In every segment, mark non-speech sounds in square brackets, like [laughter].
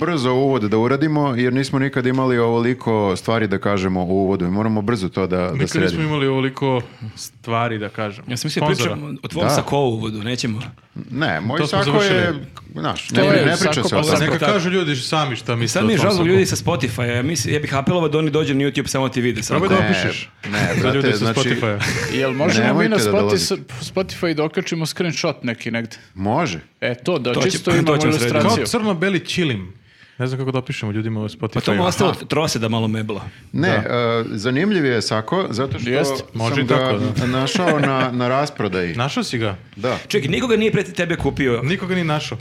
brzo uvod da uradimo, jer nismo nikad imali ovoliko stvari da kažemo u uvodu i moramo brzo to da, da Nikad nismo sredimo. imali ovoliko stvari da kažem. Ja sam mislio, Sponzora. pričamo o tvom Da. sakovu uvodu, nećemo. Ne, moj To smo sako je, završili. znaš, To ne, pri- je ne priča sako se o Pa pa tome. sako. neka tako. kažu ljudi sami šta misle Sad o mi je tom žao zbog saku. ljudi sa Spotify-a. Ja, mislim- ja bih apelovao da oni dođu na YouTube samo ti vide. Samo. Probaj da Ne, opišeš. Ne, Za brate, ljudi sa znači, Spotify-a. Jel možemo mi Nemojte na da Spotify, dolazite. Spotify da okačimo screenshot neki negde? može. E, to, da To će- čisto to imamo ćemo srediti. Kao ilustraciju. crno-beli čilim. Ne znam kako da opišemo ljudima u Spotify. Pa to mu je ostalo trose da malo mebla. Ne, e, zanimljiv je sako, zato što Jest, sam može i ga tako, da. našao na, na [laughs] rasprodaji. Našao si ga? Da, Čekaj, nikoga nije pre tebe kupio. Niko ga ni našao.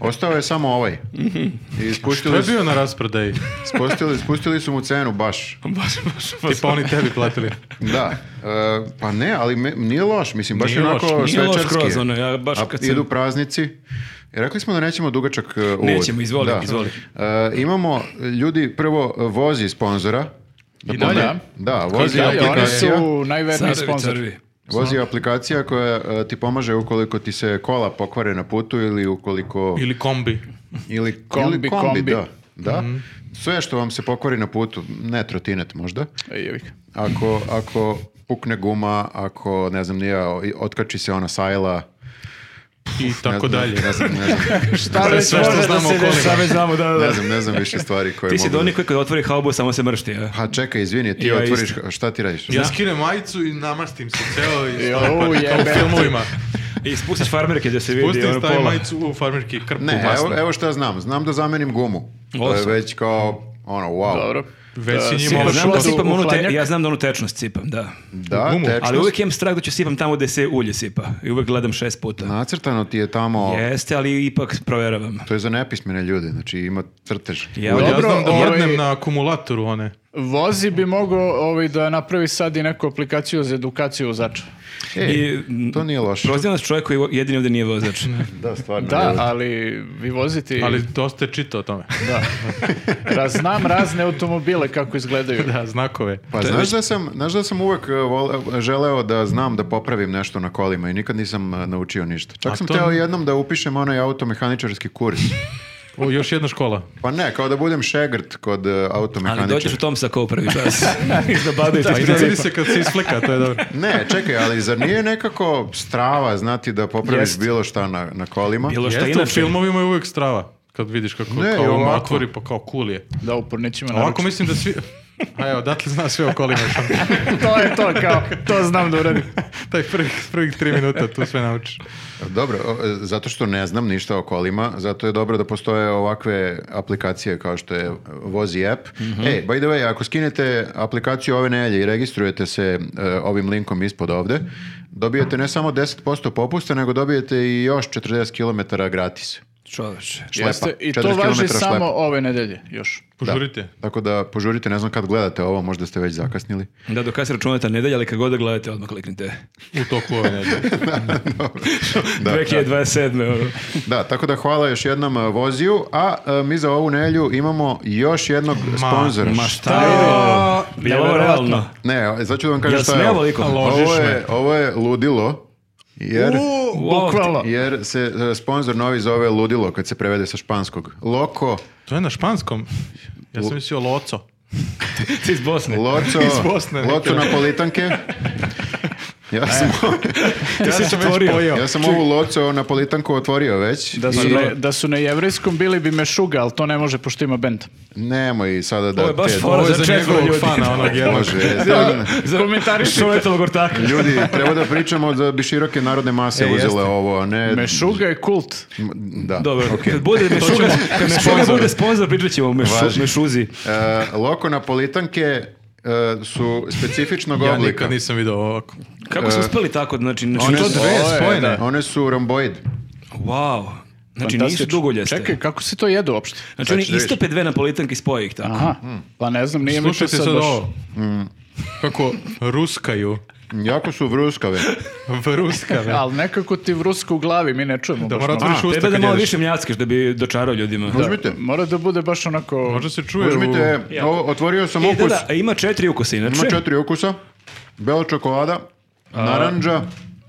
ostao je samo ovaj. I To je spustili, su- bio na rasprodaji. spustili, spustili su mu cenu baš. Baš, baš, baš. Tipa oni tebi platili. Da, e, pa ne, ali me- nije loš, mislim, baš Nije je onako loš, nije loš svečarski. skroz, ono, ja baš A kad sam- idu praznici. I rekli smo da nećemo dugačak e, uvod. Nećemo, izvoli, Da. izvoli. E, imamo, ljudi, prvo e, vozi sponzora. Da, I dalje? pogledam. Da, vozi dalje? Da, i oni aplikacija. su najverniji Carevi, sponsor. carevi. Vozi aplikacija koja e, ti pomaže ukoliko ti se kola pokvare na putu ili ukoliko... Ili kombi. Ili Kombi, ili kombi. da. Da. Mhm. Sve što vam se pokvari na putu, ne trotinet možda, Ej, jevi ga. ako, ako pukne guma, ako, ne znam, nije, otkači se ona sajla, I ne tako znam, dalje. Ne znam, ne znam, Šta već može da se desi? Šta već znamo, [laughs] da, da, da. ne znam, ne znam više stvari koje Ti si mogu do da- onih koji kad otvori haubu samo se mršti, ja. Pa čekaj, izvini, ti Ja otvoriš, šta ti radiš? Ja skinem majicu i namastim se ceo i Jo, stavim par- kao jebe. u filmovima. I spustiš farmerke da se vidi Pustim ono stavim pola. majicu u farmerki krpu Ne, masno. evo, evo šta znam, znam da zamenim gumu. To je Odlično. već kao, ono, wow. Dobro. Već Da, si njima sjedi Ja ošao. znam, da šotu u sipam onu te- hladnjak. ja znam da onu tečnost sipam, da. Da, Gumu. tečnost. Ali uvijek imam strah da ću sipam tamo gde se ulje sipa. I uvijek gledam šest puta. Nacrtano ti je tamo, Jeste, ali ipak provjeravam. to je za nepismene ljude, znači ima crtež. Ja, Ja Dobro, znam da ovaj- jednem na akumulatoru one. Vozi bi mogao ovaj, da napravi sad i neku aplikaciju za edukaciju vozača. Ej, I, mm, to nije loše. Prozivam nas čovjek koji jedini ovdje nije vozač. [laughs] Da, stvarno. Da, evo. ali vi voziti... Ali dosta je čitao o [laughs] tome. Da. Raz, znam razne automobile kako izgledaju. Da, znakove. Pa znaš da sam, znaš da sam uvek e, vole- želeo da znam da popravim nešto na kolima i nikad nisam e, naučio ništa. Čak A sam to- hteo jednom da upišem onaj automehaničarski kurs. O, još jedna škola. Pa ne, kao da budem šegrt kod e, Ali dođeš automehaničara. u tom sa kao prvi čas. Iznabadaju Da, te iz vidi džepa. se kad se isfleka, to je dobro. Ne, čekaj, ali zar nije nekako strava znati da popraviš Jest. bilo šta na, na kolima? Bilo šta Jeste, u inače. filmovima je uvijek strava. Kad vidiš kako Ne, kao on ovako. otvori pa kao cool je. Da, upornićima naručiti. Ovako mislim da svi... A evo, odatle zna sve o kolima. to je to, kao, to znam da uradim. Taj prvih, prvih tri minuta tu sve naučiš. Dobro, o, e, zato što ne znam ništa o kolima, zato je dobro da postoje ovakve aplikacije kao što je Vozi app. Mhm. Ej, by the way, ako skinete aplikaciju ove nelje i registrujete se e, ovim linkom ispod ovde, dobijete ne samo 10% popusta, nego dobijete i još 40 km gratis. Čoveče. Šlepa. Jeste, I 40 to km važi šlepa. samo ove nedelje, još. Požurite. Tako da požurite, ne znam kad gledate ovo, možda ste već [laughs] zakasnili. Da, do kada se računate nedelja, ali kad god da gledate, odmah kliknite. U toku ove [laughs] nedelje. Da, 2027. ono. Da, tako da hvala još jednom e, Voziju, a e, mi za ovu nelju imamo još jednog sponzora. Ma šta je? Je li ovo Nevjerovatno. realno? Ne, e, sad ću da vam kažem Jel šta je smeo ovo. ovoliko? Ovo Ložiš je, ovo je ludilo, jer, Wow. Bukvalno. jer se e, sponsor novi zove ludilo kad se prevede sa španskog. Loko, To je na španskom. Ja sam mislio [laughs] loco. Ti iz Bosne. loco, Iz Bosne neki. loco napolitanke. Ja sam, Ja si sam već otvorio. pojeo. ja sam ovu loco napolitanku otvorio već. Da su, I na, da su na jevrejskom bili bi me šuga, ali to ne može pošto ima bend. nemoj sada da... Ovo je baš te- fora Ovo je za za četvoro njegovog ljudi. fana, onog jednog. Može, da, Za komentarišu letovog ortaka. ljudi, treba da pričamo da bi široke narodne mase E, uzele jeste. ovo, a ne... Mešuga je kult. Znači, Da. Dobro, okej. kad bude Mešuga, kad Mešuga bude sponsor, pričat ćemo o mešu, Važi. Mešuzi. E, loko napolitanke e, su specifičnog Ja oblika. nikad nisam vidio ovako. Kako su uspeli tako, znači, znači, One to su- dve- Ovo je, spojene. da. One su romboid. wow, znači nisu Fantastično. dugoljaste. Čekaj, kako se to jedu uopšte? Znači oni Sad ću da vidiš. istope dve napolitanke spoje ih tako. Aha, pa ne znam, nije mi to Slušajte sad sad baš... Mm. ovo. Kako ruskaju. Jako su vruskave. [laughs] Vruskave. Ali E, nekako ti vrusko u glavi, mi ne čujemo. Da baš mora mnogo. otvoriš usta Treba da kad malo jedeš. više mljackaš da bi dočarao ljudima. Da. Uzmite. Mora da bude baš onako... Možda se čuje Uzmite, u... ovo, otvorio sam E, da, ukus. da, a ima četiri ukusa inače. Ima četiri ukusa. Bela čokolada, narandža,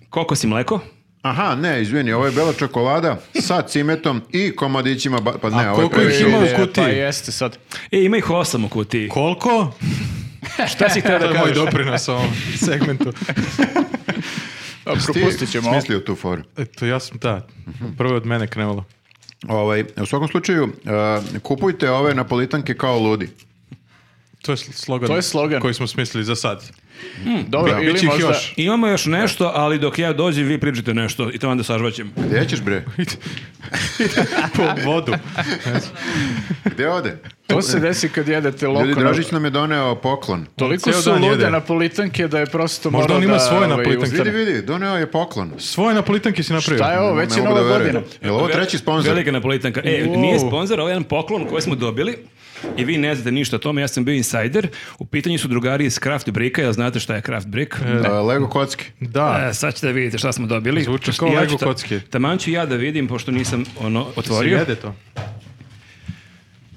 Koliko si mleko? Aha, ne, izvini, ovo je bela čokolada sa cimetom i komadićima, ba- pa ne, A ovo je koliko ih previše. ima u E, Pa kutiji? jeste sad. E, ima ih osam u kutiji. [laughs] Koliko? Šta si [laughs] To htio da je moj kažeš? doprinos ovom segmentu. A, Ti propustit ćemo ovo. Smislio tu foru. Eto, ja sam, da, prvo je od mene krenulo. Ovaj, u svakom slučaju, e, kupujte ove napolitanke kao ludi. To je sl- slogan, To je slogan. koji smo smislili za [laughs] sad. Hmm, Dobro, Bi- ili biće ih možda... još. Imamo još nešto, ali dok ja dođem vi pričate nešto i to onda sažvaćem. Gdje ćeš bre? Po vodu. Gdje ode? To se desi kad jedete loko. Ljudi, na- Dražić nam je doneo poklon. Toliko Ceo su dan lude jede. napolitanke da je prosto Možda morao on ima da, svoje ovaj, napolitanke. Vidi, vidi, doneo je poklon. Svoje napolitanke si napravio. Šta je ovo? Već Ne je mogu da nova verujem. godina. Jel ovo treći sponsor? Velika napolitanka. E, Wow. nije sponsor, ovo je jedan poklon koji smo dobili i vi ne znate ništa o tome, ja sam bio insider. U pitanju su drugari iz Craft Bricka, jel znate šta je Craft Brick? E, Lego kocki. Da. E, sad ćete da vidite šta smo dobili. Zvuči Pošto kao ja Lego ću ta- kocke. Taman ću ja da vidim, pošto nisam ono, Se otvorio. jede to.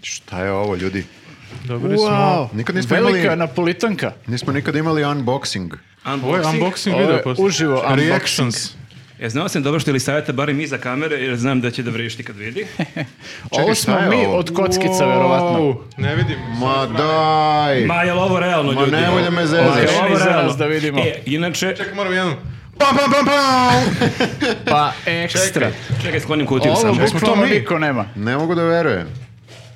Šta je ovo, ljudi? Dobili smo... Wow, Nikad nismo velika imali- napolitanka. Nismo nikad imali unboxing. Ovo je Unboxing. unboxing Ovo je video posle. uživo unboxing. Reactions. Ja znao sam dobro što je Elisaveta barem iza kamere, jer znam da će da vrišti kad vidi. Čekaj, šta ovo smo je mi ovo? od kockica, Wow, verovatno. Ne vidim. Ma daj! Ma, jel ovo realno, Ma ljudi? nemoj da me zezaš. Jel ovo Kreni za nas realno? da vidimo. E, inače, Čekaj, moram jednu. Pam, pam, pam, pam! Pa ekstra. čekaj, Pa sklonim kutiju Ovo samo. Jesmo to bukvalno mi? niko nema. Ne mogu da verujem.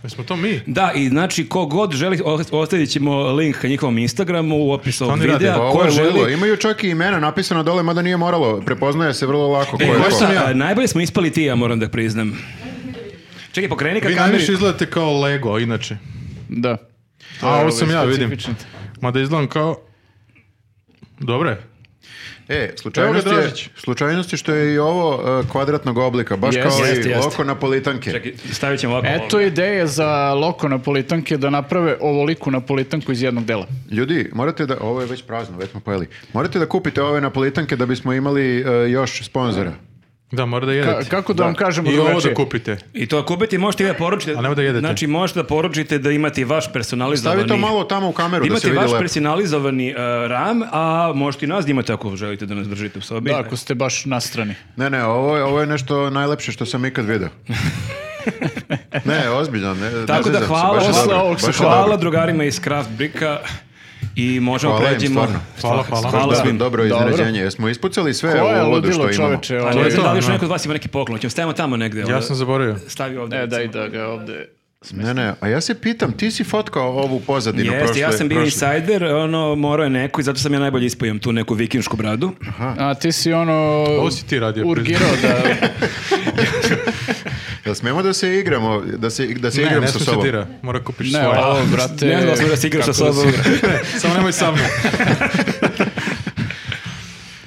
Jesmo to mi? Da, i znači, ko god želi, o- ostavit ćemo link na njihovom Instagramu u opisu ovog oni rade? Pa videa. ovo Ko je ludilo. želi... Imaju čak i imena napisano dole, mada nije moralo. Prepoznaje se vrlo lako. E, ko je ko ko. sam ja? A, najbolje smo ispali ti, ja moram da priznam. Čekaj, pokreni ka Vi kameri. najviše izgledate kao Lego, inače. Da. A, ovo sam ja, vidim. Specifičan. Mada izgledam kao... Dobre. E, slučajnost Evo ga je, Dražić. slučajnost je što je i ovo e, kvadratnog oblika, baš Jeste, kao jeste, i jeste. loko napolitanke. Čekaj, stavit ćemo ovako. Eto ideje za loko napolitanke da naprave ovoliku napolitanku iz jednog dela. Ljudi, morate da, ovo je već prazno, već smo pojeli. Morate da kupite ove napolitanke da bismo imali e, još sponzora. Da, mora da Ka- jedete. kako da vam kažemo I ovo drugačije? da kupite. I to ako ubiti, možete i da poručite. A nemoj da jedete. Znači, možete da poručite da imate i vaš personalizovani... Stavi to malo tamo u kameru da se Imate vidi vaš lepo. personalizovani e, ram, a možete i nas da imate ako želite da nas držite u sobi. Da, ako ste baš na strani. Ne, ne, ovo je, ovo je nešto najlepše što sam ikad video. ne, ozbiljno. Ne, ne Tako da zezam se, hvala, baš je posle dobro, ovog se baš je hvala dobro. drugarima iz Craft Bricka i možemo Hvala im, pređemo. stvarno. Hvala, hvala. Hvala Da, svim. Dobro Dobro. iznenađenje. Jesmo ispucali sve Ko je ovo ludo ludilo što imamo. čoveče? A Ovo ne je- znam da li još da. neko od vas ima neki poklon. Ćemo stavimo tamo negde. Ja ali- sam zaboravio. Stavi ovdje. E, daj da ga ovde. Ne, ne, a ja se pitam, ti si fotkao ovu pozadinu Jeste, prošle? ja sam bio prošle- insider, ono, morao je neko i zato sam ja najbolje ispojio tu neku vikinšku bradu. A ti si ono... Ovo si ti radio, Urgirao da... Jel smemo da se igramo, da se, da se Ne, igram ne sa smije se sobom? dira. Mora kupiš Ne, svoje. ovo, brate... Ne znam da sam da se igraš sa kako da se sobom. igra. [laughs] Samo nemoj sa mnom.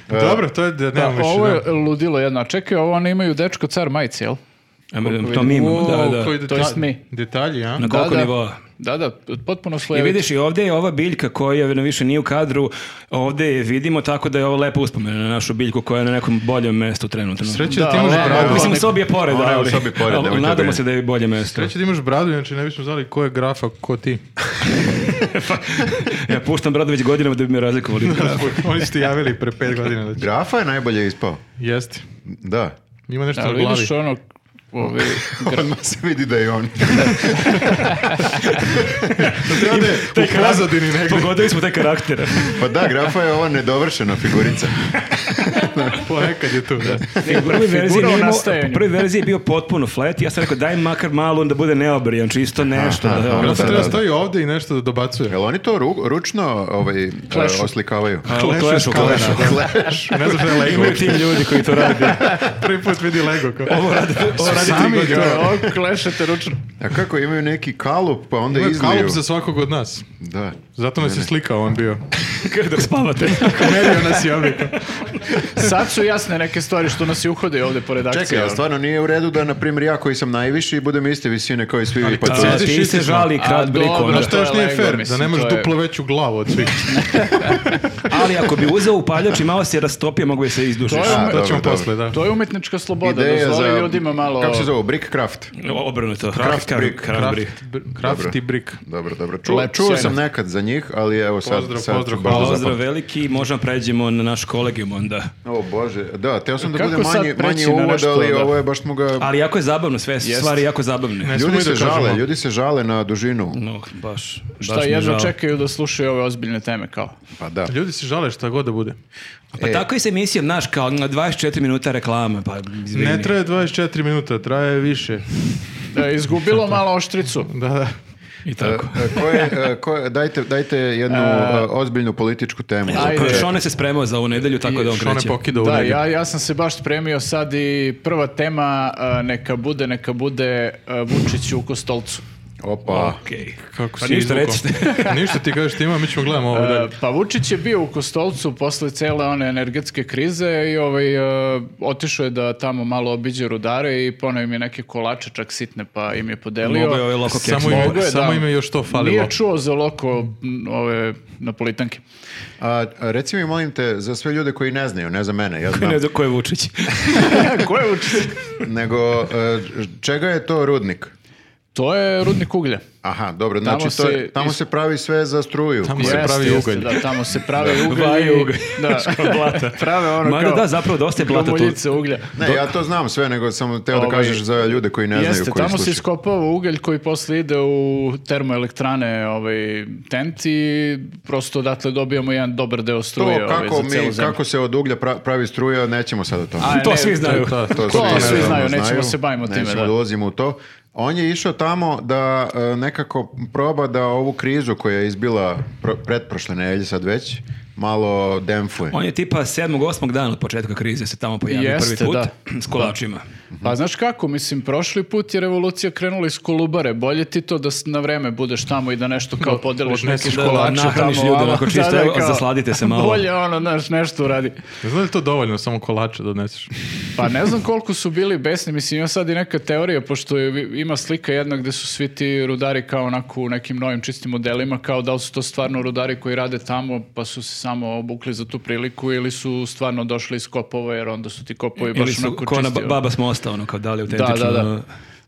Dobro, to je da Da, nemam više. ovo je ludilo jedno. A Čekaj, ovo oni imaju dečko car majice, jel? Em, To mi imamo, da, da. Koji To jest mi. Detalji, a? Na koliko da. nivoa? Da, da, potpuno I slojevito. vidiš i ovdje je ova biljka koja više nije u kadru, ovdje je vidimo tako da je ovo lepo uspomena na našu biljku koja je na nekom boljem mestu trenutno. Sreće da, Da, ti imaš ovo je- bradu. ovo Mislim, sobi je pored, Ona je u ali- sobi pored, ali nemojte nadamo brinut. se da je bolje mesto. Sreće da imaš bradu, inače ne bismo znali ko je grafa, ko ti. Ja puštam bradu već godinama da bi me [laughs] razlikovali. Oni su ti javili pre pet godina. Da će- Grafa je najbolje ispao. Jeste. Da. Ima nešto u Ali glavi. vidiš ono... Ovi, [laughs] Odmah se vidi da je on. Taj u pozadini karak- negde. Pogodili smo taj karakter. Pa da, grafa je ova nedovršena figurica. [laughs] Ponekad je tu, da. Ne, u prvoj verziji Figura u nije imao- nastajanju. u prvoj verziji je bio potpuno flat i ja sam rekao daj makar malo da bude neobrijan, čisto nešto. Aha, da- dobro, ono- Zato da, treba da. stoji ovde i nešto da dobacuje. Jel oni to ru- ručno ovaj, e, Klešu. oslikavaju? A, u Clash of Clashu, Clans. Clashu. Kleš. Ne znam šta je Lego. Imaju tim ljudi koji to [laughs] rade. Prvi put vidi Lego. Kao. Ovo radi, Sami sami to, to. ovo ono, klešete ručno. A kako imaju neki kalup, pa onda Ovo je izliju. kalup za svakog od nas. Da. Zato nas je slikao on bio. Kada spavate. Merio nas je ovdje. [laughs] Sad su jasne neke stvari što nas i uhode ovdje po redakciji. Čekaj, ali stvarno nije u redu da, na primjer, ja koji sam najviši budem iste visine kao i svi vi, pa kad to- se- A, ti Sjediš se isti smo. žali A, krat dobro, brikom. Ono Ono što što je još nije Lego, fair, da mislim, nemaš to je- duplo veću glavu od svih. Ali ako bi uzeo upaljač i malo se rastopio, mogu bi se izdušiš. To je- A, to dobro, ćemo dobro. posle, da. To je umetnička sloboda, Ideja dozvoli za- ljudima malo... Kako Kako se zove? Brickcraft? Obrnuto. Kraft Brick. Kraft Brick. Krafti brik. Dobro, dobro. Čuo, Lep čuo sjajno. sam nekad za njih, ali evo sad... Pozdrav, sad ću pozdrav, baš da hvala. zapamtim. Pozdrav veliki, možemo pređemo na naš kolegium onda. O bože, da, teo sam da Kako bude sad manje, manje preći na uvod, nešto, ali da? ovo je baš smo ga... Ali jako je zabavno, sve Jest. stvari jako zabavne. Ne smemo Ljudi i da se kažemo. žale, ljudi se žale na dužinu. No, baš. Šta baš mi je jedno žao. čekaju da slušaju ove ozbiljne teme kao. Pa [laughs] da. Ljudi se žale šta god da bude. Pa E. tako i se emisijom, znaš, kao na 24 minuta reklama, pa izvini. Ne traje 24 minuta, traje više. Da je izgubilo malo oštricu. Da, da. I tako. E, ko je, e, ko je- dajte, dajte jednu e, ozbiljnu političku temu. Ajde. Ko- Pa Šone se spremao za ovu nedelju, tako da on Šone kreće. pokida u Da, nedelju. ja, ja sam se baš spremio sad i prva tema a, neka bude, neka bude a, Vučić u Kostolcu. Opa. Okej. Kako pa si ništa izvukao? recite. [laughs] ništa ti kažeš ti ima, mi ćemo gledamo ovo E, dalje. pa Vučić je bio u Kostolcu posle cele one energetske krize i ovaj, e, otišao je da tamo malo obiđe rudare i poneo im je neke kolače, čak sitne, pa im je podelio. Mogao je ovaj loko keks. Samo, Mogu ime, je, samo da. ime još to falilo. Nije čuo za loko m, ove napolitanke. A, a, reci mi, molim te, za sve ljude koji ne znaju, ne za mene, [laughs] ja znam, Ne znam ko je Vučić. Ko je Vučić? nego e, čega je to rudnik? [laughs] To je rudnik uglja. Aha, dobro, znači Tamo to je- se tamo is- se pravi sve za struju. Tamo se Jeste, pravi jeste, ugalj. Da, tamo se pravi ugalj. Vaju i- ugalj. [laughs] Da. Blata. Prave ono Mada kao da, zapravo dosta je blata tu. gromoljice uglja. Ne, ja to znam sve, nego sam teo da Ovaj, kažeš za ljude koji ne znaju Jeste, koji tamo se slušaju. iskopava ugalj koji posle ide u termoelektrane ovaj, tent i prosto odatle dobijamo jedan dobar deo struje To ovaj, za kako, celu mi, zemlju. kako se od uglja pra- pravi struja, nećemo sad o tome. A, [laughs] To ne, svi znaju. To, to, To, To svi naravno znaju, nećemo se bavimo time, Nećemo da. da ulazimo u to. On je išao tamo da e, nekako proba da ovu krizu koja je izbila pro, pretprošle nedelje sad već, malo demfuje. On je tipa 7. 8. dana od početka krize se tamo pojavio Jeste, prvi put da. s kolačima. Pa znaš kako, mislim, prošli put je revolucija krenula iz Kolubare. Bolje ti to da s- na vreme budeš tamo i da nešto kao podeliš neke odneseš kolače kolače, nahraniš tamo, ljude, ovamo. onako čisto, Da, da, evo, kao, zasladite se malo. Bolje ono, znaš, nešto uradi. Ne znam da je to dovoljno, samo kolače doneseš. Pa ne znam koliko su bili besni, mislim ima sad i neka teorija, pošto je- ima slika jedna gde su svi ti rudari kao onako u nekim novim čistim modelima, kao da li su to stvarno rudari koji rade tamo pa su se samo obukli za tu priliku ili su stvarno došli iz kopova jer onda su ti kopovi Ili baš su onako ko ona čisti. ba- ono. baba s mosta, ono kao da li je Da, autentično. ono. da, da.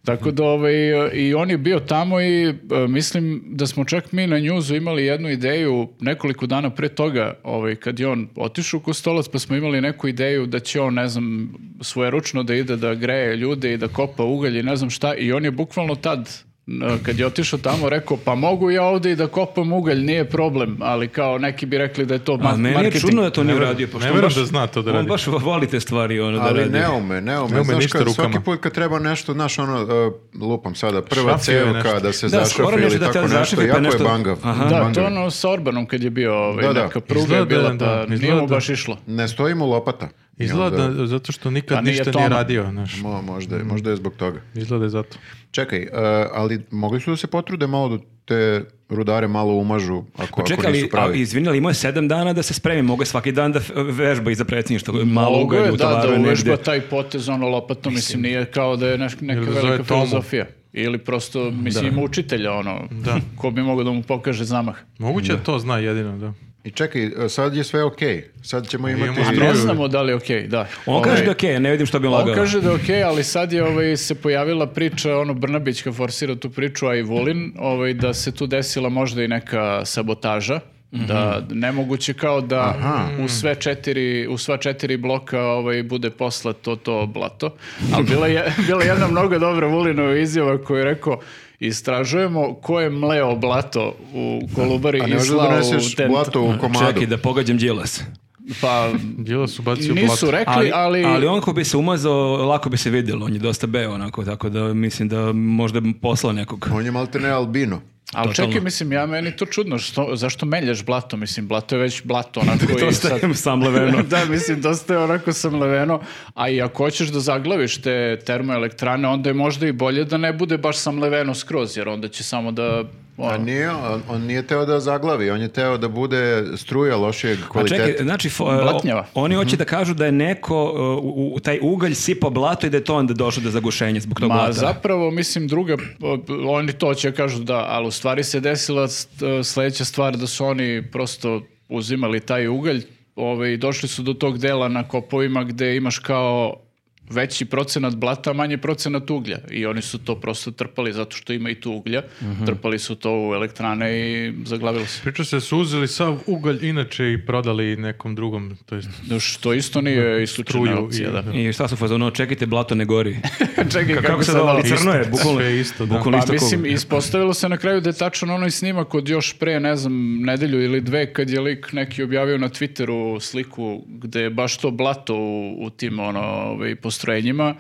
Tako da ovaj, i on je bio tamo i e, mislim da smo čak mi na njuzu imali jednu ideju nekoliko dana pre toga ovaj, kad je on otišao u Kostolac pa smo imali neku ideju da će on ne znam svojeručno da ide da greje ljude i da kopa ugalj i ne znam šta i on je bukvalno tad e, kad je otišao tamo rekao pa mogu ja ovdje i da kopam ugalj nije problem ali kao neki bi rekli da je to A ma- meni je marketing. čudno da to nije Ne uradio. verujem- pošto ne on verujem baš- da zna to da radi. On baš voli te stvari ono, da Ali radi. ne ume, ne ume. Ne ume Znaš ništa kad rukama. svaki put kad treba nešto, znaš ono, e, lupam sada, prva Šrafio je cevka nešto. da se Da, skoro zašrafi nešto ili da te tako nešto, zašrafi, pa jako je nešto- bangav. Aha. da Bangav to je. ono sa Orbanom kad je bio ovaj, Da, da. neka pruga Izgleda je bila da, pa nije izgleda mu da. baš išlo Ne stoji mu lopata. I Izgleda onda- da- zato što Pa nikad nije ništa to nije ono. radio, znaš. Mo- možda, je- možda je zbog toga. Izgleda je zato. Čekaj, e, ali mogli su da se potrude malo da te rudare malo umažu ako, Pa ako čekaj, nisu ali, a, pravi. izvini, ali imao je sedam dana da se spremi, mogu je svaki dan da f- vežba iza predsjedništva, malo Mogu ugalj je, u da, tovaru da uvežba negdje. taj potez ono lopatom, mislim, nije kao da je neš- neka Ili da zove velika Tomu. filozofija. Ili prosto, mislim, ima učitelja, ono, ko bi mogao da mu pokaže zamah. Moguće da to zna jedino, da. I čekaj, e, sad je sve okej. Sad ćemo imati... Imamo Ne Ili- znamo da li je okej, da. On Ovaj, kaže da je okej, ne vidim što bi on On lagao. kaže da je okej, ali sad je ovaj, se pojavila priča, ono, Brnabić kad forsira tu priču, a i Vulin, ovaj, da se tu desila možda i neka sabotaža, da nemoguće kao da u sve četiri u sva četiri bloka ovaj bude poslato to blato. Ali bila je [laughs] bila je jedna mnogo dobra Vulinova izjava koju je rekao istražujemo ko je mleo blato u Kolubari A ne i možeš da slao doneseš u tent. blato u komadu. Čekaj, da pogađam Đilas. [laughs] Pa Djela su bacio nisu blato. rekli, ali, ali on ko bi se umazao, lako bi se vidjelo. On je dosta beo onako, tako da mislim da možda bi poslao nekog. On je maltene albino. Ali Totalno. čekaj, mislim, ja meni to čudno, što, zašto meljaš blato, mislim, blato je već [laughs] blato, onako i Dosta sad... je samleveno. [laughs] da, mislim, dosta je onako samleveno, a i ako hoćeš da zaglaviš te termoelektrane, onda je možda i bolje da ne bude baš samleveno skroz, jer onda će samo da... Pa A Ono, nije, on, on nije teo da zaglavi, on je teo da bude struja lošijeg A kvaliteta. čekaj, znači, fo- Blatnjava. Mhm. o- oni hoće da kažu da je neko uh, u, u taj ugalj sipao blato i da je to onda došlo do zagušenja zbog tog Ma blata. zapravo, mislim, druga, oni to će kažu da, ali u stvari se desila st- sledeća stvar da su oni prosto uzimali taj ugalj ovaj, i došli su do tog dela na kopovima gde imaš kao veći procenat blata, manje procenat uglja. I oni su to prosto trpali zato što ima i tu uglja. Trpali su to u elektrane i zaglavilo se. Priča se da su uzeli sav ugalj inače i prodali nekom drugom, to jest No, Što isto nije isključena Struju opcija, i- da. I šta su fazono, čekajte, blato ne gori. Čekaj, Kako se ovo- dovali crno je, Isto, bukvalno sve je isto, da. Bukvalno Pa isto ko- mislim, ispostavilo se na kraju da je tačan onaj snimak od još pre, ne znam, nedelju ili dve, kad je lik neki objavio na Twitteru sliku gde je baš to blato u, u tim ono, ovaj, postrojenjima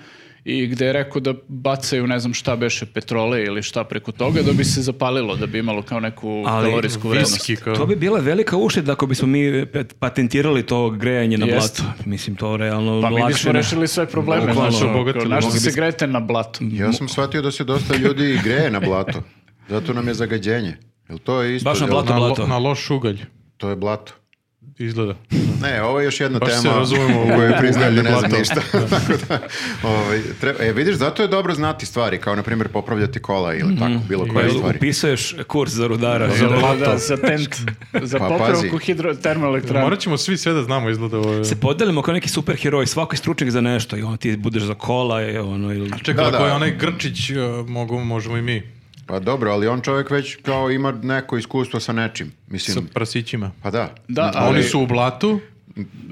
i gde je rekao da bacaju ne znam šta beše petrole ili šta preko toga da bi se zapalilo, da bi imalo kao neku Ali kalorijsku vrednost. viski kao. To bi bila velika ušteda ako bismo mi pet- patentirali to grejanje na Jeste. blatu. Mislim, to realno Pa mi lakše bismo ne- rešili sve probleme. Bukvalno, znaš, ono, obogatili. kao, znaš da Mogli se grete na blato. Ja sam shvatio da se dosta ljudi greje na blato. Zato nam je zagađenje. Jel to je isto? Baš na jel? blato. na, lo- blato. na loš ugalj To je blato. izgleda. Ne, ovo je još jedna Baš se tema razumemo u [laughs] u kojoj priznajem da ugalj i ne znam blato. ništa. [laughs] Tako da, ovaj, treba- e, vidiš, zato je dobro znati stvari, kao na primjer popravljati kola Mhm. ili tako, bilo koje Pa Jel stvari. Upisuješ kurs za rudara. Za, Da. da, za tent, za Pa, popravku pazi. hidro, termoelektrane. Pa Morat ćemo svi sve da znamo izgleda ovo. Se podelimo kao neki superheroj, svako je stručnjak za nešto i ono ti budeš za kola i ono ili... Čekaj, Da, ako da. je onaj Grčić, e, mogu, možemo i mi. Pa dobro, ali on čovjek već kao ima neko iskustvo sa nečim. Sa Mislim, prasićima. pa da. Da, Ali- Oni su u blatu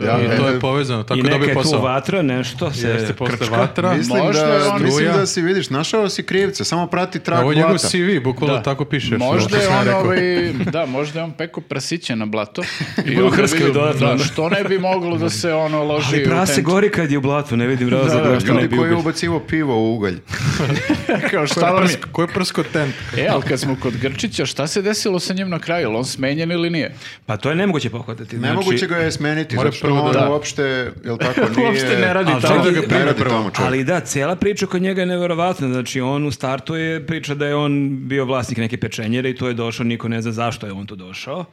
Ja, i to e, je povezano, tako I da neka bi je tu posao. vatra, nešto se Jeste posle krčka. vatra. Mislim Možda je da, on- mislim Struja. da si, vidiš, našao si krivca, samo prati trag Ovo je njegov blata. CV, bukvalno Da. tako piše. Možda što je sam on rekao. ovaj, da, možda je on peko prasiće na blato. I budu onda hrskali bi- dodatno, da, ono. što ne bi moglo da se ono loži Ali u prase tent. gori kad je u blatu, ne vidim razloga da, što ne Ljudi bi koji je ubil. ubacivo pivo u ugalj. [laughs] Kao Ko je šta vam je? prsko- Ko je prsko tent? E, ali kad smo kod Grčića, šta se desilo sa njim na kraju? Jel on smenjen ili nije? Pa to je nemoguće pohvatati. znači- Nemoguće ga je smeniti, Mora zato što prvo on da- da. uopšte, jel tako, nije... [laughs] Uopšte ne radi Ali tamo. da čekaj, ga ne prime radi prvo. Ali da, cijela priča kod njega je neverovatna. Znači, on u startu je priča da je on bio vlasnik neke pečenjere i tu je došao, niko ne zna zašto je on tu došao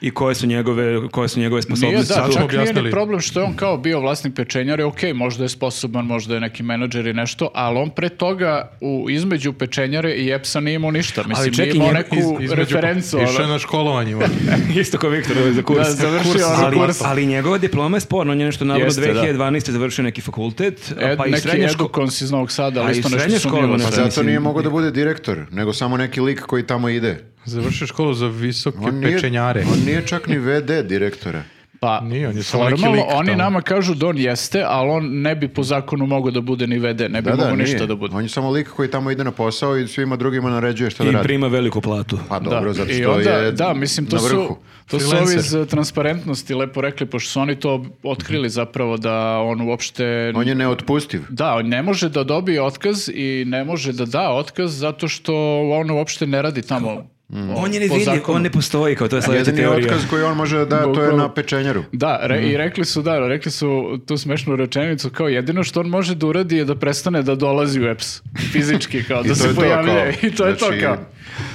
i koje su njegove, koje su njegove Nije, sposobnosti. da, smo čak nije ni objasnili. problem što je on kao bio vlasnik pečenjare, ok, možda je sposoban, možda je neki menadžer i nešto, ali on pre toga u, između pečenjare i Epsa nije imao ništa. Mislim, Ali čekaj, nije imao nje- neku Iz- između- referencu. Išao je ono. na školovanje. on. Isto kao Viktor ovaj za kurs. Da, završio Kurs, ono ali, kurs. ali njegova diploma je sporna. On je nešto navodno Jeste, da. 2012. završio neki fakultet, a Ed, pa i e, neki srednja škola. edukons iz Novog Sada, A ali i isto srednja nešto škola sumnjivo. mu nešto Pa sve. zato mislim- nije mogao da bude direktor, nego samo neki lik koji tamo ide. Završio školu za visoke On nije, pečenjare. on nije čak ni VD direktora. Pa, Nije, on je samo neki formalno, lik oni tamo. nama kažu da on jeste, ali on ne bi po zakonu mogao da bude ni VD, ne bi Da, da, mogao nije. ništa da bude. On je samo lik koji tamo ide na posao i svima drugima naređuje šta da I radi. prima veliku platu. Pa dobro, zato I što onda, je da, mislim, to na vrhu. su, to su Freelancer. ovi za transparentnosti lepo rekli, pošto su oni to otkrili zapravo da on uopšte... On je neotpustiv. Da, on ne može da dobije otkaz i ne može da da otkaz zato što on uopšte ne radi tamo. On je Po nevidljiv, zakonu. on ne postoji kao to je sledeća Jedini teorija. otkaz koji on može da da, to je Bukvalno. na pečenjaru. Da, re- Mhm. i rekli su, da, rekli su tu smešnu rečenicu, kao jedino što on može da uradi je da prestane da dolazi u EPS. Fizički, kao [laughs] I da to je se to, pojavlja. [laughs] kao. I to je to, Znači, kao.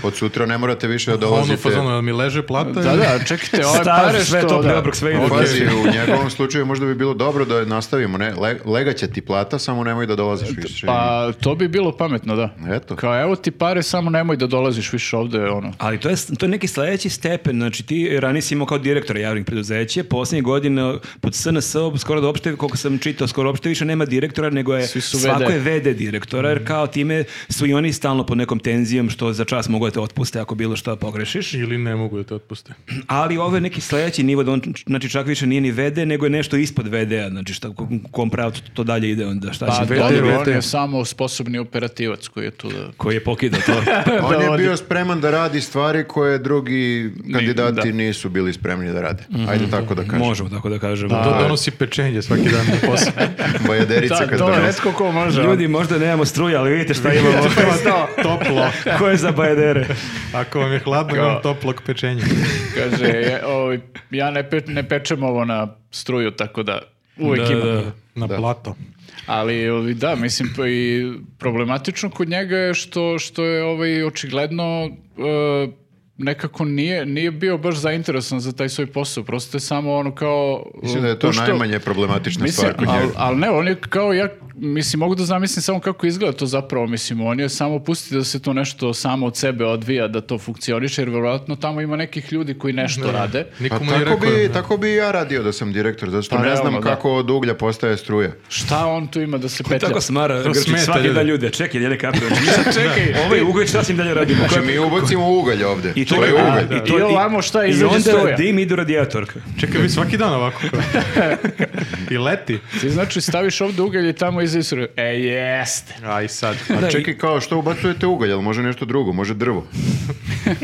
Od sutra ne morate više da A On u dolazite. fazonu, jel mi leže plata? Da, da, čekajte, ove Staž, pare sve što... topli da. obrok, sve ide. Pazi, u njegovom slučaju možda bi bilo dobro da nastavimo, ne? Le- legaće ti plata, samo nemoj da dolaziš više. Pa to bi bilo pametno, da. Eto. Kao evo ti pare, samo nemoj da dolaziš više ovde, ono. Ali to je, to je neki sledeći stepen, znači ti ranije si imao kao direktor javnih preduzeća, posljednjih godina pod SNS skoro da opšte, koliko sam čitao, skoro opšte više nema direktora, nego je, Svi su svako VD. je VD direktora, jer kao time su i oni stalno pod nekom tenzijom što za čas mogu da te otpuste ako bilo što pogrešiš. Ili ne mogu da te otpuste. Ali ovo je neki sledeći nivo, da on, znači čak više nije ni VD, nego je nešto ispod VD-a, znači šta, u kom pravcu to dalje ide onda, šta Pa će- dobro, on vete. je samo sposobni operativac koji je tu da... koji je pokidao [laughs] to. On je vodi. bio spreman da radi stvari koje drugi kandidati da. nisu bili spremni da rade. Ajde tako da kažem. Možemo tako da kažemo. To donosi pečenje svaki [laughs] dan na posao. Bajaderica Da, kad to je donosi. retko ko može. Ljudi, možda nemamo struje, ali vidite šta imamo. Toplo. [laughs] Ko je za bajedere? Ako vam je hladno, imam toplog pečenja. Kaže, je, ovaj, ja ne, pe, ne pečem ovo na struju, tako da uvek ima. Na plato. Ali ovaj, da, mislim, pa i problematično kod njega je što, što je ovaj, očigledno e, nekako nije, nije bio baš zainteresan za taj svoj posao. Prosto je samo ono kao... Mislim da je to puštao- najmanje problematična Mislim, stvar kod njega. ali al ne, on je kao ja mislim, mogu da zamislim samo kako izgleda to zapravo, mislim, on je samo pusti da se to nešto samo od sebe odvija, da to funkcioniše, jer verovatno tamo ima nekih ljudi koji nešto rade. Pa Nikomu nije tako, rekao. bi, tako bi i ja radio da sam direktor, zato što Pa ne znam realno, da. kako od uglja postaje struja. Znači, Šta on tu ima da se petlja? Tako smara Grčić Grčić svaki svaki dan da ljude. Čekaj, Jeli [laughs] Kaprović. Čekaj. Ovaj ugalj šta s njim dalje radimo? Znači, mi ubacimo ugalj ovde. I to, čekaj, je a, ugalj. I ovamo šta I izađe onda struja. dim idu radijatorka. Čekaj, vi svaki dan ovako. [laughs] kao. I leti. Ti znači staviš ovdje ugalj i tamo izisru. E, jeste. Aj sad. A čekaj, kao što ubacujete ugalj, ali može nešto drugo, može drvo.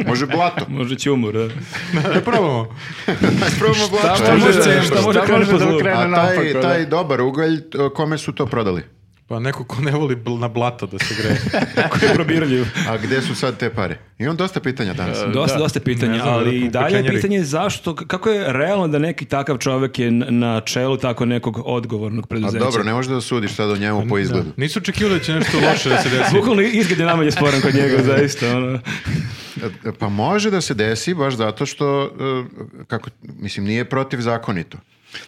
može blato. Može će umor, [laughs] da. [laughs] Da probamo. Ajde, probamo blato. Šta Pa može, može da- da, šta može krene po zlu? krene A taj, naopako, taj da? dobar ugalj, t- kome su to prodali? Pa neko ko ne voli bl- na blato da se greje. [laughs] Ako je probirljiv. A gde su sad te pare? Imam dosta pitanja danas. [laughs] Dosta, dosta Ne pitanja, znam, ali vjerojatno i dalje je pečenjeri. pitanje zašto, k- kako je realno da neki takav čovjek je n- na čelu tako nekog odgovornog A preduzeća? dobro, ne možeš da sudiš sad o Pa njemu po izgledu. Nisu očekivali da će nešto loše da se desi. Bukvalno izgled je nama je sporan kod [laughs] njega, zaista. Ono. E, Pa može da se desi baš zato što, e, kako, mislim, nije protivzakonito.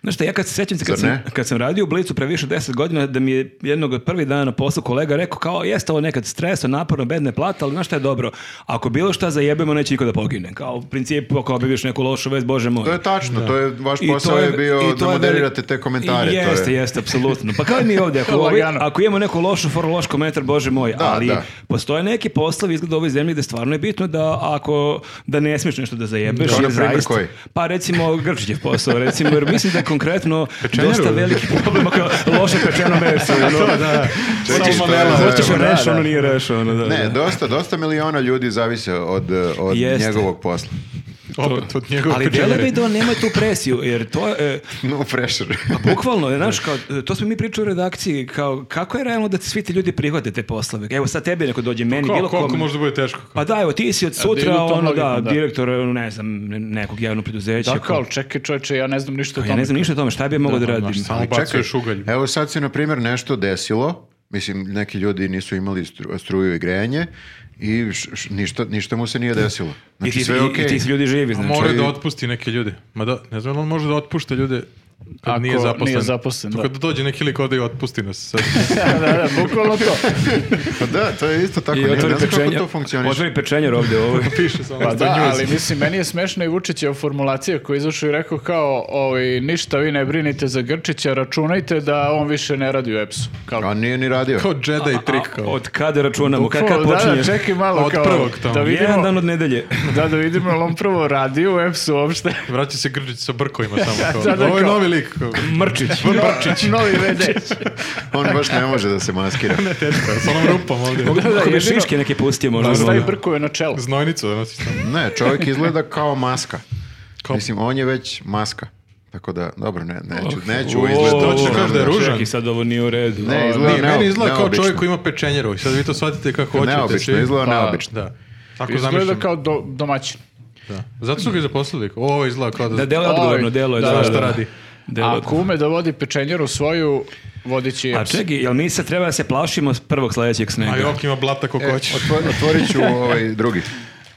Znaš šta, ja kad se sjećam, se kad Zar sam, ne? kad sam radio u Blicu pre više od 10 godina, da mi je jednog od prvih dana na poslu kolega rekao kao, jeste ovo nekad stresno, naporno, bedne plata, ali znaš šta je dobro, ako bilo šta zajebemo, neće niko da pogine. Kao, u principu, ako objaviš neku lošu vez, bože moj. To je tačno, to je vaš I posao to je, bio i da to je moderirate veli- te komentare. I to je- Jeste, jeste, apsolutno. Pa kao i mi ovdje, ako, ovaj- Lagano. ako imamo neku lošu foru, loš komentar, bože moj, Da, ali da. postoje neki poslovi izgleda u ovoj zemlji gdje stvarno je bitno da ako da ne smiješ nešto da zajebeš. Da, jer na primjer zaista- koji? Pa recimo Grčićev posao, recimo, jer mislim da je [laughs] konkretno Pečenjaru? dosta veliki problem ako loše pečeno meso. ono. [laughs] da, da. Čekaj, Hoćeš- što je za- Hoćeš Da, reš, ono nije reš, ono, da. Ne, da. dosta, dosta miliona ljudi zavise od, e, od Jeste. njegovog posla. [laughs] Opet od njegovog Ali pečenjera. delo bi da on nema tu presiju, jer to je... e, No pressure. Bukvalno, znaš, kao, to smo mi pričali u redakciji, kao, kako je realno da svi ti ljudi prihvate te poslove? Evo sad tebi neko dođe, meni, Ko- bilo koliko kom. može da bude teško? Pa da, evo, ti si od idu sutra, tom ono, da, logikom, da. direktor, ono, ne znam, ne- nekog javnog preduzeća. Tako, ko- ali čekaj čovječe, ja ne znam ništa o Pa tome. ja ne znam ništa o tome, šta bi ja mogao da, Da, radim? znaš, samo Ali čekaj, bacuješ ugalj. Evo sad se, na primjer, nešto desilo. Mislim, neki ljudi nisu imali stru- struju i grejanje i š- š- ništa, ništa mu se nije desilo. I Znači, ti, sve je i- i okej. ti su ljudi živi, znači. Mora i- da otpusti neke ljude. Ma da, ne znam, on može da otpušta ljude kad Ako nije zaposlen. nije zaposlen, Tako da. da. dođe neki lik ovde i otpusti nas. [laughs] Sad. [laughs] da, da, da, bukvalno [laughs] to. Pa da, to je isto tako. Ne, ne znam kako to funkcioniš. Otvori pečenjer ovdje, ovo. Piše samo Pa za da, news. ali mislim, meni je smešna i Vučićeva formulacija koji je izašao i rekao kao, ovaj, ništa vi ne brinite za Grčića, računajte da on više ne radi u EPS-u. Kao, A nije ni radio. Kao Jedi trik. Kao. Od kada računamo, kad, kad Bukvalno, da, počinje? da, čekaj malo Od kao, prvog tamo. da Jedan dan vidimo, od nedelje. da, da vidimo, jel on prvo radi u EPS-u uopšte. Vraća se Grđić sa [laughs] brkovima samo. Kao. Da, da, Ovo je kao- novi lik. Kao. Mrčić. Brčić. Novi VD. [laughs] On baš ne može da se maskira. Ne teško, je, sa onom rupom ovde. Da, da, Ako bi jedino- Pa šiške neke pustio, možda. ono. bi Stavi mogao. brkove na čelo. Znojnicu da nosiš tamo. Ne, čovjek izgleda kao maska. Kao- Mislim, on je već maska. Tako da, dobro, ne, neću, neću O, izgledati. to ću kažem da je ružan. Čekaj, sad ovo nije u redu. Ne, O, izgleda Nije, neo- meni izgleda kao neobično. čovjek koji ima pečenjero i sad vi to shvatite kako hoćete. Neobično, svi. izgleda Pa, neobično. Da. Tako Izgleda zamišljam. kao do, domaćin. Da. Zato su ga i zaposlili. Ovo izgleda kao da... Da, delo je Oj, odgovorno, delo je. da, Znaš da, šta da. radi. Delo je Ako ume da vodi pečenjeru svoju, vodići A EPS. čekaj, jel mi sad treba da se plašimo s prvog sledećeg snega? A Jok ima blata kako hoće. Otvo- Otvorit ću ovaj drugi.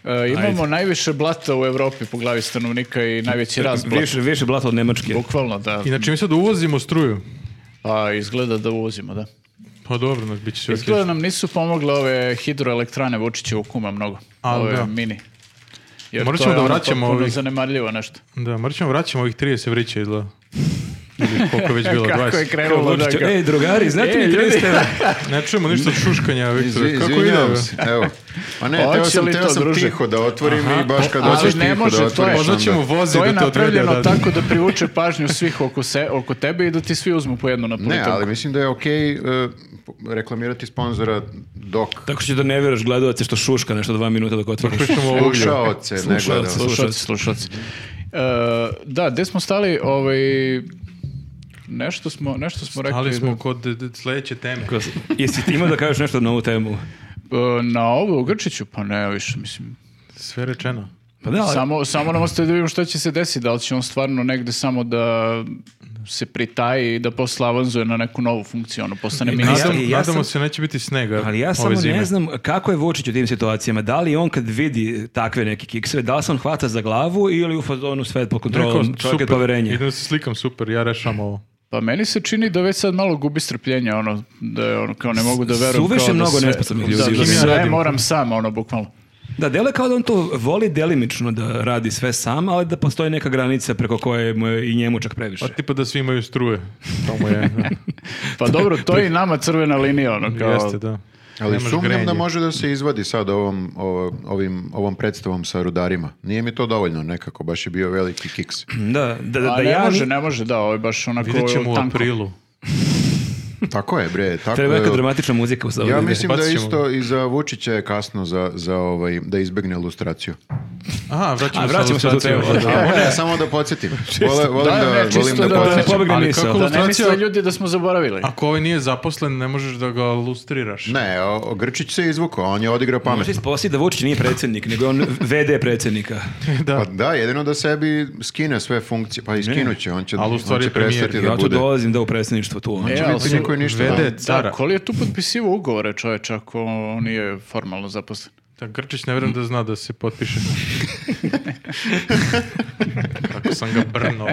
E, imamo najviše blata u Evropi po glavi stanovnika i [laughs] najveći rast blata. više, više blata od Nemačke. Bukvalno da, Inače mi sad uvozimo struju. a izgleda da uvozimo, da. Pa dobro, nas bit će sve Izgleda nam nisu pomogle ove hidroelektrane Vučića u kuma mnogo. A, ove da. mini. Jer Morat to ćemo je da ono vraćamo potpuno ovih- zanemarljivo nešto. Da, morat ćemo vraćamo ovih 30 vrića izgleda. Ili koliko je već bilo, Kako je 20. krenulo da Vučiću, ga... Ej, drugari, znate E, mi ljudi. 30 evra? [laughs] Ne čujemo ništa od šuškanja, Viktor. Izvi- Kako ide? izvinjavam ovo? se, Evo. Pa ne, Hoće teo sam, li teo to, sam druže? tiho da otvorim i baš kad ali hoćeš ne tiho može, da to je- otvoriš Možda onda- ćemo vozi To je da te odvede napravljeno odavde. tako da privuče pažnju svih oko, se, oko tebe i da ti svi uzmu po jednu na Ne, politanku. ali mislim da je okej e, reklamirati sponzora dok Tako što da ne vjeruješ gledalac što šuška nešto dva minuta dok otvoriš. Pričamo o uglju. slušaoce, ne Slušaoce. gledao. Slušalci, slušalci. E, da, gde smo stali, ovaj, nešto smo, nešto smo rekli. Ali smo kod d- d- sledeće teme. Jesi ti imao da kažeš nešto na ovu temu? E, na ovo u Grčiću, pa ne, više, mislim. Sve rečeno. Pa da, ali- Samo, samo nam ostaje da vidimo šta će se desiti, da li će on stvarno negde samo da se pritaji i da posle avanzuje na neku novu funkciju, ono, postane I- ministar. Nadam, ja- ja nadamo sam- se neće biti snega Ali ja ove samo zime. ne znam kako je Vučić u tim situacijama. Da li on kad vidi takve neke kikseve, da li se on hvata za glavu ili u fazonu sve pod kontrolom, Rekao, čovjek je super, poverenje. Idem da se slikam, super, ja rešavam ovo. Pa meni se čini da već sad malo gubi strpljenje, ono, da je ono, kao ne mogu da verujem. Suviše kao da mnogo sve- nesposobnih ljudi. Da, da Kim ja sve radim? moram sam, ono, bukvalno. Da, dele kao da on to voli delimično da radi sve sam, ali da postoji neka granica preko koje mu je i njemu čak previše. Pa tipa da svi imaju struje. To mu je. Pa dobro, to je i nama crvena linija, ono, [laughs] kao... Jeste, da. Ali Nemaš sumnjam da grejanje. može da se izvadi sad ovom, o- ovim, ovom predstavom sa rudarima. Nije mi to dovoljno nekako, baš je bio veliki kiks. Da, da, da, A da Pa ne ja može, ni- ne može, da, ovo je baš onako Vidjet ćemo u tanko. aprilu. Tako je, bre. Tako Treba je. neka dramatična muzika u savu. Ja mislim da Bacit ćemo isto i za Vučića je kasno za, za ovaj, da izbegne lustraciju. Aha, A, vraćamo se. vraćamo se do ilustraciju. [laughs] teme. Da. Ne, samo da podsjetim. Vole, volim Da, da, ne, čisto volim da, da- da ne podsjećam. pobegne Ali misao. kako Da ne misle lustracija... ljudi da smo zaboravili. Ako ovaj nije zaposlen, ne možeš da ga lustriraš. Ne, o- o, Grčić se izvukao, on je odigrao Može pametno. isposti da Vučić nije predsjednik, nego je on VD predsjednika. Pa da, jedino da sebi skine sve funkcije, pa i skinuće, on će, Ali u on stvari će je premijer. prestati da Ja tu bude. dolazim da u predsjedništvo tu. ono. E, Neće ali biti su- niko i ništa. vede- da. Da, Cara. Koli je tu potpisivo ugovore čoveč ako on nije formalno zaposlen? Da, Grčić ne vjerujem da zna da se [laughs] potpiše. Tako sam ga brnuo.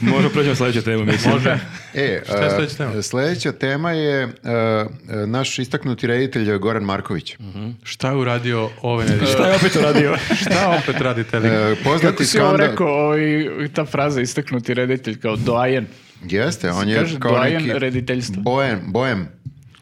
Možemo proći na sljedeću temu, mislim. Može. E, Šta je a, sledeća tema? sledeća tema je a, a, naš istaknuti reditelj Goran Marković. Šta je uradio ove nedelje? Šta je opet [laughs] uradio? Šta opet radi taj lik? E, Kako poznati si ovo skandal... rekao, ovaj, ta fraza istaknuti reditelj kao doajen? Jeste, on je Kaže, kao doajen neki... rediteljstva. Bojem, bojem.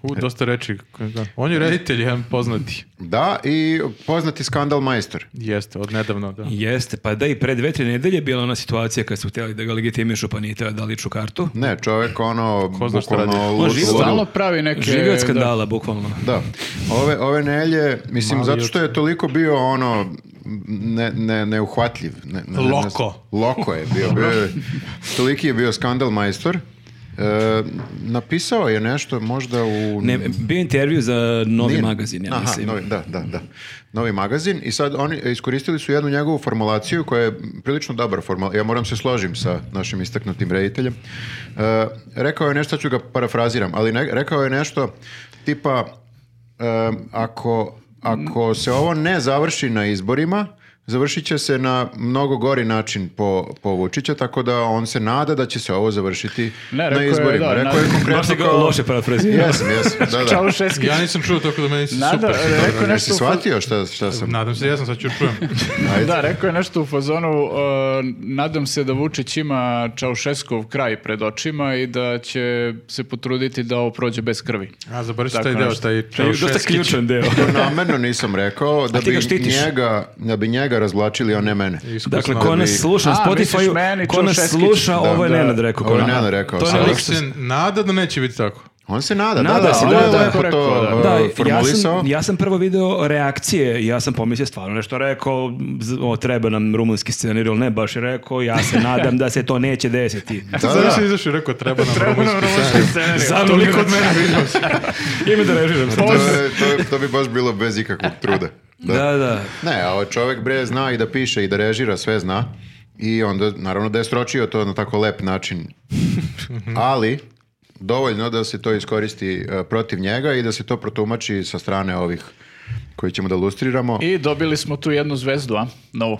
U, dosta reči. Da. On je reditelj, jedan poznati. Da, i poznati skandal majstor. Jeste, od nedavno, da. Jeste, pa da i pre dve, tri nedelje je bila ona situacija kad su htjeli da ga legitimišu, pa nije teo da liču kartu. Ne, čovjek ono... Ko zna šta bukvalno radi. lud- On živi ludu- Stalno pravi neke... Živio od da. skandala, bukvalno. Da. Ove, ove nelje, mislim, Mali zato što je toliko bio ono ne, ne, neuhvatljiv. Ne, ne- ne- ne- Loko. loko je bio. bio je- toliki je bio skandal majstor. E, napisao je nešto možda u... Ne, bio je intervju za novi Nije- magazin, ja Aha, mislim. novi, da, da, da. Novi magazin i sad oni iskoristili su jednu njegovu formulaciju koja je prilično dobra formulacija. Ja moram se složim sa našim istaknutim rediteljem. E, rekao je nešto, sad ću ga parafraziram, ali ne- rekao je nešto tipa e, ako, ako se ovo ne završi na izborima, završit će se na mnogo gori način po, po Vučića, tako da on se nada da će se ovo završiti Ne, rekao na je, izborima. da, rekao je Baš na- [laughs] konkretno se ga loše parafrazirao. Jesam, jesam, da, da. Čaušeski. Ja nisam čuo tako da meni se Nada, super. rekao je Jesi nešto... u fa- shvatio šta, šta sam? Nadam se, ja sam sad ću čujem. Da, rekao je nešto u fazonu, uh, nadam se da Vučić ima Čaušeskov kraj pred očima i da će se potruditi da ovo prođe bez krvi. A, zaboravim se Tako taj deo, nešto. taj To je dosta Čaušeski. ključan deo. To namerno nisam rekao da ti ga bi, štitiš. njega, da bi njega razvlačili, a ne mene. Iskusno. Dakle, ko nas sluša na A, misliš Spotify, meni, ko nas Čaušeskić? sluša, Da, ovo je da. Nenad rekao. Ovo je ko- Nenad rekao, To je sad. Ali Nenad lik se nada da neće biti tako. On se nada, Nada da, da, se, on da, je da, lepo rekao, to da. uh, Da, ja formulisao. sam, ja sam prvo video reakcije, ja sam pomislio stvarno nešto rekao, z- o, treba nam rumunski scenarij, ali ne baš je rekao, ja [laughs] se nadam da se to neće desiti. Da, da. Sada se izašao i rekao, treba nam rumunski. Zato toliko od mene [laughs] Ime da režiram. To, je- to je- to bi baš bilo bez ikakvog truda. Da. Da, da. Ne, a ovaj čovjek bre zna i da piše i da režira, sve zna. I onda, naravno da je stročio to na tako lep način. Ali, dovoljno da se to iskoristi uh, protiv njega i da se to protumači sa strane ovih koji ćemo da lustriramo. I dobili smo tu jednu zvezdu, a? Novu.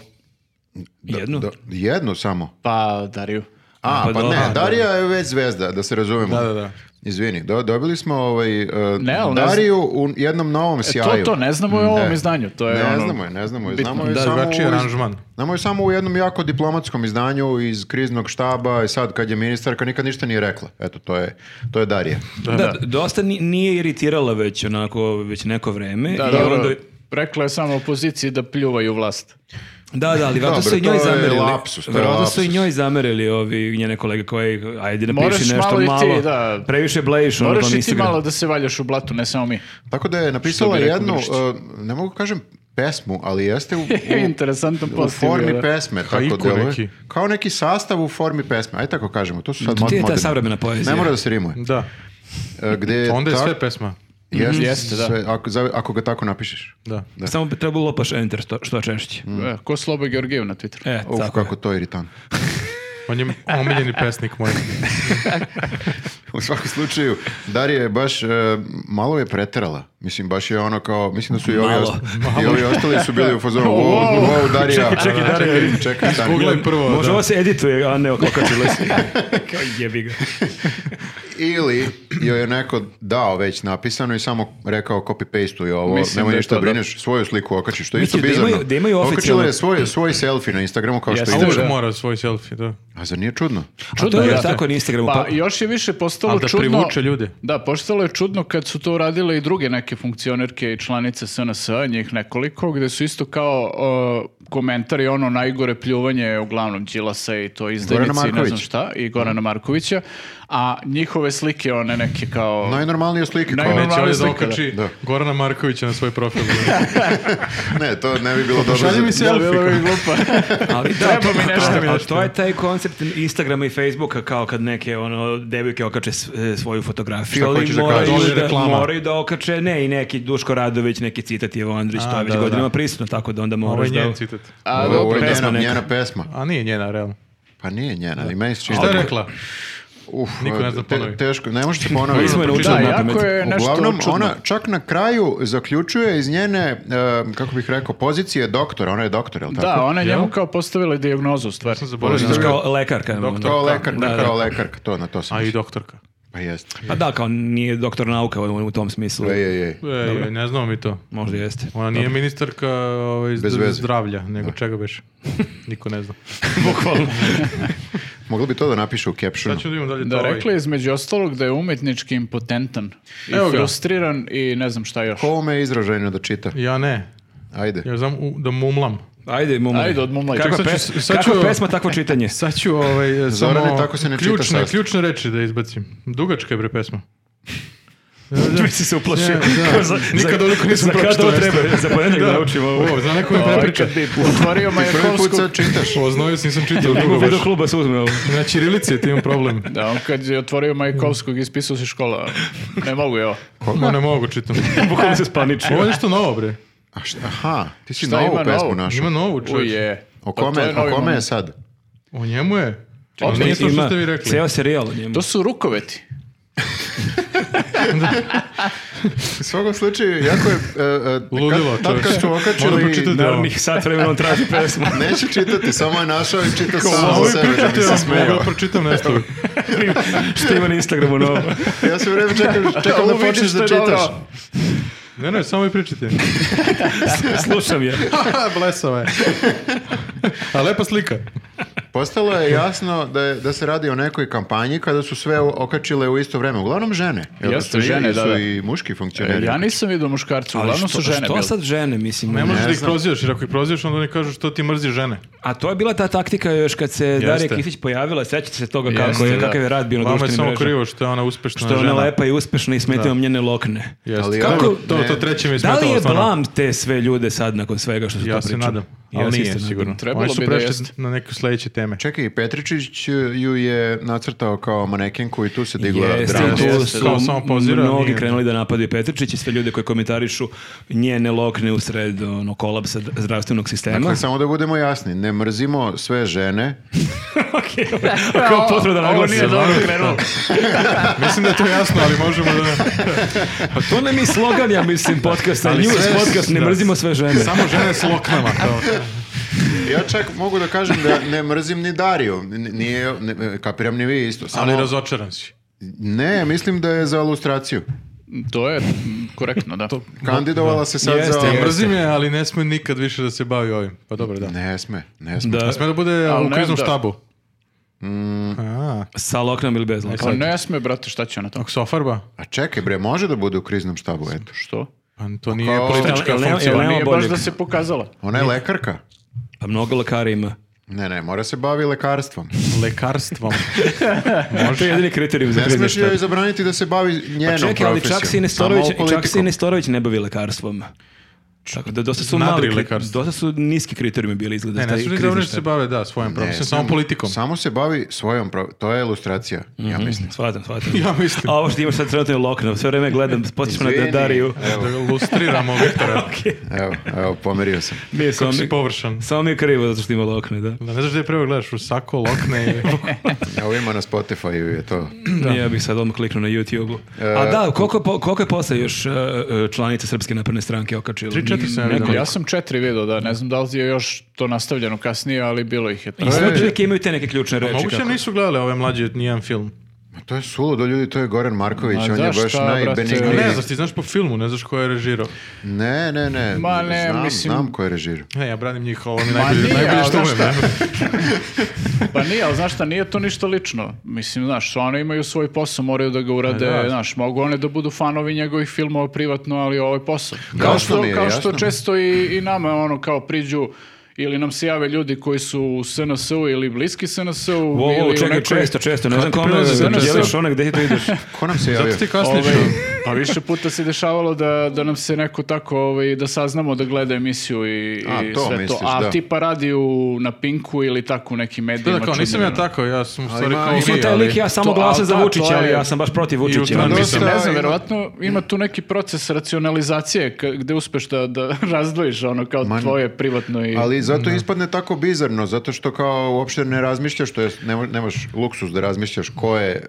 Jednu. Da, jednu samo. Pa, Dariju. A, Pa pa, da, ne, da. Darija je već zvezda, da se razumemo. Da, da, da. Izvini, do- dobili smo ovaj, uh, Ne, ali ne E, Dariju u jednom novom sjaju. To, to ne znamo je u ovom izdanju. To je ne ono, znamo je, ne znamo je. Znamo je Da, samo drugačiji u, iz- aranžman. znamo je samo u jednom jako diplomatskom izdanju iz kriznog štaba i sad kad je ministarka nikad ništa nije rekla. Eto, to je, to je Darija. Da, d- dosta ni- nije iritirala već onako, već neko vreme. Da, i dobro. onda- Rekla je samo opoziciji da pljuvaju vlast. Da, da, ali vjerojatno su Dobro, i njoj to je zamerili. lapsus, to je Vjerojatno su i lapsus. njoj zamerili ovi njene kolege koji, ajde napiši Moraš nešto malo malo, i ti, da. previše blejiš. ono, Moraš na i ti Instagramu. malo da se valjaš u blatu, ne samo mi. Tako da je napisala rekao jednu, Grčić. uh, ne mogu kažem pesmu, ali jeste u, [laughs] u, Interesantan u post. je bio, Pa formi da. pesme, tako Haiku deluje. neki. Kao neki sastav u formi pesme, aj tako kažemo, to su sad Ti je ta moderni. savremena poezija. Ne mora da se rimuje. Da. E, gde Onda je tak- sve pesma. Mhm, Jeste, Jeste, da. sve, ako, za- ako ga tako napišeš. Da. Samo bi trebalo lopaš enter što, što češće. E, Ko Sloba Georgijev na Twitteru. E, Uf, tako je. kako to je iritan. Pa On je omiljeni pesnik moj. U svakom slučaju, Darija je baš, e, malo je preterala. Mislim, baš je ono kao, mislim da su i ovi, Malo. ost- i ovi ostali su bili u [laughs] fazonu, wow, wow, Darija. Čekaj, čekaj, Darija, Čekaj, čekaj, stani. Googlaj prvo. Može da. ovo se edituje, a ne okokačilo se. Kao jebi ga. Ili joj je neko dao već napisano i samo rekao copy-paste i ovo, Mislim nemoj da je ništa to, da. brineš, svoju sliku okači, što je isto Mislim, da bizarno. imaju- da imaju Okačila oficijalno- je svoj, svoj selfie na Instagramu kao što Jeste. A ide. uvijek Da. mora svoj selfie, da. A zar nije čudno? A to Čudno je je, još da. tako na Instagramu. Pa Pa, još je više postalo Ali da čudno... privuče ljude. Da, postalo je čudno kad su to uradile i druge neke funkcionerke i članice SNS, njih nekoliko, gde su isto kao uh, komentari ono najgore pljuvanje uglavnom Đilasa i to izdajnici i ne znam Marković. šta, i Gorana Markovića, a njihove slike one neke kao... Najnormalnije slike. kao- Najnormalnije Neće ovdje da slika, okači da. Da. Gorana Markovića na svoj profil. Ne, to ne bi bilo dobro. Pošalji za- mi se- Da, bilo bi selfie. [laughs] glupo. ali da, treba mi nešto, a- mi a nešto. to je taj koncept Instagrama i Facebooka kao kad neke ono devojke okače s- e, svoju fotografiju. Šta ali hoćeš da moraju kažeš? da, Reklama. moraju da okače, ne, i neki Duško Radović, neki citat Ivo Andrić, A, to je već da, da, godinama da. prisutno, tako da onda Ovo moraš je njen da... citat. A, Ovo, ovo dobro, je pesma njena, neka. njena pesma. A nije njena, realno. Pa nije njena, ali meni se čini Šta je da- rekla? Uf, Niko ne zna te- ponovi. teško, ne možete ponoviti. Mi smo je naučili da, na jako pamet. je nešto Uglavnom, čudno. ona čak na kraju zaključuje iz njene, e, kako bih rekao, pozicije doktora. Ona je doktor, je li tako? Da, ona je Jel? njemu kao postavila dijagnozu u stvari. Sam zaboravio. Znaš, kao lekarka. Doktor. Kao lekarka, Da, da. kao lekarka, to na to sam. A i doktorka. Pa jest. Pa da, kao nije doktor nauka u, u tom smislu. Ej, ej, ej. E, ne znamo mi to. Možda jeste. Ona nije ministarka ovaj, Bez zd- veze. zdravlja, nego čega beš. Niko ne zna. Mogli bi to da napiše u captionu. Sad ćemo da vidimo dalje Da, to ovaj. rekla je između ostalog da je umetnički impotentan i Evo ga. frustriran i ne znam šta još. Ko ume je izražajno da čita? Ja ne. Ajde. Ja znam u- da mumlam. Ajde, mumu. Ajde, odmumlaj. Kakva, Ček, sad ću- pes- sad kakva ću- pesma, takvo čitanje. Sad ću ovaj, e, samo [laughs] Zorane, tako se ne čita ključne, sastav. ključne reči da izbacim. Dugačka je bre pesma. Mi si se uplašio. [laughs] Za- Nikad za- ovoliko nisam za kad pročitao, ovo treba, za ponedeljak da učimo ovo. O, za neko mi prepriča. Ovaj, Kad bi otvorio Prvi put Majakovsku... sad čitaš. O, znaju se nisam čitao Njegov dugo video baš. kluba se uzme ovo. Na Čirilici ti imam problem. Da, on kad je otvorio Majakovskog, ispisao se škola. Ne mogu, evo. Ma ne mogu čitam. Bukvalno se spaničio. Ovo je nešto novo bre. A šta- aha, ti si Šta novu ima pesmu novo? našu. Ima novu čovječ. Uje. O Pa to kome, je novi o kome je moment. sad? O njemu je. Opet Nije to što Ima ste vi rekli. Ceo serijal o njemu. To su rukoveti. U svakom slučaju, jako je... e, e, Ludilo, kad, tad kad čovječe. su Moram okačili... pročitati. Naravnih sat vremena on traži pesmu. Neće čitati, samo je našao i čita sam Ovo za je sebe da pričate, mi se ja mogu smejao. da pročitam nešto. [laughs] [laughs] Što ima na Instagramu novo. Ja sve vreme čekam, čekam Ovo da vidiš počneš što da je čitaš. dobro. Ne, ne, samo [laughs] i pričajte. Slušam je. Blesava je. A lepa slika. Postalo je jasno da, je, da se radi o nekoj kampanji kada su sve okačile u isto vreme. Uglavnom žene. Jel Jeste, su i- žene, da, su da. i muški funkcioneri. Ja nisam vidio muškarca, uglavnom su žene Što bile. sad žene, mislim? Ne možeš Ne da ih znam. prozivaš, jer ako ih prozivaš, onda oni kažu što ti mrzi žene. A to je bila ta taktika još kad se Darija Kisić pojavila, sećate se toga kako Jeste, je, da. kakav je rad bio na Vama je društvenim samo mrežama. krivo što je ona uspešna Što je ona žena. lepa i uspešna i smetimo njene lokne. Jeste. Ali Kako- kako- to, ne. to treće mi je Da smetalo. li je stvarno. blam te sve ljude sad nakon svega što su Ja to se pričali? nadam. Ali Ja se isto nije nadam. sigurno. Trebalo Oni su bi da prešli jeste. na neke sledeće teme. Čekaj, Petričić e, ju je nacrtao kao manekenku i tu se digla Jeste, drama. i tu Jeste, su kao samo pozira, mnogi nije. krenuli da napadaju Petričić i sve ljude koji komentarišu njene lokne usred ono, kolapsa d- zdravstvenog sistema. Dakle, samo da budemo jasni, ne mrzimo sve žene. Ok, kao potrebno da Ovo nije naglasim. dobro krenulo. Mislim da je to jasno, ali možemo da... Pa to ne mi slogan, ja mislim, podcasta. Ali News sve- podcast, ne da. mrzimo sve žene. Samo žene s loknama. Kao. Ja čak mogu da kažem da ne mrzim ni Dariju. N- Nije, ne- kapiram ni vi isto. Samo, Ali razočaran si. Ne, mislim da je za ilustraciju. To je mm, korektno, da. Kandidovala se sad Jeste, za... jeste. Mrzim je, ali ne sme nikad više da se bavi ovim. Pa dobro, da. Ne sme, ne sme. Da, Ne sme da bude Ali u ne, kriznom da. štabu. A, sa loknom ili bez Pa Dakle, lokna. ne sme, brate, šta će ona to? ako se ofarba, A čekaj bre, može da bude u kriznom štabu, eto. Što? pa to nije Kao- politička Jel- jel- funkcija. jel- Pa Nema nije baš boljeg. da se pokazala. Ona je lekarka. Pa mnogo lekara ima. Ne, ne, mora se bavi lekarstvom. Lekarstvom. To je jedini kriterijum za Ne smeš krizni Pa joj zabraniti da se bavi njenom Čekaj, ali čak se i profesijom. Nestorović, Samo čak se i politikom. Nestorović ne bavi lekarstvom. Tako da dosta su mali, kri- Nadrilekarstvo. dosta su niski kriterijumi bili izgleda. Ne, taj ne su ni krizni završi štab. se bave, da, svojom profesom, Ne, samo politikom. Samo se bavi svojom, pro- to je ilustracija, Mhm. ja mislim. Mhm. Shvatam, shvatam. [laughs] Ja mislim. A ovo što imaš sad trenutno je lokno, sve vreme [laughs] gledam, potičemo na Izvini. Dariju. Da ilustriramo Viktora. Evo, evo, pomerio sam. Nije samo Kako mi, si površan. samo mi je krivo zato što ima [clears throat] lokne, da. Da, ne znaš gdje je prvo gledaš, u sako, lokne i... Evo ima na Spotify je to. Nije, Ja bih sad odmah kliknuo na YouTube-u. E, A da, koliko, je po- koliko je posle još e, e, članica Srpske napredne stranke okačilo? Tri, četiri sam ja vidio. Nekoliko. Ja sam četiri video, da, ne znam da li je još to nastavljeno kasnije, ali bilo ih je. I sve E, otprilike imaju te neke ključne reči. pa Moguće kako- nisu gledali ove mlađe nijedan film. Ma to je suludo, ljudi, to je Goran Marković, Ma on da, je baš šta, brate, A najbenigniji. ne Nije. znaš, ti znaš po filmu, ne znaš ko je režirao. Ne, ne, ne, Ma ne, znam, mislim- znam ko je režirao. Ne, ja branim njih, ovo mi je najbolje, nije, najbolje ali što znaš umem. ne? Pa nije, ali znaš šta, nije to ništa lično. Mislim, znaš, one imaju svoj posao, moraju da ga urade, Pa Da. znaš, mogu one da budu fanovi njegovih filmova privatno, ali ovo je posao. Kao Jasno što, mi je, kao jasno što mi je. često i, i nama, ono, kao priđu ili nam se jave ljudi koji su u SNS-u ili bliski SNS-u Wow, wow, ili u čekaj, nekoj- često, često, ne znam Kako kome, prelazi SNS? djeliš onak gde ti [laughs] ideš. Ko nam se javio? Zato ti kasniš. Ovaj, pa više puta se dešavalo da, da nam se neko tako, ovaj, da saznamo da gleda emisiju i, A, i to sve misliš, to. A da. tipa radi u, na Pinku ili tako u nekim Da, medijima. da, kao, nisam čudnim, ja ono. tako, ja sam u stvari ima- kao Mislim, vi, taj ali- lik, ja samo to- glasam ali za da, to Vučića, je- ali ja sam baš protiv Vučića. Trump- Dosta Mislim, ne znam, ima- verovatno ima tu neki proces racionalizacije ka- gde uspeš da, da [laughs] razdvojiš ono kao tvoje privatno i... Ali zato ispadne tako bizarno, zato što kao uopšte ne razmišljaš, to jest nema- nemaš luksus da razmišljaš ko je e,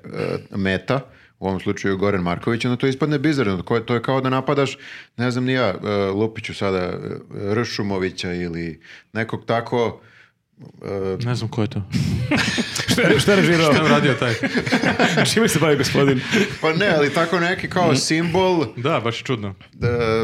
meta, u ovom slučaju Goran Marković, onda to ispadne bizarno. ko je- to je kao da napadaš, ne znam ni ja, e, Lupiću sada, e, Ršumovića ili nekog tako... Ne znam ko je to. Šta je režirao? Šta je radio taj? Čime se bavi gospodin? Pa ne, ali tako neki kao simbol Da, baš je čudno. e,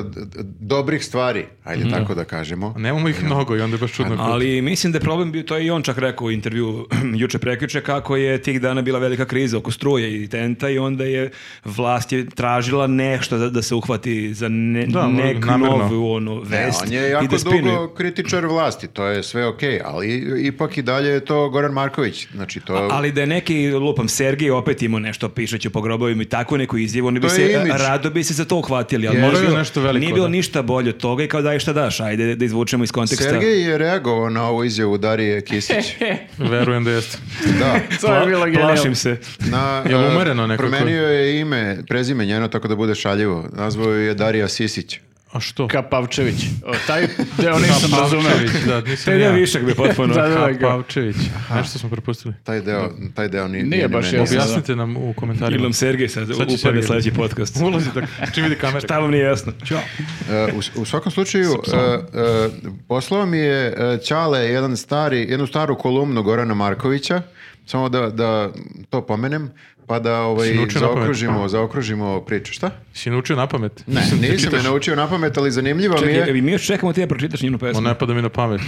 d- d- dobrih stvari, ajde tako da kažemo. Nemamo ih mnogo i onda je baš čudno. ko- Ali mislim da je problem bio, to je i on čak rekao u intervju [clears throat] juče prekjuče, kako je tih dana bila velika kriza oko struje i tenta i onda je vlast je tražila nešto da, da se uhvati za ne, Da, neku namjerno. novu ono, Ne, vest. on je i jako da spinuje. dugo kritičar vlasti, to je sve okej, ali ipak i dalje je to Goran Marković. Znači, to, Ali da je neki, lupam, Sergij opet imao nešto pišeće po grobovima i tako neku izjavu, oni bi To je se, e, imidž. rado bi se za to uhvatili, ali Je. nije Moraju bilo- nešto veliko, nije bilo da. ništa bolje od toga i kao daj šta daš, ajde da izvučemo iz konteksta. Sergej je reagovao na ovu izjavu Darije Kisić. Verujem da jeste. Da. to je Pla- bilo genijalno. Plašim se. Na, Je li e, umereno nekako? Promenio je ime, prezime njeno, tako da bude šaljivo. Nazvao ju je Darija Sisić. A što? Kapavčević. O, taj [laughs] deo Pa nisam razumeo. Kapavčević, Da, To nisam je ja. Pa višak bi [laughs] potpuno. Da, da, da, ga- Kapavčević. Nešto smo propustili. Taj deo, taj deo nije, Nije nije ni baš meni. jasno. Objasnite nam u komentarima. Ili nam Sergej Sad sad, će upadne Sergej. sledeći podcast. Ulazi da čim vidi kamera. Šta vam nije jasno? E, u, s- u svakom slučaju, e, e, poslao mi je e, Ćale jedan stari, jednu staru kolumnu Gorana Markovića, samo da, da to pomenem, pa da ovaj, Si naučio na pamet? zaokružimo, zaokružimo priču. Šta? Si naučio na pamet? Ne, nisam je naučio na pamet, ali zanimljivo mi Čekaj, je, mi još čekamo ti da pročitaš njenu Ma pesmu. ne pada mi na pamet.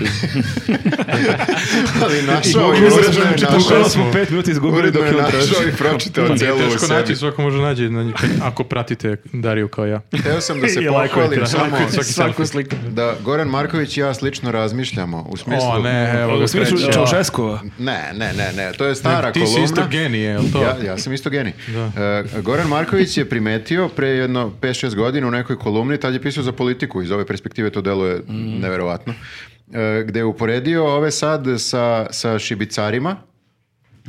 ali [laughs] našao je, Uredno je uredno je znači, našao. bukvalno smo pet minuta izgubili Uredno dok je je on tražio. našao i pročitao Nije cijelu u teško naći, sebi. svako može nađe na njih, ako pratite Dariju kao ja. Hteo sam da se I lajkujete, pohvalim samo Lajkujte Svaku selfie. sliku. da Goran Marković i ja slično razmišljamo u smislu... O, ne, evo ga U smislu kreće. Čaušeskova. Ne, ne, ne, ne, to je stara Ti kolumna. si isto genije, jel to? Ja, ja sam isto genij. E, Goran Marković je primetio pre jedno 5-6 godina u nekoj kolumni, tad je pisao za politiku, iz ove perspektive to deluje Mhm. neverovatno, e, gde je uporedio ove sad sa, sa šibicarima,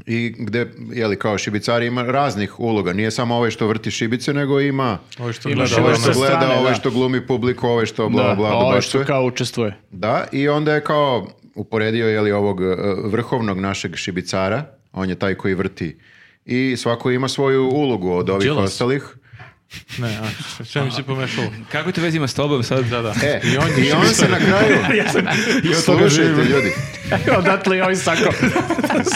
i gde, jeli, kao šibicari ima raznih uloga. Nije samo ovaj što vrti šibice, nego ima Ovo što Imaš gleda, ovo ovaj ovo što sa gleda, strane, ovaj da. što glumi publiku, ovaj što bla, Da, bla, a ovaj što dobacuje. kao učestvuje. [laughs] Da, i onda je kao uporedio je li ovog e, vrhovnog našeg šibicara, on je taj koji vrti. I svako ima svoju ulogu od ovih Đilas. ostalih. ono, Ne, a, sve mi se pomešalo. Kako to vezima s tobom sad? Da, da. [laughs] E, I on je i on se na kraju... [laughs] Slušajte, [laughs] ljudi. Odatle i ovaj sako.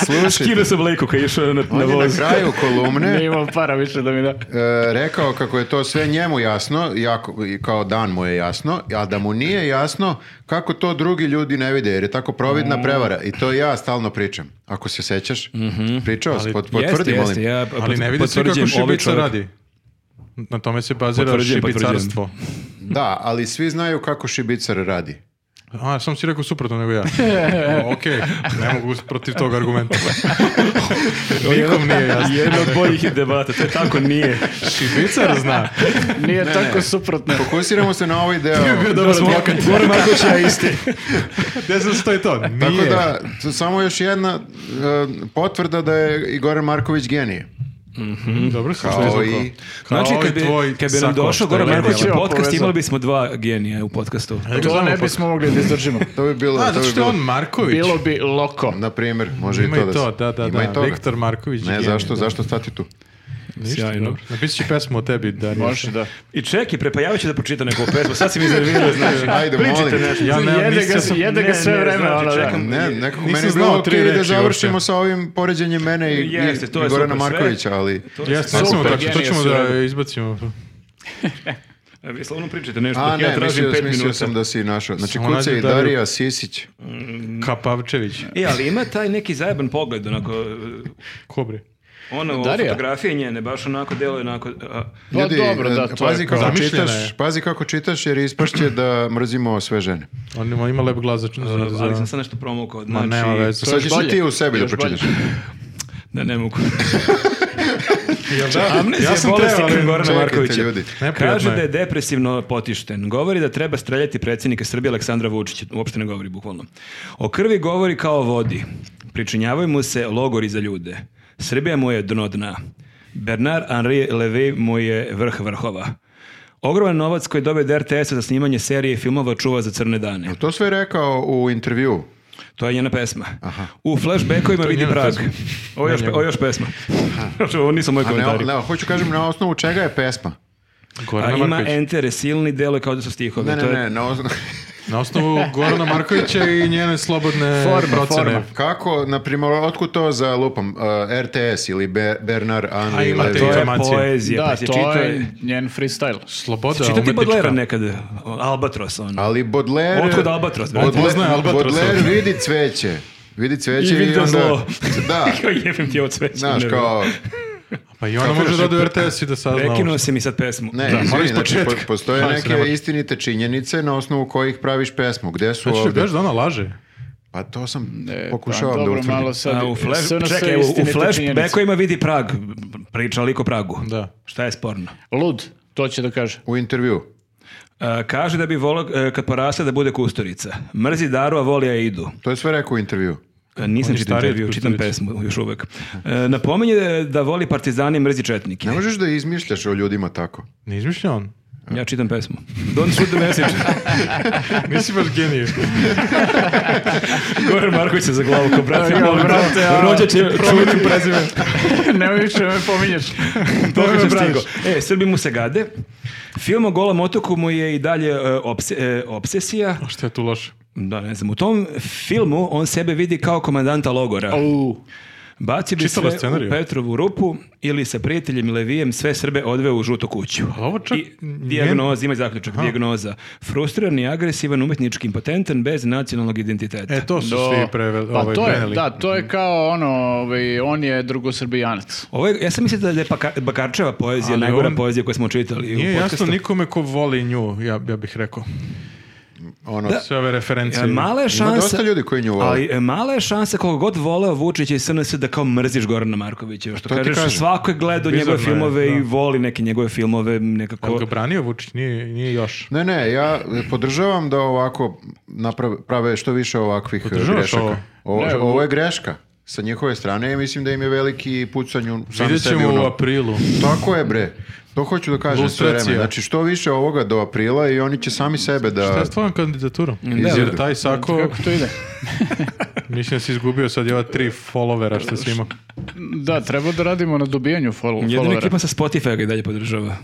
Slušajte. sam lejku kad je išao na, [laughs] On je na kraju kolumne Nije imao para više da mi da. e, rekao kako je to sve njemu jasno, jako, i kao dan mu je jasno, a da mu nije jasno kako to drugi ljudi ne vide, jer je tako Mm. providna prevara. I to ja stalno pričam. Ako se sećaš, Mhm. pričao, sam, pot, potvrdi, Jeste, molim. jeste, ja Ali ne vidi se kako potvrđujem, ovaj šibica čovjek- radi. Na tome se bazira Potvrđujem, potvrđujem. šibicarstvo. Da, ali svi znaju kako šibicar radi. A, sam si rekao suprotno nego ja. O, ok, ne mogu protiv tog argumenta. Nikom nije jasno. Jedna od boljih debata, to je tako [laughs] nije. Šibicar zna. Nije tako suprotno. Fokusiramo se na ovaj [laughs] deo. Dobro smo Goran Marković i ja isti. Gde sam stoji to? Nije. [laughs] Tako da, t- samo još jedna e, potvrda da je Igor Marković genije. mhm. Dobro sam Kao što i- Znači, kad bi, kad bi nam došao Goran Marković u Evo, podcast, povezao. imali bismo dva genija u podcastu. To ne bismo mogli da izdržimo. [laughs] To bi bilo... A, to zato bi što je bilo- on Marković. Bilo bi loko. Na primjer, može Ima i to i da... to, se- da, da, ima i da. toga. Viktor Marković. je Ne, genije, zašto, da. zašto stati tu? Ništa, Sjajno. dobro. Napisat ću pesmu o tebi, da Može, da. I čekaj, prepajavat ću da pročitam neku pesmu, sad si mi iznervirao, znaš. [laughs] Ajde, Znači, molim. Ja ne, Jede ga, nisam, jede ne, ga sve ne, vreme, znači, ono, da. čekam. Ne, nekako Nisam meni je bilo znao tri okej da reči završimo uopšte. sa ovim poređenjem mene i, Jeste, i to je Gorana super sve. Markovića, ali... Jeste, ne smemo Super, tako, to genije ćemo su, da evo. izbacimo. E, Vi slavno pričate nešto, A dok ja ne, tražim mislio, pet mislio minuta. sam da si našao. Znači, Samo Kuca nađi i Dariju. Darija Sisić. Kapavčević. E, ali ima taj neki zajeban pogled, onako, e, Kobri. ono, Darija. fotografije njene, baš onako deluje, onako, a, Pa dobro, da, e, to pazi je kako zamišljeno čitaš, je. pazi kako čitaš jer ispašće da mrzimo sve žene. On ima, ima lep glas za... za, za... ali sam sad nešto promukao, Ma znači, nema veze. Sad još ćeš i bolje. ti u sebi da Još bolje. pročitaš. da ne mogu. Jel da? Amnezija Ja sam bolest teo, ali ikon Gorana čekajte, Markovića. ljudi. Neprijatno Kaže je. da je depresivno potišten. Govori da treba streljati predsjednika Srbije Aleksandra Vučića. Uopšte ne govori bukvalno. O krvi govori kao o vodi. Pričinjavaju mu se logori za ljude. Srbija mu je dno dna. Bernard Henri Levy mu je vrh vrhova. Ogroman novac koji dobio od RTS-a za snimanje serije i filmova čuva za crne dane. Pa To sve je rekao u intervju. To je njena pesma. U flashbackovima je vidi njena Prag. pesma. Ovo je još, Ne pe- njena. ovo je još pesma. [laughs] Ovo nisu moji A ne, komentari. ne, hoću kažem na osnovu čega je pesma. A Gorana ima Marković. entere silni delo kao da su stihovi. Ne, to ne, je ne, na osnovu... Na osnovu Gorana Markovića i njene slobodne Forma, procene. forma. Pa Kako, na primjer, otkud to za lupam, e, RTS ili Be- Bernard A Henri imate Levy? i To je Informacije. poezija. Da, pa si to čitao- je njen freestyle. Sloboda Čitao ti Baudelaire umetnička. nekad, e, Albatros, ono. on. Ali Baudelaire... Otkud Albatros, bre? Baudelaire, Poznaje Albatrosa. Baudelaire vidi cveće. Vidi cveće i, I vidi onda... zlo. Da, [laughs] [laughs] Kao jebim ti ovo cveće. znaš, ne kao... Pa i ona može da ode u RTS i da sazna. znam. ovo. Prekinuo si mi sad pesmu. Ne, Da, mora izvini, iz znači, početka. po- postoje Šalim se, neke ne mora. istinite činjenice na osnovu kojih praviš pesmu. Gde su Znači, ovde? veš da ona laže. Pa to sam E, pokušavam pa, da dobro, utvrdim. malo sad, A u flash, sve na sve čekaj, u, u istinite činjenice. flashbackovima vidi Prag. Priča liko Pragu. Da. Šta je sporno? Lud, to će da [laughs] kaže. U intervju. E, kaže da bi volao e, kad porasle da bude kustorica. Mrzi daru, a voli Aidu. To je sve rekao u intervju. E, Nisam je čitao stariji od intervju, čitam Kusturice. pesmu još uvek. E, Napominje e, da voli partizani i mrzi četnike. Ne možeš da izmišljaš o ljudima tako. Ne izmišlja on. Ja čitam pesmu. Don't shoot the message. [laughs] Nisi baš genije. Goran Marković se za glavu ko brate. Ja, molim te. brate, a- Rođak je čuvenim prezime. Nemoj više me [laughs] pominješ. Dokle me sam braniš. stigao. E, Srbi mu se gade. Film o golom otoku mu je i dalje e, obse- e, obsesija. A šta je tu loše? Da, ne znam. U tom filmu on sebe vidi kao komandanta logora. Au. Baci bi Čitala sve scenariju? u Petrovu rupu ili sa prijateljem Levijem sve Srbe odveo u žutu kuću. Ali ovo čak I njen- dijagnoza, ima zaključak, dijagnoza. Frustriran i agresivan, umetnički impotentan, bez nacionalnog identiteta. E, to su Do- svi preveli. Pa ovaj, to je, preneli. da, to je kao ono, ovaj, on je drugosrbijanac. Ovo je, ja sam mislio da je Baka- Bakarčeva poezija, Ali najgora on- poezija koju smo čitali Nije u podcastu. jasno nikome ko voli nju, ja, ja bih rekao. Ono, Sve ove referencije. E, Mala je Ima šansa... dosta ljudi koji nju vole. Ali e, mala je šansa koliko god voleo Vučića i SNS da kao mrziš Gorana Markovića. Što Pa ti kažeš, kažem. svako je gledao Bizarno njegove je, filmove da. i voli neke njegove filmove Jel nekako... ga branio Vučić? Nije, nije još. Ne, ne, ja podržavam da ovako naprave, prave što više ovakvih eh, Podržavaš grešaka. ovo? Ovo, Ne, ovo je greška. Sa njihove strane ja mislim da im je veliki pucanju sam Vidjet sebi ćemo u u nogu. aprilu. Tako je bre. To hoću da kažem sve vreme. Lustracija. Znači što više ovoga do aprila i oni će sami sebe Šta da... je s tvojom kandidaturom? Jer taj sako, Kako to ide? mislim da si izgubio sad i ova tri followera što si imao. Da, treba da radimo na dobijanju follow- Jedina followera. ekipa sa Spotify ga i dalje podržava.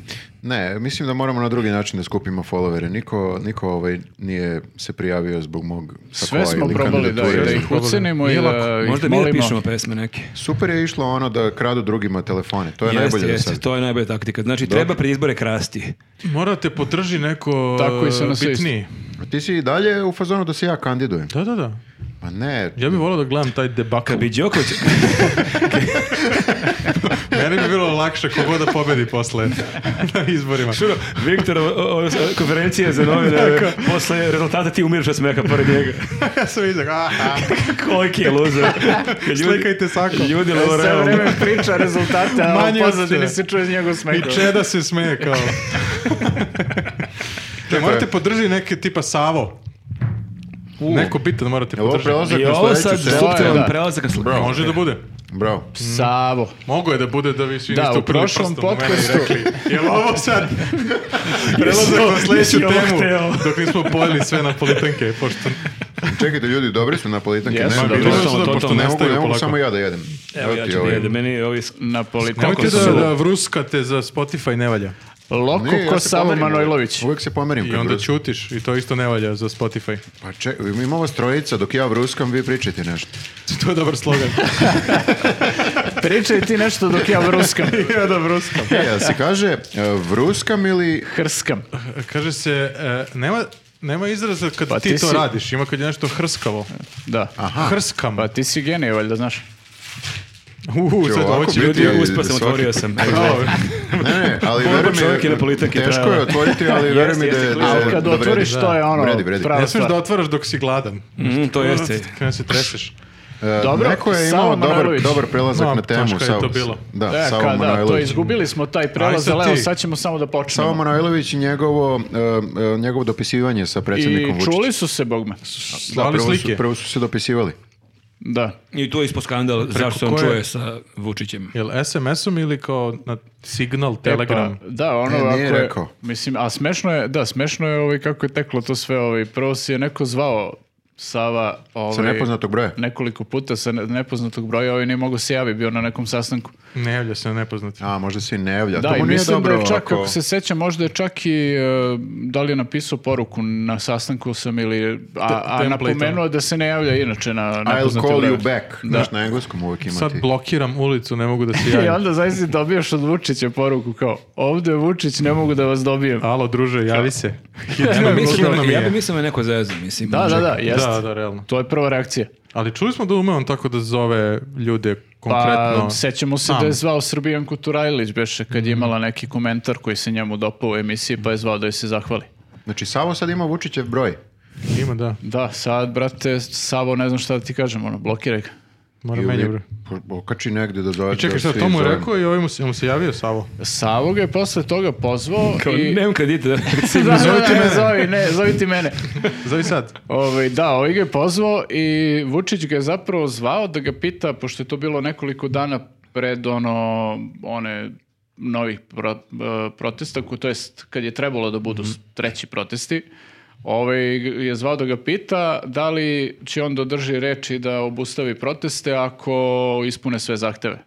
Ne, mislim da moramo na drugi način da skupimo followere. Niko, niko ovaj nije se prijavio zbog mog sakoa Sve smo ili probali da, kandidature. da ih Sve smo probali. ucenimo i Nije da lako. ih Možda mi da molimo. pišemo pesme neke. Super je išlo ono da kradu drugima telefone. To je najbolje do sad. to je najbolja taktika. Znači, treba pred izbore krasti. Morate potrži neko Tako i sa e, nas bitniji. Ti si i dalje u fazonu da se ja kandidujem. Da, da, da. Pa ne, [laughs] Ja bih volao da gledam taj debakl. Kad bi Đoković... Meni bi bilo lakše kogo da pobedi posle na izborima. Šuro, Viktor, o, o, konferencije za novinare, posle rezultata ti umirš od smeka pored [laughs] njega. ja sam izak, aha, Koliki je loser. slikajte sako. E, Ljudi Sve Laurel. vreme priča rezultate, a Manje u od sve. pozadini se čuje njegov smeh. I Čeda se smeje [laughs] kao. Te morate podržati neke tipa Savo. Neko bitan morate Jel ovo podržati. prelazak I na ovo sledeću sad temu? Ovo je, suptilan da. prelazak. na sl- Bravo. Može da bude. Bravo. Savo. Mogo je da bude da vi svi Da, niste u uprli prošlom prstom u mene i podcastu. rekli, jel ovo sad prelazak ovo- na sledeću jesi ovo temu hteo? dok nismo pojeli sve napolitanke, pošto Čekajte ljudi, dobri su napolitanke. Jesu, nema dobri bilo. su, totalno, totalno. pošto Ne mogu, nestaju ne mogu polako. samo ja da jedem. Evo ja ti ću da ovaj. jedem, meni ovi... sk- Napolitan. Nemojte Loko da, su- da vruskate za Spotify ne valja. Ne, Loko ja ko se Savo pomerim, Manojlović. Uvijek se pomerim. I kad onda brus- ćutiš i to isto ne valja za Spotify. [laughs] Pa če, imamo vas trojica, dok ja vruskam, vi pričajte nešto. To je dobar slogan. Pričaj ti nešto dok ja vruskam. ja da vruskam. E, jel se kaže e, vruskam ili... Hrskam. Kaže se, e, nema, nema izraza kad Pa ti, ti to si- radiš, ima kad je nešto hrskavo. Da. Hrskam. Pa ti si genije, valjda, znaš. Uuu, Će sad ovo ovako će biti. biti... Ljudi, Ja, uspao sam, svaki- otvorio sam. Evo, Bravo. Ne, ne, ali Borba veruj mi, čovjeka i napolitanke teško prava. je otvoriti, ali veruj mi da Jeste, je... jeste, da je- A kad da vredi. otvoriš, to je ono, Vredi, vredi. pravo Ne smiješ stvar. da otvaraš dok si gladan. mm, to jeste. Kada se treseš. E, Dobro, Neko je Savo imao dobar, Manojlović. dobar prelazak No, na temu. tačka je Savo- to bilo. Da, E, Savo kada, to Manojlović. izgubili smo taj Aj, prelaz, sad ali evo ti. sad ćemo samo da počnemo. Savo Manojlović i njegovo, e, e, njegovo dopisivanje sa I predsjednikom Vučićem. čuli su se, Bogme. Da, Slali prvo su, slike. prvo su se dopisivali. Da. E, I tu je ispod skandal zašto on koje? čuje sa Vučićem. Jel SMS-om ili kao na signal, telegram? E, pa, da, ono E, ako nije je, rekao. mislim, a smešno je, da, smešno je ovaj, kako je teklo to sve, ovaj, prvo si je neko zvao Sava ovaj, Sa nepoznatog broja. nekoliko puta sa ne- nepoznatog broja, ovaj nije mogao se javi, bio na nekom sastanku. Ne javlja se na nepoznati. A, možda se i ne javlja. Da, to i mu nije mislim dobro da je čak, ovako. ako se sećam, možda je čak i, e, da li je napisao poruku na sastanku sam ili, a, a Te- template, napomenuo da se ne javlja inače na I'll nepoznate call broje. you back. Znaš, na engleskom uvijek ima Sad ti. blokiram ulicu, ne mogu da se [laughs] I javim. onda zaista dobiješ od Vučića poruku kao, ovde je Vučić, ne mogu da vas dobijem. Alo, druže, javi se. Hitno Ja je, bi mislio blokovano mi ja bi je. mislio da me neko zezam, mislim. Da, da, da, jeste. Da, da, realno. To je prva reakcija. Ali čuli smo da ume on tako da zove ljude konkretno. Pa, sećamo se Sam. da je zvao Srbijanku Turajlić, beše, kad Mhm. je imala neki komentar koji se njemu dopao u emisiji, pa je zvao da joj se zahvali. Znači, Savo sad ima Vučićev broj. Ima, da. Da, sad, brate, Savo, ne znam šta da ti kažem, ono, blokiraj ga. Mora I menje, uvijek bro. po- Okači negdje da zove. I čekaj, da šta, svi to mu je zovem. rekao i ovaj mu se, mu se javio Savo. Savo ga je posle toga pozvao Kao, i... [laughs] nemam kredita. da- Da, da, Zovi ti ne, mene. zovi, ne, zovi ti mene. Zavi sad. Ovaj, da, ovaj ga je pozvao i Vučić ga je zapravo zvao da ga pita, pošto je to bilo nekoliko dana pred ono, one novih pro, e, protesta, ko- to jest kad je trebalo da budu s- treći protesti, ovaj g- je zvao da ga pita da li će on da održi reči da obustavi proteste ako ispune sve zahteve.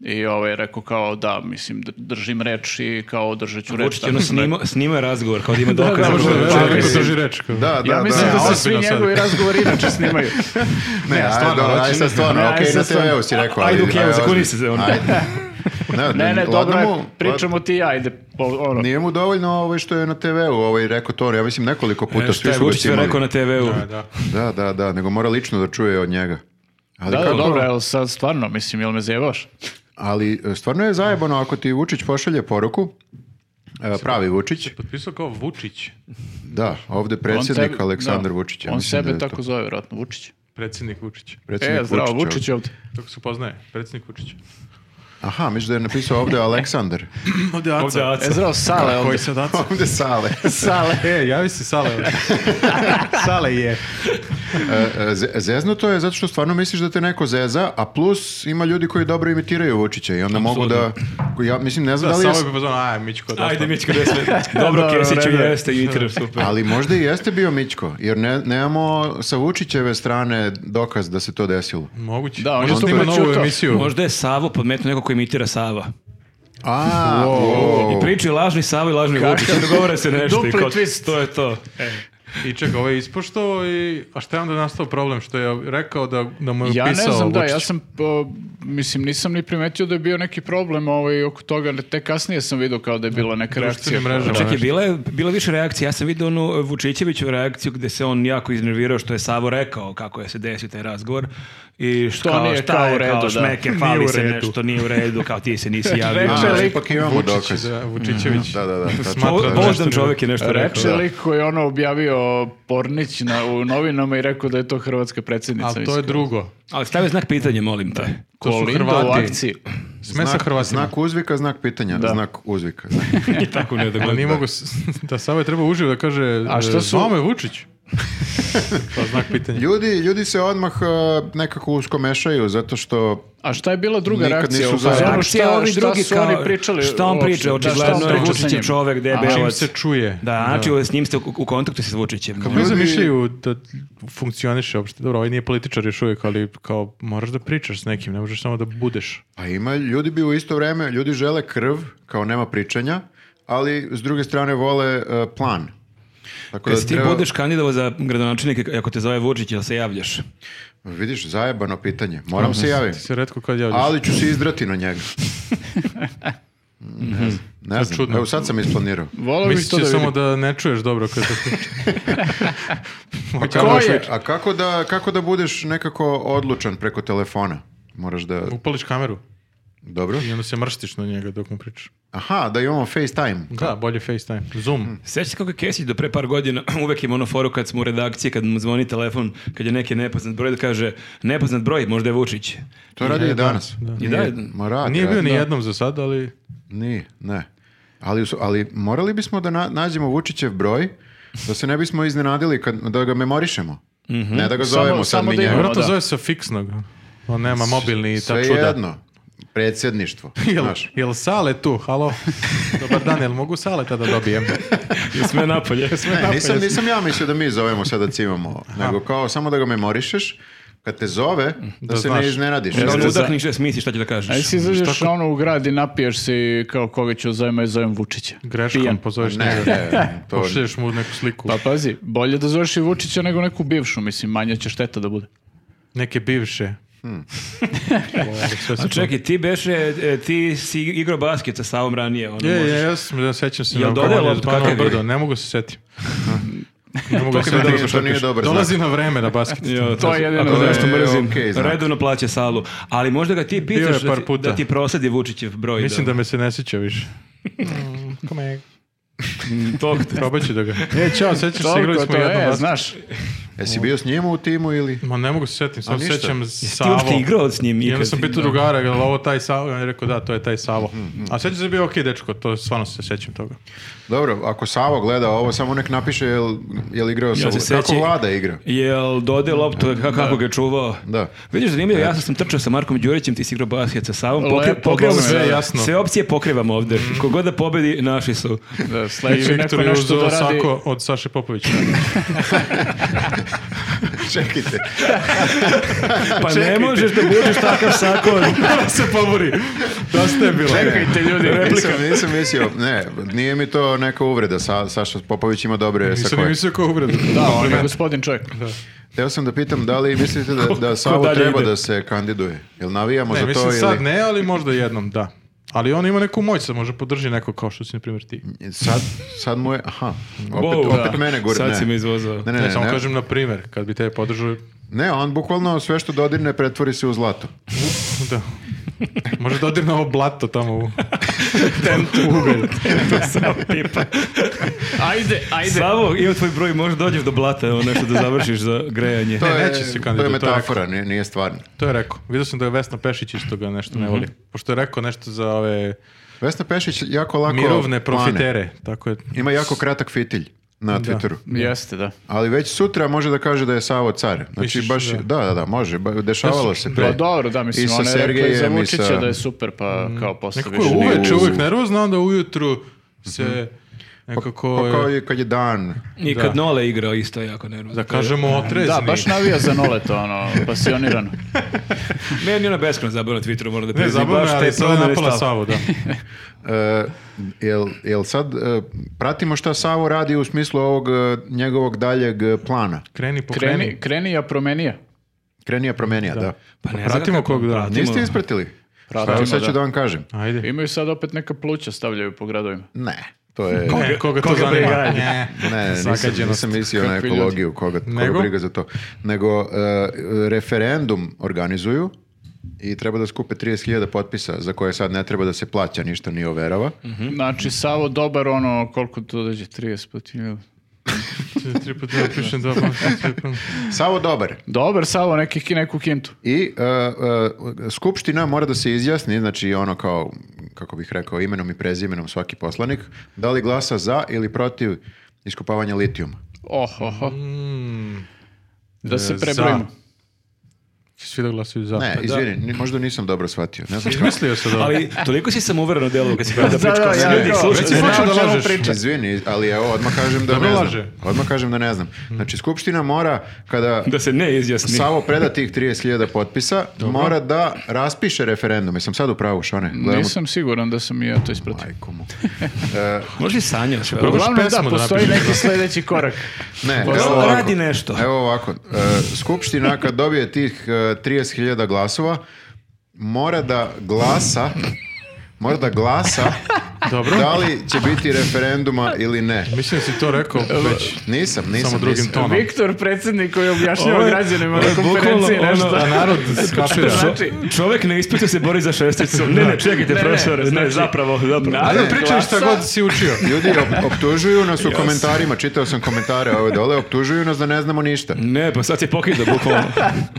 I ovaj je rekao kao da, mislim, dr- držim reč i kao držat ću reč. Vučić je tako ono da- snima, snima razgovor, kao da ima da, dokaz. Ne može da Pa, veruje, neko mislim- drži reč. kao. Da, da, Ja mislim da. da, se svi ozbiljno sad. njegovi razgovori inače snimaju. Ne, ajde, stvarno, dobro, hoće ajde sad ne- stvarno, Ne, okej, ajde na sad TV-u si stvarno. rekao. Ajde, ali- okej, evo, zakuni se za ono. Ajde. Ne, ne, ladno dobro, je, mu- pričamo ti i ja, ajde. Po, ono. Nije mu dovoljno ovaj što je na TV-u ovaj rekao to, ja mislim E, nekoliko puta Šta svi je su ga Vučić sve snimali. rekao na TV-u? Da, da. Da, da, da, nego mora lično da čuje od njega. Ali, Da, da, kako- dobro, jel sad stvarno, mislim, jel me zajebavaš? ali e, stvarno je zajebano ako ti Vučić pošalje poruku, e, pravi Vučić, Potpisao kao Vučić, da, ovde On predsjednik tebe- Aleksandar da, Vučić. ja on mislim sebe da je to tako zove, vjerojatno, Vučić. predsjednik Vučić. predsjednik E, zdravo, Vučić Vučić je ovdje. Tako se poznaje, predsjednik Vučić. ovde. Aha, misliš da je napisao [laughs] ovde Aleksandar. [laughs] Ovdje je Ovdje Aca. E, zdravo, Sale Koji ovdje. sad Aca? ovde Sale. Sale. [laughs] E, javi se Sale. ovdje. Sale je. E, e, ze- Zeznuto je zato što stvarno misliš da te neko zeza, a plus ima ljudi koji dobro imitiraju Vučića i onda mogu da... Ja mislim, ne znam Da, da li je... Savo je pozvano, aj, Mićko, dosta. Ajde, Mićko, da je sve. [laughs] Dobro, Dobro, Kesiću dobro. jeste, Jupiter, super. Ali možda i jeste bio Mićko, jer ne, nemamo sa Vučićeve strane dokaz da se to desilo. Moguće. Da, on Možda je snima super novu ćutao. emisiju. Možda je Savo podmetno neko ko imitira Sava. A, I pričaju lažni Savo i lažni Vučić. I dogovore se nešto. i Dupli kao, twist. To je to. I čekaj, ovo je ispoštovao i... A šta je onda nastao problem? Što je rekao da, da mu je Ja ne pisao znam, da, Vučić? ja sam, po- mislim, nisam ni primetio da je bio neki problem ovaj, oko toga, ali tek kasnije sam vidio kao da je bila neka reakcija. Društvenim mrežama. Pa Čak je nešto. bila, je- bila je više reakcija. Ja sam vidio onu eh, e, Vučićeviću reakciju gde se on jako iznervirao što je Savo rekao kako je se desio taj razgovor. i što To kao, nije šta kao u je, redu, kao da. šmeke, Nije fali u se redu. nešto, nije u redu, kao ti se nisi javio. Reče A, lik ipak imamo Vučić, dokaz. da, Mhm, Vučićević. Da, da, Znači, da. tačno. [laughs] Smatra Da, da da. je Pozdan čovjek je nešto rekao. Reče da. lik koji je ono objavio Pornić na, u novinama i rekao da je to hrvatska predsjednica. Ali to je mislim. drugo. Ali stavi znak pitanja, molim te. To su Kolinda u Hrvati. akciji. Sme sa Znak- Hrvatima. Znak uzvika, znak pitanja. Da. Znak uzvika. znak- I E, tako ne Ali da nije gleda. mogu, s- [laughs] da Sava je treba uživo da kaže, A šta e, su- zvao me [laughs] Vučić. Pa znak pitanja. Ljudi, ljudi se odmah uh, nekako usko mešaju zato što A šta je bila druga Nikad reakcija? nisu u fazonu? zajedno. Reakcija Šta- ovi šta drugi su kao, oni pričali šta on uopšte? priča, Da, šta očigledno on je priča Vučić sa je njim? čovek, debelac. A, Čim se čuje. Da, znači s njim ste u, u kontaktu sa Vučićem. Kako Ljudi- zamišljaju da funkcioniše uopšte? Dobro, ovaj nije političar još uvijek, ali kao moraš da pričaš s nekim, ne možeš samo da budeš. Pa ima, ljudi bi u isto vreme, ljudi žele krv, kao nema pričanja, ali s druge strane vole uh, plan. Tako Kad ti budeš kandidovo za gradonačelnika, ako te zove Vučić, jel se javljaš? Vidiš, zajebano pitanje. Moram se javiti. Ti se redko kad javljaš. Ali ću se izdrati na njega. ne znam. Ne znam. čudno. Evo sad sam isplanirao. Volao bih Mislit to će da samo vidim. da ne čuješ dobro kad te A Ko kako, je? a kako da, kako da budeš nekako odlučan preko telefona? Moraš da... upališ kameru Dobro. i onda se mrštiš na njega dok mu pričaš. Aha, da imamo FaceTime. Da, bolje FaceTime. Zoom. Sećaš se kako je Kesić do pre par godina [clears throat] uvek ima ono foru kad smo u redakciji, kad mu zvoni telefon, kad je neki nepoznat broj, da kaže nepoznat broj, možda je Vučić. To radi i danas. I da, Ma radi, Nije bio radi. ni jednom za sad, ali Nije, ne. Ali, us- ali morali bismo da na- nađemo Vučićev broj, da se ne bismo iznenadili kad, da ga memorišemo. Ne da ga Samo- zovemo sad samo mi da njega. imamo. vjerojatno da. zove se fiksnog. On nema mobilni i ta Sve čuda. jedno. Predsjedništvo. Jel, znaš. jel sale tu? Halo? Dobar dan, jel mogu sale tada dobijem? Sve napolje. Ne, nisam, nisam ja mislio da mi zovemo sada cimamo, nego kao samo da ga memorišeš, kad te zove, da, Da se znaš. ne iznenadiš. Da Da on ne- za- udahniš da smisliš šta će da Ajde kažeš. si izađeš ono u grad i napiješ se i kao koga ću zovem, ja zovem Vučića. Greškom pozoveš ne, [laughs] njega. ne, [laughs] to Pošlješ mu neku sliku. Pa pazi, bolje da zoveš i Vučića nego neku bivšu, mislim, manja će šteta da bude. Neke bivše. [laughs] O, sve se A čekaj, ti beše, e, ti si igrao basket sa Savom ranije. Ono, Je, možeš- je, ja sam, da sećam se. Jel na dodeo Kovalje, loptu, Zbano kakav je? brdo, ne mogu se setim. Ne mogu se kad setim. dođe, to nije dobar znak. Dolazi na vreme na basket. Jo, To je jedino Ono ako da- nešto mrzim. okej znak. Redovno plaća salu. Ali možda ga ti je pitaš da par ti, puta. da ti prosadi Vučićev broj. Mislim da me se ne sjeća više. Mm, Kome tog- Probat ću da ga. E, [laughs] čao, sećaš se, igrali Toliko smo to jednom je, basket. znaš. Jesi bio s njim u timu ili... Ma ne mogu se setim, samo ništa. sećam Ti Savo. uopšte igrao s njim I onda ikad? sam pitao drugara, je li ovo taj Savo? I on je rekao da, to je taj Savo. A sećam se da je bio okej dečko, to stvarno se sećam toga. Dobro, ako Savo gleda ovo, samo nek napiše jel, jel igrao sa... se Kako sećam- vlada igra? Jel dode loptu, ka- kako ga je čuvao? [laughs] Da. Vidiš, zanimljivo, ja sam trčao sa Markom Đurićem, ti si igrao basket sa Savom. Pokri, Lepo, pokrivamo Bogdane, sve, da. jasno. sve opcije pokrivamo ovde. Kogod da pobedi, naši su. Da, I sledeće E, neko Viktor je nešto da uzeo radi. sako od Saše Popovića. Čekajte. Pa ne možeš da budeš takav sako. Da se pobori. Dosta je bilo. Čekajte ljudi, Nisam, replika. nisam mislio, ne, nije mi to neka uvreda, Sa, Saša Popović ima dobre Nisam ni sakoje. mislio kao uvreda. Da, on je gospodin čovjek. Teo sam da pitam da li mislite da, da Savo dalje treba ide? da se kandiduje? Jel navijamo Ne, za to mislim ili... sad ne, ali možda jednom, da. Ali on ima neku moć, sad može podrži neko kao što si, na primjer, ti. Sad, sad mu je... Aha, opet, Wow, opet da. mene gurne. Sad si me izvozao. Ne, ne, Ne, ne, samo ne. kažem na primjer, kad bi te podržao, Ne, on bukvalno sve što dodirne pretvori se u zlato. da. Može da odir na ovo blato tamo u... Savo, pipa. Ajde, ajde. Savo, imam tvoj broj, možda dođeš do blata, ono nešto da završiš za grejanje. To, Ne, je, neće se to je kandidovati, to je metafora, nije, nije stvarno. To je rekao. Vidio sam da je Vesna Pešić isto ga nešto ne voli. Pošto je rekao nešto za ove Vesna Pešić jako lako mirovne plane. profitere. Tako je. Ima jako kratak fitilj na Twitteru. Jeste, da. Ali već sutra može da kaže da je Savo car. Znači Misliš, baš, da. da. da, da, može. ba- Dešavalo se pre. Pa dobro, da, I mislim, sa ona je rekla i za Sergejem i Vučića sa- da je super, pa kao posle Nekako je više nije. uveče U. uvijek nervozna, onda ujutru se nekako... Pa kao je, i kad je dan. I kad Nole igrao isto je jako nervozno. Da kažemo otrezni. Da, baš navija za noleto, ono, pasionirano. Meni je ona beskreno zabavno na Twitteru, moram da Ne, priznam. zabavno, baš te ali sad je promene napala stava. Savo, da. E, jel, jel sad e, pratimo šta Savo radi u smislu ovog e, njegovog daljeg e, plana? Kreni, pokreni. Kreni, kreni, a promenija. Krenija promenija, da. Pa ne znam Pratimo kako- kog da. pratimo. Niste ispratili? Šta Pratimo, sad ću da. da vam kažem? Ajde. Imaju sad opet neka pluća stavljaju po gradovima. Ne. To je... Koga, koga to koga zanima? briga, ajde. Ne. Ne, nisam, Zagađenost. nisam mislio na Kakvi ekologiju, koga, koga Nego? briga za to. Nego, e, referendum organizuju i treba da skupe 30.000 potpisa za koje sad ne treba da se plaća, ništa ni overava. Mhm. Znači, Savo dobar, ono, koliko to dođe, 35.000. Tri- Tri puta da pišem dva banka. Samo dobar. Dobar, Savo, neki, ki- neku kintu. I e, e, skupština mora da se izjasni, znači ono kao, kako bih rekao, imenom i prezimenom svaki poslanik, da li glasa za ili protiv iskopavanja litijuma. Oh, oh, oh. Mm. Da se E, prebrojimo. Će svi da glasuju za. Ne, izvini, ni- možda nisam dobro shvatio. Ne [laughs] znam kako. Mislio sam da... Ali toliko si sam uveren u delu kad si kada da, pričkao. ja, Ljudi, ja, slušajte, već si ne, počeo o da čemu lažeš. pričam. Izvini, ali evo, odmah kažem da Dobro ne znam. laže. Odmah kažem da ne znam. Znači, skupština mora, kada da se ne izjasni. Savo preda tih 30.000 potpisa, mora da raspiše referendum. Jesam sad u pravu, Šone? Gledamo- Nisam siguran da sam i ja to ispratio. Majko mu. Možda i sanjao sve. probaš Uglavnom, da, pesmu da postoji napišeš, neki sledeći korak. Ne, Možda evo Evo, ovako. radi nešto. Evo ovako, e, skupština kad dobije tih e, 30.000 glasova, mora da glasa, mora da glasa Dobro. da li će biti referenduma ili ne. Mislim da si to rekao već. Nisam, nisam. Samo drugim nisam. tonom. Ono. Viktor, predsjednik koji objašnjava Ovo je- građanima ovo na je konferenciji bukvalno nešto. ono- Da narod skapira. Što znači? Čovjek ne ispita se bori za [laughs] šesticu. Ne, ne, čekajte, Ne, ne, profesor. Ne, znači- zapravo, zapravo. pa- Ajde, Ne, pričaj šta glasa. god si [laughs] učio. Ljudi op- optužuju nas u komentarima, čitao sam komentare ove dole, optužuju nas da ne znamo ništa. Ne, pa sad si pokida, bukvalno.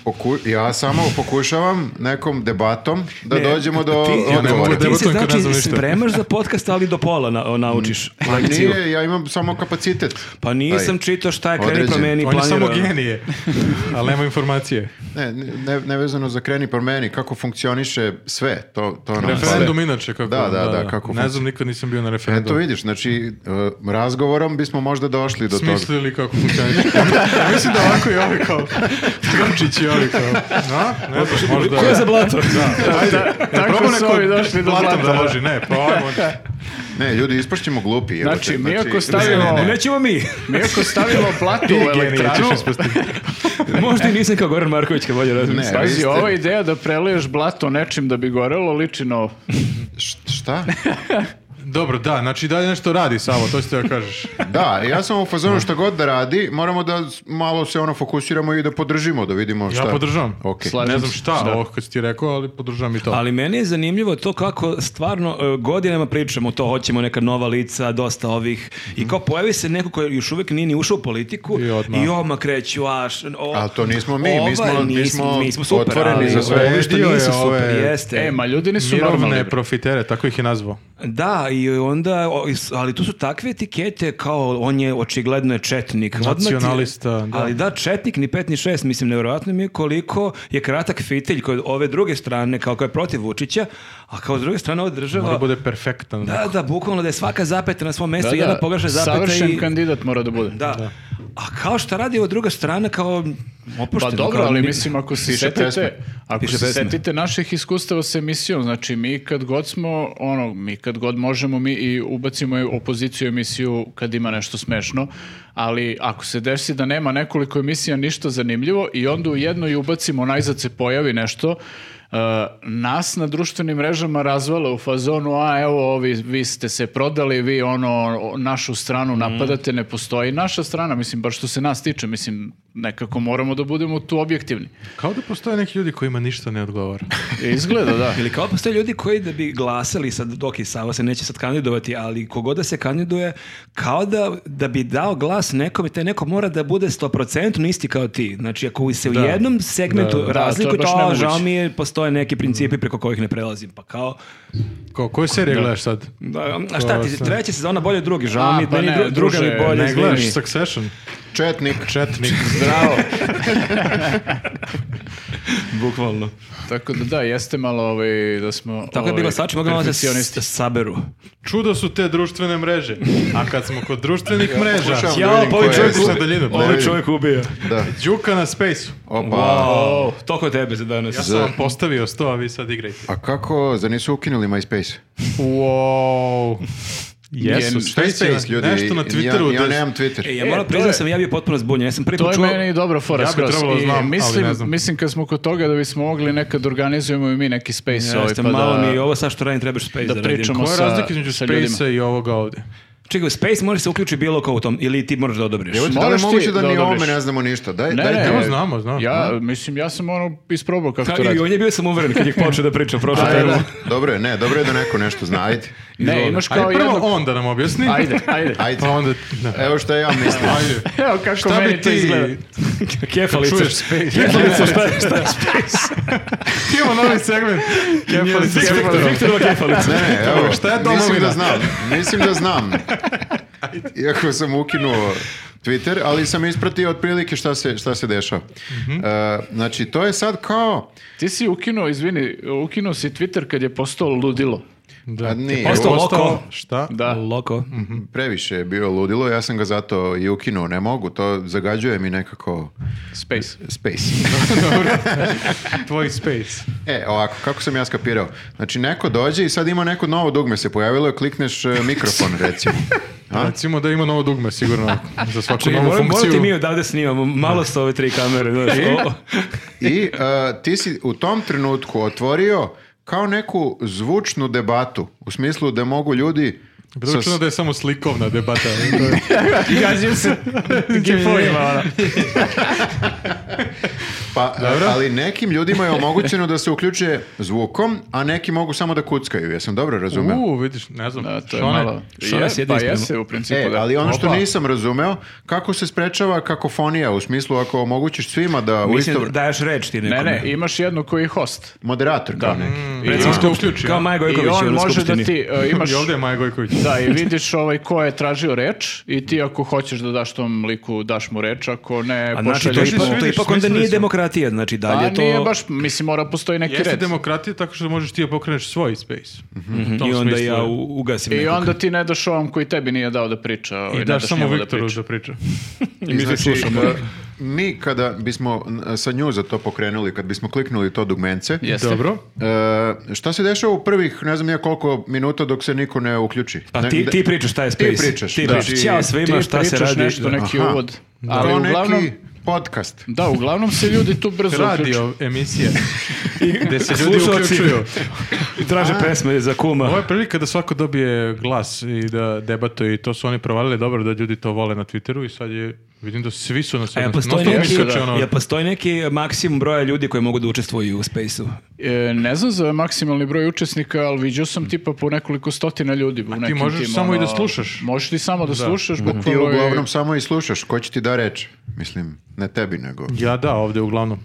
Poku- ja samo pokušavam nekom debatom [laughs] da Ne, dođemo do ti- Ja ne mogu odgovora. da- Ti se Debatujem kad ne znam znači ništa. spremaš za podcast, ali do pola na, naučiš Pa lekciju. nije, ja imam samo kapacitet. Pa nisam Taj. čitao šta je kreni Određen. promeni On je samo planirano. genije, ali nema informacije. Ne, ne, nevezano za kreni promeni, kako funkcioniše sve. To, to nam Referendum sve. inače kako... Da, da, da, kako Ne znam, nikad nisam bio na Eto referendumu. vidiš, znači e, razgovorom bismo možda došli do toga. Smislili kako funkcioniš. ja mislim da ovako i ovi kao... Grčić i ovi kao... No, ne znam, možda... Ko je za blato? Ajde, tako probao su neko ovi došli do blatom blata, da da. loži, ne, pa [laughs] ajmo. Ne, ljudi, ispašćemo glupi. evo Znači, te, mi ako Ne, stavimo, ne, ne. [laughs] [laughs] Nećemo mi. mi ako stavimo platu Ti u genije elektranu, ćeš ispasti. Možda i nisam kao Goran Marković kad bolje razmišljam. Ne, vi Pazi, ste- ova ideja da preliješ blato nečim da bi gorelo liči na ovo. Š- Šta? Dobro, da, znači dalje nešto radi Savo, to ste joj kažeš. Da, ja sam u fazonu što god da radi, moramo da s- malo se ono fokusiramo i da podržimo, da vidimo šta. Ja podržavam. Ok. Slažem Ne znam se. šta, ovo kad si ti rekao, ali podržavam i to. Ali meni je zanimljivo to kako stvarno e, godinama pričamo to, hoćemo neka nova lica, dosta ovih, Mhm. i kao pojavi se neko koji još uvijek nije ni ušao u politiku I odmah. odmah kreću, a... š- o- Ali to nismo mi, mi ovaj, smo- mi nismo- smo mi smo super, otvoreni ali za sve. Ovi što Dio je nisu ove- super, jeste. E, ma ljudi nisu normalni. Mirovne profitere, tako ih je nazvao. Da, i onda, o, i s- ali tu su takve etikete kao on je očigledno je četnik. Odmah ti- Nacionalista, da. Ali da, četnik ni pet ni šest, mislim, nevjerojatno mi je koliko je kratak fitilj kod ove druge strane, kao koja je protiv Vučića, a kao s druge strane ova država... Mora da bude perfektan. Da, da, bukvalno da je svaka zapeta na svom mjestu, Da, jedna da, pogrešna zapeta Savršen i... kandidat mora da bude. Da. A kao šta radi ova druga strana kao Pa opušteno. dobro, kao ali ni- mislim ako se Piše pesme. setite, ako Piše se pesme. setite naših iskustava sa emisijom, znači mi kad god smo, ono, mi kad god možemo, mi i ubacimo i opoziciju emisiju kad ima nešto smešno, ali ako se desi da nema nekoliko emisija ništa zanimljivo i onda u jednoj ubacimo, najzad se pojavi nešto, e, nas na društvenim mrežama razvala u fazonu, a evo ovi, vi ste se prodali, vi ono, o- našu stranu napadate, ne postoji naša strana, mislim, bar što se nas tiče, mislim, nekako moramo da budemo tu objektivni. Kao da postoje neki ljudi kojima ništa ne odgovara. Izgleda, da. Ili kao postoje ljudi koji da bi glasali sad, dok i Sava se neće sad kandidovati, ali kogoda se kandiduje, kao da, da bi dao glas nekom i taj neko mora da bude 100% isti kao ti. Znači, ako se u jednom segmentu Da, da, razliku, to je baš to, nemoguće. žao mi je, postoje neki principi preko kojih ne prelazim. Pa kao, Ko, koju seriju gledaš sad? da, a šta ti, To sam- treća sezona bolje od druge, žao A, mi, je, pa meni ne, dru- druga mi druže, bolje, E, Ne gledaš izvini. Succession? Četnik. Četnik. [laughs] Bukvalno. Tako da da, jeste malo ovaj, da smo... Tako je bilo sad, ćemo da se perfekcionisti. s- saberu. Čudo su te društvene mreže. A kad smo kod društvenih mreža... Pokušavam Ja, da vidim pa ko ovaj je- Ovaj čovjek sa daljinu. Znači, Ne vidim. ubija. Da. Đuka na Spaceu. Opa. Oh. Wow, toliko tebe za danas. Ja sam vam postavio sto, a vi sad igrajte. A kako, za nisu ukinuli MySpace? Wow. Jesu. Šta je Space, ljudi? Nešto na Twitteru. Ja, ja da- nemam E, Twitter. ja E, moram to priznati da je- sam ja bio potpuno zbunjen. Ja sam prvi To put je čuo... meni dobra fora Ja bi skroz. trebalo I znam, ali mislim, ne znam. mislim kad smo kod toga da bismo mogli nekad organizujemo i mi neki space ovaj, Jeste, pa malo da... mi je ovo sad što radim trebaš space da da radim. pričamo. Koja je sa- razlika između sa ljudima. Space-a i ovoga ovdje? Čekaj, Space može se uključi bilo ko u tom, ili ti moraš da odobriš. Evo, E, da li Moraš je ti moguće da, da ni o ovome odobriš. ne znamo ništa? Daj, Ne, dajte ne, mi- Evo, znamo, znamo. Ja, mislim, ja sam ono isprobao kako to Kao radi. I on je bio sam uveren kad je počeo da priča prošle Ajde, prvo. dobro je, ne, dobro je da neko nešto zna, ajde. Ne, E, imaš kao ajde, prvo jednog... on da nam objasni. [laughs] Ajde, ajde. Ajde. Pa onda... [laughs] Da. Evo što ja mislim. Ajde. Evo kako Šta meni bi to ti... izgleda. Kefalica. Čuješ space. Kefalica, šta je, šta je space? Imamo novi segment. Kefalica s Viktor, Viktorom. Viktorova [laughs] kefalica. Ne, ne, evo, Šta je mislim domovina? da znam, mislim da [laughs] znam. Iako sam ukinuo Twitter, ali sam ispratio otprilike šta se, šta se dešava. Mhm. E, znači, to je sad kao... Ti si ukinuo, izvini, ukinuo si Twitter kad je postao ludilo. Da. A nije, pa Postao ovo- loko. Šta? Da. Loko. previše je bio ludilo, ja sam ga zato i ukinuo, ne mogu, to zagađuje mi nekako Space. space. [laughs] Tvoj space. E, ovako, kako sam ja skapirao? Znači, neko dođe i sad ima neko novo dugme se pojavilo, klikneš e, mikrofon, recimo. A? Recimo da ima novo dugme, [laughs] sigurno, za svaku Znači, Čekaj, novu moram, moram ti funkciju. mi odavde snimamo, malo sa ove tri kamere, znaš, ovo. I e, ti si u tom trenutku otvorio kao neku zvučnu debatu, u smislu da mogu ljudi... Bilo sa- bi čudno Pa da je samo slikovna [laughs] debata. To je- Gađaju se gifovima, ono. Pa, e, ali nekim ljudima je omogućeno da se uključe zvukom, a neki mogu samo da kuckaju. Jesam dobro razumeo? ono. U, vidiš, ne znam. Da, to je Šone, malo... Šone Je, sjedi pa isprema. jese, u principu, E, da. ali ono što Opa. nisam razumeo, kako se sprečava kakofonija, u smislu ako omogućiš svima da u isto... Mislim, daješ reč ti Ne, nekome. ne, imaš jednu koji je host. Moderator kao neki. Mm. I Recimo, on te uključi. Kao a? Maja Gojković I on je na može da skupštini. ti [laughs] e, imaš... I ovdje je Maja Gojković. Da, i vidiš ovaj ko je tražio reč i ti ako hoćeš da daš tom liku, daš mu reč, ako ne, A znači, to pošalješ ipak, mu... vidiš, to ipak onda smislili nije su. demokratija, znači Pa dalje to... nije baš, mislim, mora postoji neki Jeste red. demokratija tako što možeš ti da pokreneš svoj space. Mhm. U tom I onda smislu ja je. u- ugasim I nekog. onda ti ne daš ovom koji tebi nije dao da priča. Ovaj, I ne daš samo njemu Viktoru Da priča. da priča. I znači, e, mi kada bismo n- sa njuza to pokrenuli, kad bismo kliknuli to dugmence, Jeste. Dobro. e, šta se dešava u prvih, ne znam ja koliko minuta dok se niko ne uključi? Pa Ne- ti, da- ti pričaš šta je Space. pričaš, Ti da. pričaš. Ćao svima, Ti šta se pričaš radi. nešto, neki Aha. uvod. Kao Ali ono neki uglavnom, podcast. da, uglavnom se ljudi tu brzo uključuju. Radio emisije. Gde se ljudi Slušaoci. uključuju. Traže pesme za kuma. Ovo je prilika da svako dobije glas i da debatuje i to su oni provalili dobro da ljudi to vole na Twitteru i sad je vidim da svi su na A sve. jel postoji, Non-stop neki, iskače ono- jel postoji neki maksimum broja ljudi koji mogu da učestvuju u Space-u? E, ne znam za maksimalni broj učesnika, ali vidio sam tipa po nekoliko stotina ljudi. U nekim možeš tim, samo i ono, da slušaš. Možeš ti samo da, slušaš. Ti bukvalno je- uglavnom samo i slušaš, ko će ti da reč? Mislim, ne tebi, nego... Ja da, ovdje [laughs] uglavnom.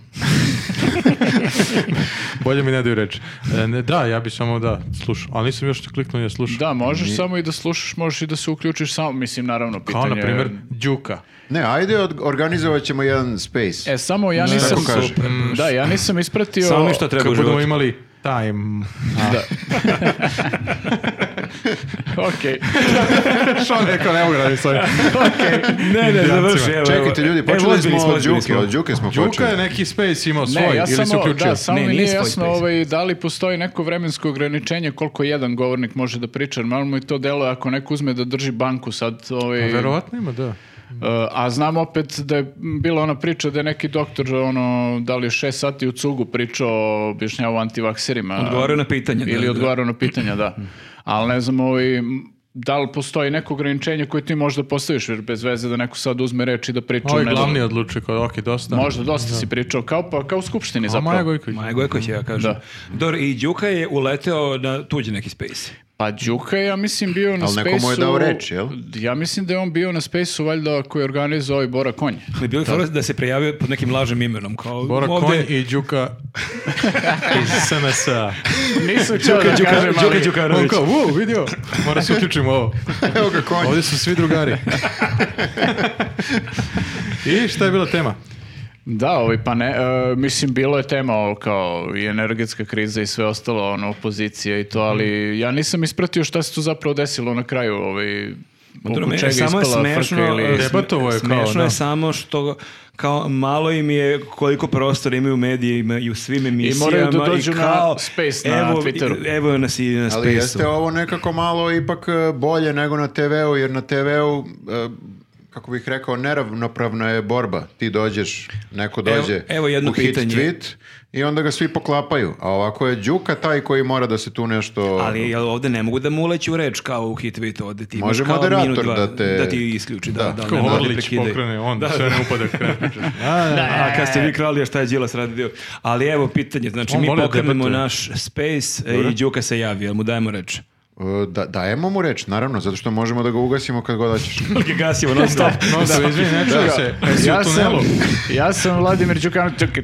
Bolje mi ne daju reč. E, ne, da, ja bi samo da slušao, ali nisam još kliknuo ja slušao. Da, možeš samo i da slušaš, možeš i da se uključiš samo, mislim, naravno, pitanje... Kao, na je- primjer, Đuka. Ne, ajde, od- organizovat ćemo jedan space. E, samo ja nisam... Tako kaže. Mm. Da, ja nisam ispratio... Samo mi šta treba u Kad budemo životu. imali time. [laughs] Da. Okej. Što neko ne mogu raditi s ovim. Ne, ne, završi. Čekajte, evo, evo. Čekajte, ljudi, Evo, počeli ozbiljni smo od ozbiljni Đuke, smo. od Đuke smo Đuka je počeli. neki space imao svoj Ne, ja ili se samo, uključio. da, samo Ne, mi nije, nije svoj jasno space. ovaj, da li postoji neko vremensko ograničenje koliko jedan govornik može da priča, jer malo mu i to delo ako neko uzme da drži banku sad. Ovaj, Pa Verovatno ima, da. Uh, a znam opet da je bila ona priča da je neki doktor ono, da li je šest sati u cugu pričao objašnjavao o antivakserima. Odgovaraju na pitanje, da, Ili da. Mm. odgovarao na pitanja, da. Ali ne znam ovaj, m, da li postoji neko ograničenje koje ti možda postaviš, jer bez veze da neko sad uzme reč i da priča. Ovo je ne znam, glavni odlučio kao, ok, dosta. Možda dosta si pričao, kao, pa, kao u skupštini A Maja zapravo. Gojković. Maja Gojković, ja kažem. Da. Dor, i Đuka je uleteo na tuđi neki Space. Pa Đuka je, ja mislim, bio na Ali neko Spaceu... mu je dao reč, jel? Ja mislim da je on bio na Spaceu, valjda, koji je organizao ovaj Bora [laughs] Konj. Ali bilo je fora da se prijavio pod nekim lažnim imenom. Kao, Bora ovde- Konj i Đuka iz SNS-a. Nisam htio da Đuka- kažem, ali... Đuka Đukanović. On kao, u, vidio, mora se uključimo u ovo. Evo ga konj. Ovdje su svi drugari. I šta je bila tema? Da, ovaj, pa ne, e, mislim, bilo je tema ovo kao i energetska kriza i sve ostalo, ono, opozicija i to, Mhm. ali ja nisam ispratio šta se tu zapravo desilo na kraju, ovaj, Pa Dobro, oko meni čega je samo je ispala frka smešno, ili... e, Debatovo je kao, smešno je da. samo što kao malo im je koliko prostora imaju u medijima i u svim emisijama moraju da dođu na kao, Space na evo, Twitteru. Evo nas i na Ali Space-u. jeste ovo nekako malo ipak e, bolje nego na TV-u, jer na TV-u e, kako bih rekao, neravnopravna je borba. Ti dođeš, neko dođe Evo- evo jedno u hit pitanje. tweet i onda ga svi poklapaju. A ovako je Đuka taj koji mora da se tu nešto... Ali jel ovde ne mogu da mu uleću reč kao u hitvitu ovde ti imaš Može kao moderator minut, dva, da te- da ti isključi, da, Da. Kao da, da, Ko ne mora da Orlić prekidaju. pokrene, onda sve ne upada kraj priče. A, A kad ste vi krali, a šta je Đilas radi dio? Ali evo pitanje, znači On mi voli da pokrenemo debatuje. naš space e, i Đuka se javi, jel mu dajemo [laughs] reč? E, Da, dajemo mu reč, naravno, zato što možemo da ga ugasimo kad god hoćeš. Ga gasimo non stop. No, da, izvini, ne čuje se. e, Jesi u Ja sam, tunelu? ja sam Vladimir Đukanović. Čekaj.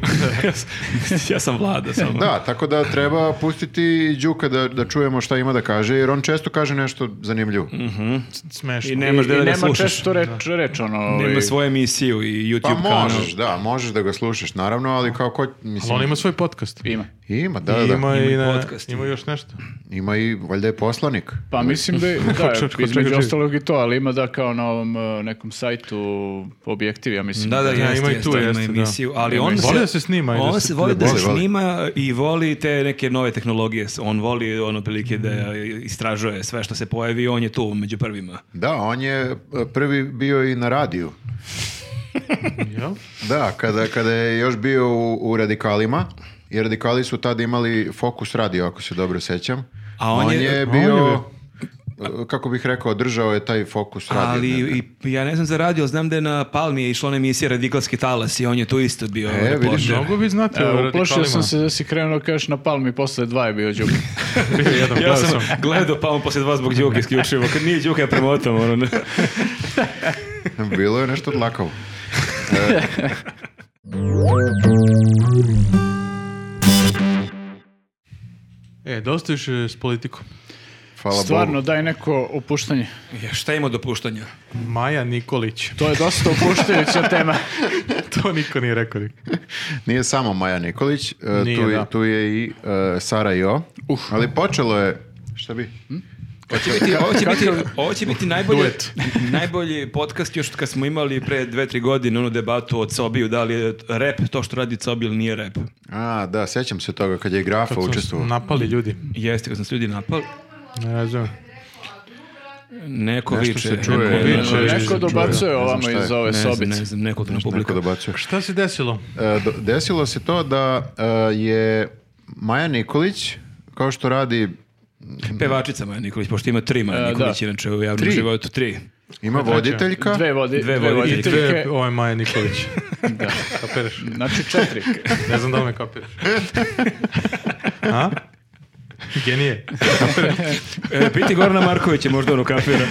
[laughs] ja sam vlada samo. Da, tako da treba pustiti i Đuka da, da čujemo šta ima da kaže, jer on često kaže nešto zanimljivo. Mm, Smešno. [laughs] I nemaš I gde da ga nema slušaš. često reč, reč ono, ovaj, Nema svoju emisiju i Pa YouTube kanal. možeš, da, možeš da ga slušaš, naravno, ali kao ko, mislim, Ali on ima svoj podcast. ima. ima, da, da, ima, i i na, podcast. ima još nešto. ima i, valjda je poslanik. Pa mislim da, [laughs] da čak- čak- između čak- ostalog i to, ali ima da kao na ovom e, nekom sajtu objektiv, ja mislim. E, Da, da, Da, jeste, ima i jeste, tu, ima jeste, da. emisiju, ali on Voli da se snima i da On se- se voli da, voli, se voli. snima i voli te neke nove tehnologije. On voli ono prilike da istražuje sve što se pojavi, on je tu među prvima. Da, on je e, prvi bio i na radiju. Jel? Da, kada, kada je još bio u, u Radikalima, i Radikali su tada imali Fokus radio, ako se dobro sećam. A on je- je on je bio, bio- e, kako bih rekao, držao je taj Fokus radio. Ali ne? i, ja ne znam za radio, znam da je na Palmi je išla ona emisija Radikalski talas i on je tu isto bio ono, E, reporter. vidiš, Mnogo vi znate E, o Uplašio radikalima. sam se da si krenuo kažeš na palmi, posle dva je bio Đuka. Bio jedan, Ja gledao sam sam. gledao Palmu posle dva zbog Đuke isključivo. Kad nije Đuka, ja premotam. Ono, ne. [laughs] Bilo je nešto dlakavo. E. E, dosta više s politikom. Hvala Stvarno, Pa Bogu. daj neko opuštanje. Ja, šta ima dopuštanja? Maja Nikolić. [laughs] To je dosta opuštajuća tema. to niko nije rekao. Pa Nije samo Maja Nikolić, e, Nije, tu, je- da. tu je i e, Sara Jo. Ali počelo je... Šta bi? Ovo će biti, ovo će biti, ovo će biti najbolji, Duet. najbolji podcast još kad smo imali pre dve, tri godine onu debatu o Cobiju, da li je rep to što radi Cobi ili nije rep. A, da, sećam se toga kad je Grafa učestvovao. Napali ljudi. Jeste, kad sam se ljudi napali, Ne razumijem. neko Nešto viče. se čuje. neko Viče. Ne Ne Neko znam dobacuje šta je. ovamo iz ove znam, sobice. ne znam, neko na Neko publiku. dobacuje. Šta se desilo? E, do- desilo se to da e, je Maja Nikolić, kao što radi, Pevačica Maja Nikolić, pošto ima tri Maja E, Nikolić, da. inače u javnom Tri. životu tri. ima voditeljka. Dve, vodi, Dve dve, E, I voditeljke. voditeljke. dve, ovo je Maja Nikolić. [laughs] da. Kapiraš? Znači četiri. Ne znam da li me [laughs] kapiraš. A? Genije. E, piti Gorana Markovića, možda ono kafira.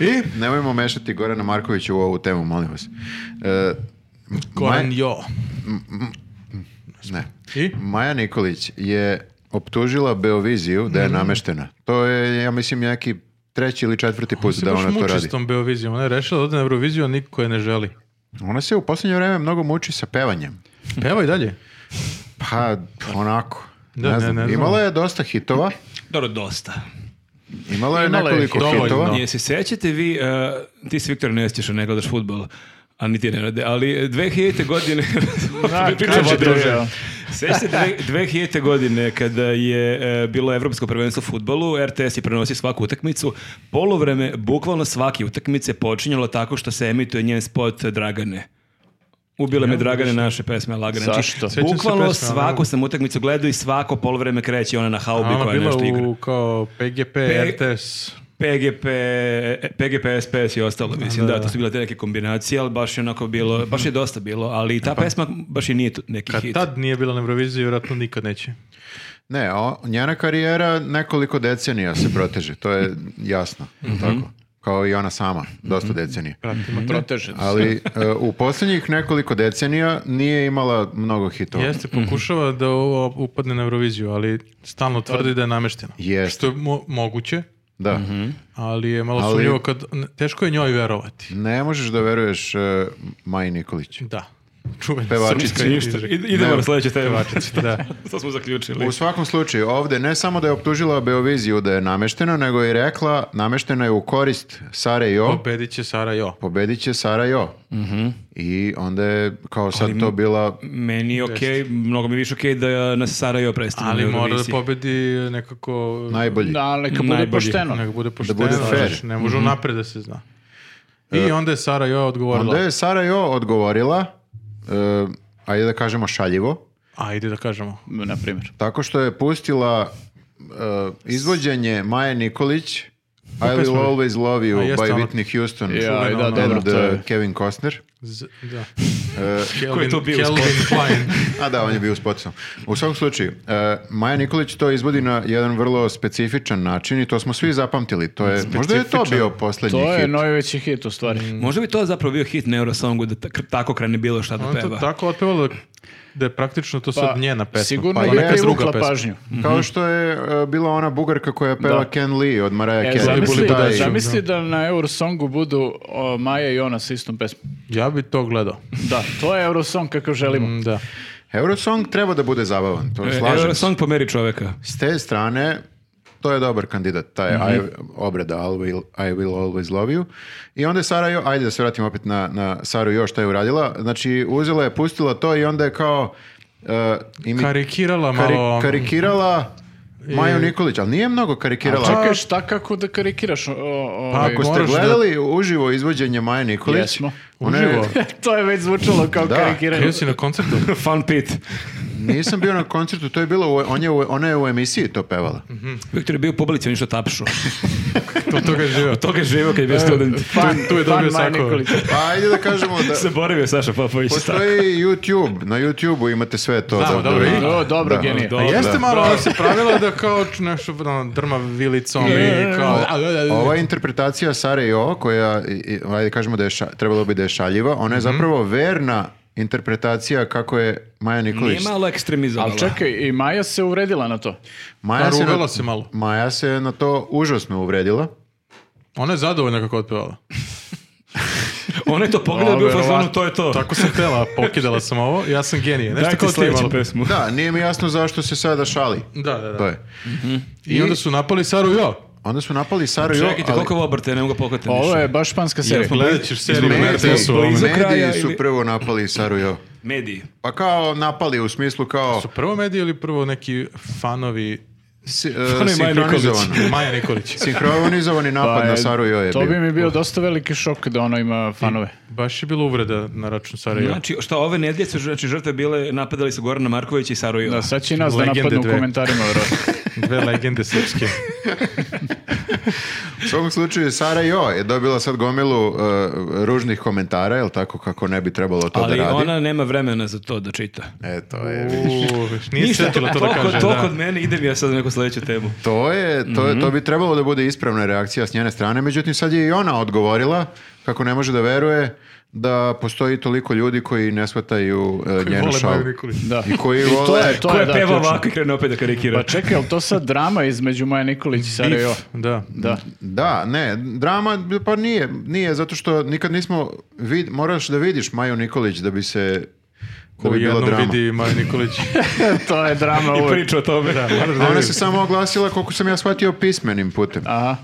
I nemojmo mešati Gorana Markovića u ovu temu, molim vas. E, Goran Maja- Jo. ne. I? Maja Nikolić je optužila Beoviziju Mhm. da je nameštena. To je, ja mislim, neki treći ili četvrti put Se da baš ona to muči radi. s tom Beovizijom. Ona je rešila da ode na Euroviziju, a niko je ne želi. Ona se u posljednje vreme mnogo muči sa pevanjem. Peva E, i dalje. Pa, onako. Da, ne, znam. ne znam. Imala je dosta hitova. Dobro, dosta. Imala je Imala je nekoliko hitova. hitova. Dovoljno. Je se sećate vi, e, ti si Viktor ne sjećaš, ne gledaš futbol, a ni ti ne rade, ali e, 2000. [laughs] godine... Da, [laughs] Pričam kaže o tome. to, ja. Sećate se dve- 2000. godine kada je e, bilo Evropsko prvenstvo u futbolu, RTS je prenosio svaku utakmicu, polovreme, bukvalno svake utakmice počinjalo tako što se emituje njen spot e, Dragane. Ubile me Dragane naše pesme Lagane. Znači, Zašto? Sećam se bukvalno pesme, ali- svaku sam utakmicu gledao i svako polovreme kreće ona na haubi A ona koja bila nešto igra. u kao PGP, RTS. PGP, PGP, SPS i ostalo, mislim, da, Mhm. to su bile te neke kombinacije, ali baš je onako bilo, baš je dosta bilo, ali i ta pesma baš i nije tu neki Kad hit. tad nije bila na Euroviziji, vjerojatno nikad neće. Ne, o- njena karijera nekoliko decenija se proteže, to je jasno, tako? Kao i ona sama, dosta decenija. Pratimo to. Proteže. se. Ali e, u posljednjih nekoliko decenija nije imala mnogo hitova. Jeste, pokušava da ovo upadne na Euroviziju, ali stalno tvrdi da je namešteno. Jeste. Što je mo- moguće, Da. ali je malo Ali- sumnjivo kad... Teško je njoj verovati. Ne možeš da veruješ e, Maji Nikolić. Da. Čuvena Pevačica. srpska pa Ništa, izreka. id- idemo Ne. na sledeću temu. Pevačica, da. [laughs] To smo zaključili. U svakom slučaju, ovdje ne samo da je optužila Beoviziju da je nameštena, nego je i rekla nameštena je u korist Sare Jo, Pobedit će Sara Jo. pobedit će Sara Jo. I onda je kao sad to bila... Meni je okej, mnogo mi je više okej da nas Sarajevo predstavlja Ali na mora da Euroviziji. pobedi nekako... Najbolji. Da, ali neka bude Najbolji. pošteno. Nego bude pošteno. bude fair. Mhm. E, znaš, Ne može unapred da se zna. I onda je Sara Jo odgovorila. Onda je Sara Jo odgovorila, e, ajde da kažemo šaljivo, Ajde da kažemo. na primjer. Tako što je pustila e, izvođenje Maje Nikolić, I Will pesma? Always Love You A, jeste by ona. Whitney Houston ono- Ja, da, ono, dobro, and to e, je. Kevin Costner. Z- da. E, Ko je to bio? Kelvin Klein. A da, on je bio s potisom. U svakom slučaju, e, Maja Nikolić to izvodi na jedan vrlo specifičan način i to smo svi zapamtili. To je, možda je to bio posljednji To je hit. najveći hit u stvari. Možda bi to zapravo bio hit na Eurosongu da tak- tako krene bilo šta da Ona je Ono to peva. tako otpevala da, da je praktično to sad njena pesma. Sigurno Pa je je neka privukla druga pažnju. Kao što je e, bila ona bugarka koja peva Mhm. Da. Ken Lee od Mariah E, Carey. zamisli, Taj- da, zamisli da na Eurosongu budu o, Maja i ona sa istom pesmom. Ja bi to gledao. Da, to je Eurosong kako želimo. Mm, Da. Eurosong treba da bude zabavan, to E, slažem se. Eurosong pomeri [laughs] čoveka. S te strane, to je dobar kandidat, taj I, obrada I will, I will always love you. I onda je Sara, Jo- ajde da se vratim opet na, na Saru još šta je uradila, znači uzela je, pustila to i onda je kao uh, imi- Karikirala kari- malo. karikirala Maju Nikolić, ali nije mnogo karikirala. Čekaj, šta kako da karikiraš? O, o, Pa, ovaj- Ako ste moraš da- gledali uživo izvođenje Maje Nikolić, Jesmo. ona je- Uživo. [laughs] to je već zvučalo kao Da. karikiranje. Bio si na koncertu? Fun pit. nisam bio na koncertu, to je bilo, u- on je, u- ona je u emisiji to pevala. Viktor je bio u publici, on je išao tapšu. E, Od toga je živio. [laughs] Toga je živio kad je bio student. [laughs] tu je dobio sako. Pa ajde da kažemo da... Zaboravio Saša Popović. Postoji YouTube, na YouTubeu imate sve to. Znamo, da- da dobro, vidite. vidite. O, dobro, Da. genije. A Dobro. jeste Da. malo ona se pravila da kao č- nešto ono, drma vilicom i kao... Ova interpretacija Sare i ovo, koja, i- i, ajde kažemo da je ša- trebalo bi da je šaljiva, ona je zapravo verna interpretacija kako je Maja Nikolić. Nije malo ekstremizovala. Ali čekaj, i Maja se uvredila na to. Maja se, Rugala na, se malo. Maja se na to užasno uvredila. Ona je zadovoljna kako je otpevala. [laughs] Ona je to pogledala bio u Verovatno. fazonu, to je to. Tako sam tela, pokidala sam ovo, ja sam genije. Nešto Daj ti kao ti sljedeću malo. [laughs] pesmu. Da, nije mi jasno zašto se sada šali. Da, da, To da. je. I onda su napali Saru Jo. Onda su napali Saru i ovo, Čekajte, koliko ovo obrte, ne mogu pohvatiti Ovo više. je baš španska serija. Gledat ćeš seriju na mediji, ono, RTS-u. ovo. blizu kraja mediji su ili- prvo napali Saru i ovo. Mediji. Pa kao napali u smislu kao Su prvo mediji ili prvo neki fanovi si, e, Maje sinhronizovano. Maja Nikolić? Sinhronizovani napad Pa, na Saru i ovo je To bio. bi mi bio dosta veliki šok da ono ima fanove. Baš je bilo uvreda na račun Sara Jo. Znači, šta ove nedelje su znači, žrtve bile, napadali su Gorana Markovića i Saru Jova. Da, sad će i nas da Legende napadnu u dve. komentarima, verovatno. Dve legende srpske. U svakom slučaju Sara Jo je dobila sad gomilu uh, ružnih komentara, jel tako kako ne bi trebalo to Ali da radi. ona nema vremena za to da čita. E, to je... Uuu, nije sjetila to da toliko, kaže. toliko da. od mene, idem ja sad na neku sljedeću temu. To, je, to, je- to bi trebalo da bude ispravna reakcija s njene strane, međutim sad je i ona odgovorila kako ne može da veruje da postoji toliko ljudi koji ne shvataju uh, njenu Vole šalu. Maju Nikolić. Da. I koji to vole- je- to Ko je, je da, peva ključno. ovako i krene opet da karikira? Pa čekaj, ali to sad drama između Maja Nikolić i Sara Jo? Bif, Da. Da. Da, ne, drama pa nije, nije zato što nikad nismo vid, moraš da vidiš Maju Nikolić da bi se da Ko bi bilo jednom drama. vidi Maju Nikolić. [laughs] to je drama I uvek. priča o tome. Da, moraš da A ona vidiš. se samo oglasila koliko sam ja shvatio pismenim putem. Aha.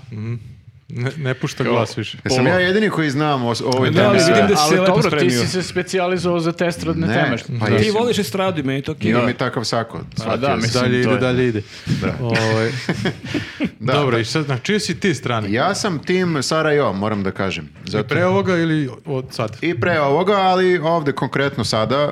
Ne, ne pušta glas više. Jesam ja jedini koji znam o s- o ovoj Da, temi ali sve? vidim da si Ali se lepo dobro, ti spremio. si se specijalizovao za te estradne Ne, teme. pa Da. je- Ti voliš estradu i meni je to kino. Imam i takav sako. shvatio da, sam. mislim, Dalje to ide, je- dalje ide. Ovaj, [laughs] Da, Dobro, da. i sad, na čijoj si ti strani? Ja sam tim Sara Jo, moram da kažem. Zato... Pre ovoga ili od sad? I pre ovoga, ali ovde konkretno sada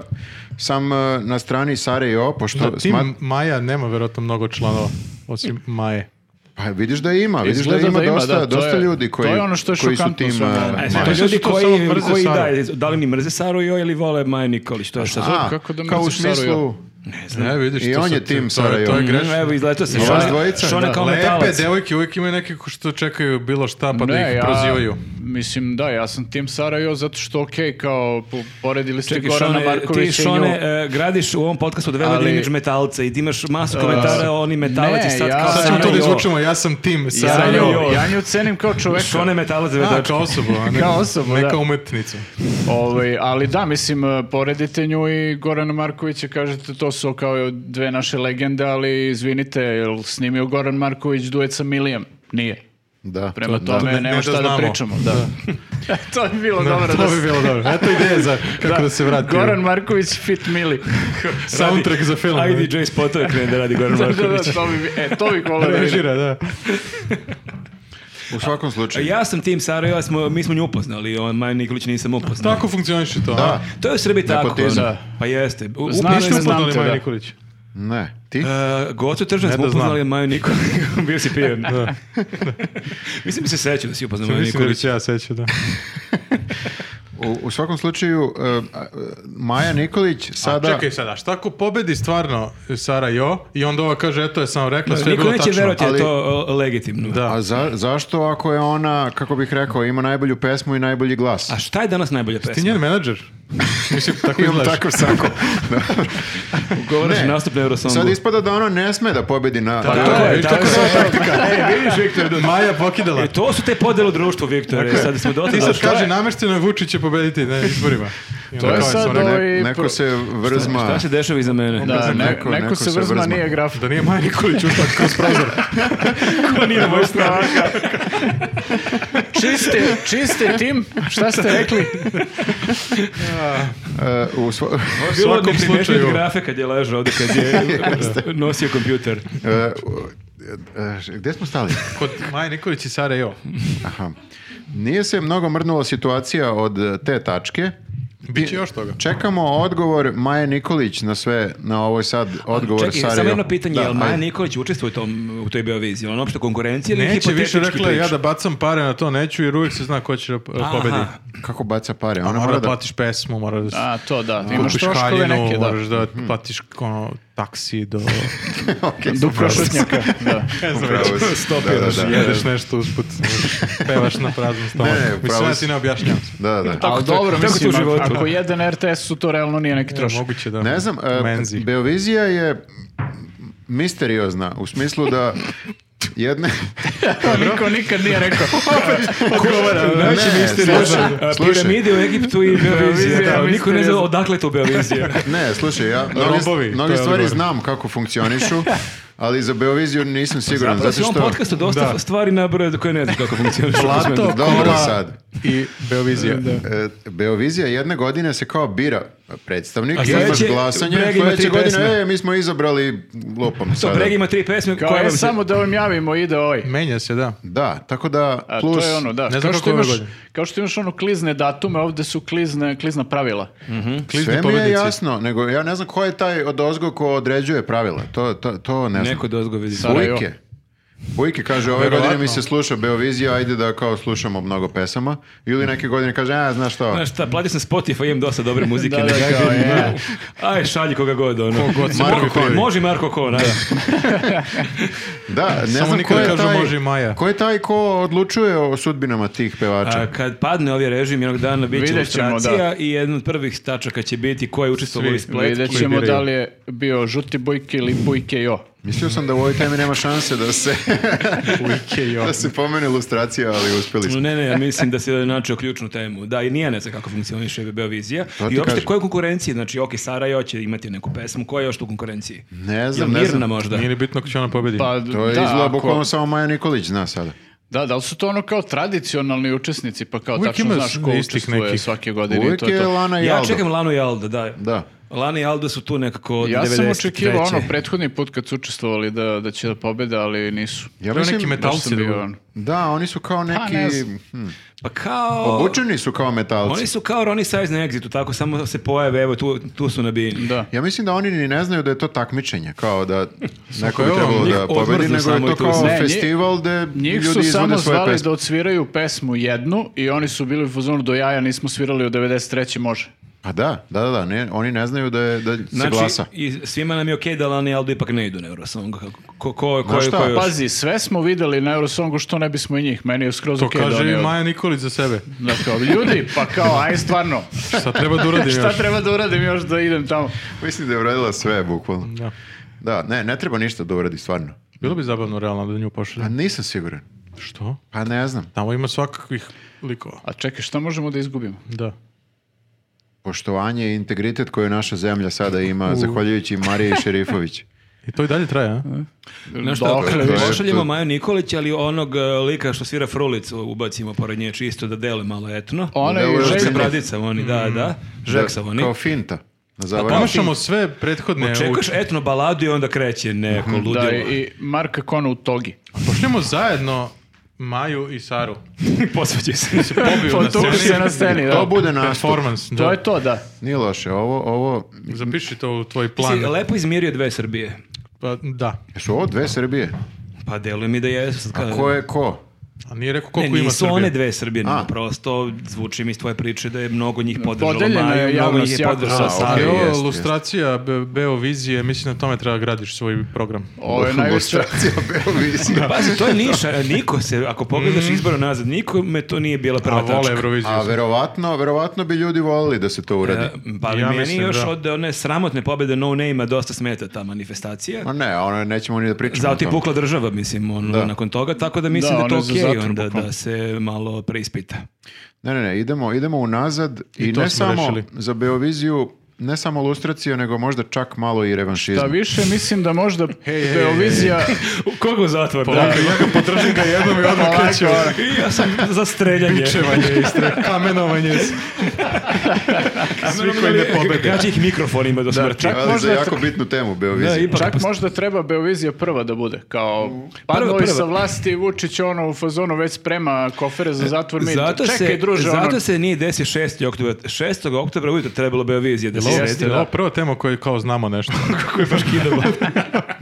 sam e, na strani Sare Jo, pošto Da, tim smat... Maja nema verovatno mnogo članova, osim Maje. Pa vidiš da ima, vidiš da Izgleda ima, da ima, dosta, da, to dosta je- ljudi koji, to je ono što je koji su šokantno tim... sve e, ovo. E, E, Maje. sad, to Maja. ljudi Zato što koji, samo mrze koji da, Saru. da li ni mrze Saru Joj ili vole Maju Nikolić, to je šta A, kako da kao u mrziš Saru Jo? smislu... ne znam. Ne, vidiš, I to on sad- je tim to je- Sara Jo. To je Mm, grešno. Evo, izletao se. I vas Šone- dvojica, Šone da. kao Lepe metalac. devojke uvijek imaju neke ko što čekaju bilo šta pa da Ne, ih ja- prozivaju. Mislim, da, ja sam tim Sara Jo zato što, okej, kao, po- poredili ste Čekaj, Gorana Šone, ti Markovića i nju. Šone e, gradiš u ovom podcastu od velog Ali- imidž metalca i ti imaš masu komentara o oni metalac i ne, sad ja- kao Sad ćemo Sara to da Jo. izvučemo, ja sam tim Sara Sara Sara Jo. Jo, Jo. ja nju cenim kao čoveka. Šone metalac za A, vedača. kao osobu, [laughs] a ne, Kao osobu, ne da. kao umetnicu. Ovaj, ali da, mislim, eh, poredite nju i Gorana Markovića, kažete to su kao dve naše legende, ali izvinite, jel snimio Goran Marković duet sa Milijem? Nije. Da. Prema Da. tome, Ne- ne nema da šta da znamo. pričamo. Da. [laughs] to bi bilo dobro to da bi se- bilo dobro. [laughs] Eto ideje za kako da, se vrati. Goran Marković fit Mili. [laughs] Soundtrack za film. Ajde, DJ [laughs] spotove krene da radi Goran da, da, da, Marković. to bi, e, to bih volio da vidim. Režira, da. U svakom slučaju. Ja sam tim Sarajeva, smo, mi smo nju upoznali, on Maja Nikolić nisam upoznao. Tako funkcioniše to. Da. To je u Srbiji tako. Nepotizam. ono. Pa jeste. U, Znam, Niste znam upoznali te, Maja da. Nikolić. Ne. Ti? Uh, Gocu Tržan Ne smo da znam. upoznali Maju [laughs] Nikolić. Bio si pijen. [laughs] Mislim da se sećam da si upoznao Maju Mislim da bi Nikolić. se ja sećao, da. U, u svakom slučaju, e, a, e, Maja Nikolić sada... A čekaj sada, šta ako pobedi stvarno Sara Jo i onda ova kaže, eto je sam rekla, sve je Niko bilo neće tačno. verovati da je ali- to uh, legitimno. Da. A za, zašto ako je ona, kako bih rekao, ima najbolju pesmu i najbolji glas? A šta je danas najbolja pesma? Ti njen [laughs] menadžer? Mislim, tako Imam izgledaš. takav [laughs] sako. Govoriš Ne. nastup na Eurosongu. Sad ispada da ona ne sme da pobedi na... Tako Da, je, je, vidiš tako kako je. sve taktika. Ej, vidiš, Viktor, da Maja pokidala. E, to su te podele u društvu, Viktore. Sad smo Dakle, dotle Ti sad došli. kaže, namješteno je Vučić će pobediti na izborima. I onda To je kao, ono, sad sorry, Ne- ne- ovaj- neko se vrzma... Šta se dešava iza mene? Da, ne- neko- neko, neko se se vrzma, vrzma. nije graf. Da nije Maja Nikolić ušla kroz prozor. Ko nije na mojoj strani? [laughs] čiste, čiste tim, šta ste rekli? E, u [laughs] svo- U Bilo svakom neprimetnih slučaju, grafe kad je ležao ovdje, [laughs] kad je nosio kompjuter. e, u- e, e, gde smo stali? kod Maja Nikolić i Sara Jo. Aha. Nije se mnogo mrnula situacija od e, te tačke. Biće još toga. Čekamo odgovor Maje Nikolić na sve, na ovoj sad odgovor Čekaj, Sarajevo. samo jedno pitanje, Da, je li Maja ajde. Nikolić učestvuje u, tom, u toj bioviziji? Ona opšte konkurencija ili Neće više hipotetički rekla priča? ja da bacam pare na to, neću jer uvijek se zna ko će da e, Aha. pobedi. Kako baca pare? Ona Mora mora da da... platiš pesmu, mora da [laughs] A, to da, imaš kupiš troškove haljinu, neke, da. moraš da platiš ono, taksi do... Okej, Do upravo si. prošetnjaka, [laughs] da. [laughs] Ne znam, Upravo si. stopiraš, Da, da, da. jedeš nešto [laughs] usput, pevaš na praznom stomaku. Ne, ne, Mislim, upravo ja si. ti ne objašnjam. Da, da. Tako Ali to, dobro, tako mislim, to u ako- životu. ako jedan RTS-u to realno nije neki trošak. Moguće da... Ne znam, e, Menzi. Beovizija je misteriozna, u smislu [laughs] da jedne... To [laughs] niko nikad nije [laughs] rekao. Najveći misterij. A, Slušaj, e, Piramide u Egiptu i Beovizija, Beovizija, da, niko ne zna misteriozno. odakle to Beovizija. ne, slušaj, [laughs] ja mnogi, Robovi, to mnogi je stvari odgovor. znam kako funkcionišu, ali za Beoviziju nisam siguran, Zapravo zato si Znači, u što... ovom podcastu dosta Da. stvari nabrao za koje ne znam kako funkcioniš. Plato, Dobro kola sad. i Beovizija. E, Beovizija jedne godine se kao bira predstavnik, A imaš sledeće, glasanje, Breg ima sledeće tri godine, pesme. e, mi smo izabrali lopom To sada. Breg ima tri pesme Kao, koje e, vam se- samo da vam javimo, ide ovaj. Menja se, da. Da, tako da, A plus, to je ono, da. ne znam Kao kako što, ove imaš, godine. kao što imaš ono klizne datume, ovdje su klizne, klizna pravila. sve Klizni mi je pobednici. jasno, nego ja ne znam ko je taj od ozgo ko određuje pravila, to, to, to ne znam. Neko dozgo vidi. Sa- Sarajevo. Bujke. Bujke kaže, ove Verovatno. godine mi se sluša Beovizija, ajde da kao slušamo mnogo pesama. Ili neke godine kaže, a, znaš šta, Znaš šta, platio sam Spotify, imam dosta dobre muzike. Da, da, neka kao, ga- je. Aj, šalji koga god, ono. god se Marko prvi Kon, prijavi. Može Marko Kon, ajde. da, ne Samo znam ko nikad ne je, kažu taj, može i Maja. ko je taj ko odlučuje o sudbinama tih pevača. A kad padne ovaj režim, jednog dana bit će Vidjet ćemo, ilustracija i jedna od prvih tačaka će biti ko je učestvovao Svi. u spletu. Vidjet koji ćemo biraju. da li je bio žuti bujke ili bujke jo. Mislio sam da u ovoj temi nema šanse da se, Ujke [laughs] i ovo. da se pomene ilustracija, ali uspeli smo. Ne, ne, ja mislim da si načeo ključnu temu. Da, i nije ne znam kako funkcioniše BBO vizija. To ti I uopšte, kažem. koja je konkurencija? Znači, ok, Sarajevo će imati neku pesmu. Koja je još tu u konkurenciji? Ne znam, Jel ne Mirna znam. možda? Nije ni bitno ko će ona pobedi. Pa, To je da, izgleda ako- bukvalno samo Maja Nikolić zna sada. Da, da li su to ono kao tradicionalni učesnici, pa kao Uvijek tačno ima znaš ko istih učestvuje nekih. svake godine i Uvijek to je je to. Lana i Ja Aldo. čekam Lanu i Alda, da. Da. Lana i Alda su tu nekako od Ja sam 93.. očekivao ono prethodni put kad su učestvovali da, da će da pobede, ali nisu. Ja To je mislim, neki Baš sam metalci. bio da budu. ono. da, oni su kao neki... Pa, ne znam. hm, Pa kao... Obučeni su kao metalci. Oni su kao Ronnie Size na Exitu, tako samo se pojave, evo tu, tu su nabijeni. Da. Ja mislim da oni ni ne znaju da je to takmičenje, kao da neko bi evo, trebalo njih da pobedi, odmrznu nego je to samo i tu su. kao Ne, njih- festival gde Njih ljudi su samo izvode svoje zvali pesme. da odsviraju pesmu jednu i oni su bili u fazonu do jaja, nismo svirali u 93. može. Pa da, da, da, da, ne, oni ne znaju da, je, da se Znači, glasa. i svima nam je okej da Lana i Aldo ipak ne idu na Eurosong. Ko, ko, ko, ko, šta, ko još? Pazi, sve smo videli na Eurosongu što ne bismo i njih. Meni je skroz To okej da kaže oni i odu. Maja Nikolić za sebe. Da, kao, ljudi, pa kao, aj stvarno, Šta treba da uradim [laughs] šta još? treba da uradim još da idem tamo? Mislim da je uradila sve, bukvalno. Da. Da, ne, ne treba ništa da uradi, stvarno. Bilo bi zabavno realno da nju Pa pošaljem. nisam siguran. Što? Pa ne znam. Tamo ima svakakvih likova. A čekaj, šta možemo da izgubimo? Da. Poštovanje i integritet koju naša zemlja sada ima, zahvaljujući [laughs] Mariji Šerifović. I to i dalje traje, a? Pa, Znaš šta, Dokle više? pošaljemo Maju Nikolić, ali onog e, lika što svira frulicu ubacimo pored nje čisto da dele malo etno. Ona Da, i ovo je Sa Željko. bradicama oni, da, da. Žeksa Da, oni. Kao finta. Pa Na zavaranje. Pomašamo sve prethodne... Čekaš etno [laughs] Mhm, baladu i onda kreće neko ludilo. Da, i Marka Kona u togi. Pošljemo zajedno Maju i Saru. Posveći se. Se pobiju na Potuku sceni. se na sceni, da. To bude nastup. Performance, da. To je to, da. Nije loše, ovo, ovo, Zapiši to u tvoj Si plan. lepo izmirio dve Srbije. Pa, da. su ovo dve Srbije? Pa deluje mi da jesu. sad kažem. Ko je ko? A nije rekao Ne, koliko ima nisu Srbije. one dve Srbije, nego A. prosto zvuči mi iz tvoje priče da je mnogo njih podržalo Podeljena je Maju, mnogo javnost njih je jako. podržalo A, Saru. Ali Ok, ovo jest, lustracija Be- Beo vizije, mislim na tome treba gradiš svoj program. [laughs] Ovo [laughs] je najveća... Lustracija Beovizije. Pazi, to je Niš, a niko se, ako pogledaš izbor nazad, nikome to nije bila Mm. A prva vole tačka. Euroviziju. A verovatno, verovatno bi ljudi volili da se to uradi. E, Pa ali Ja meni mislim, još da. od one sramotne pobjede No Name-a dosta smeta ta manifestacija. Ma ne, ono nećemo ni da pričamo o Zato je tome. pukla država, mislim, ono, nakon toga, tako da mislim Da, da, je ono to je za okej zatvor onda bukvalno. da pa. se malo preispita. Ne, ne, ne, idemo, idemo unazad i, to ne smo samo rešili. za Beoviziju, ne samo lustraciju, nego možda čak malo i revanšizmu. Da više mislim da možda hej, Beovizija... Koga u zatvor? Polako, ja ga podržim ga jednom i [laughs] odmah Polako, kreću. ono. [laughs] Ja sam za streljanje. Čevanje istre, kamenovanje. Svi koji ne pobede. ono Gađa ih mikrofonima do smrti. čak- Ali možda za je to- jako bitnu temu Beoviziju. Da, ipak Čak možda treba Beovizija prva da bude, kao Prva, padnovi prva. sa vlasti i Vučić ono u fazonu već sprema kofere za zatvor, mi Zato čekaj se, druže, zato ono, se nije desio 6. oktober. 6. oktobra ujutro trebalo Beovizija da se Jeste, sredi, ovo da. je prva tema koju kao znamo nešto.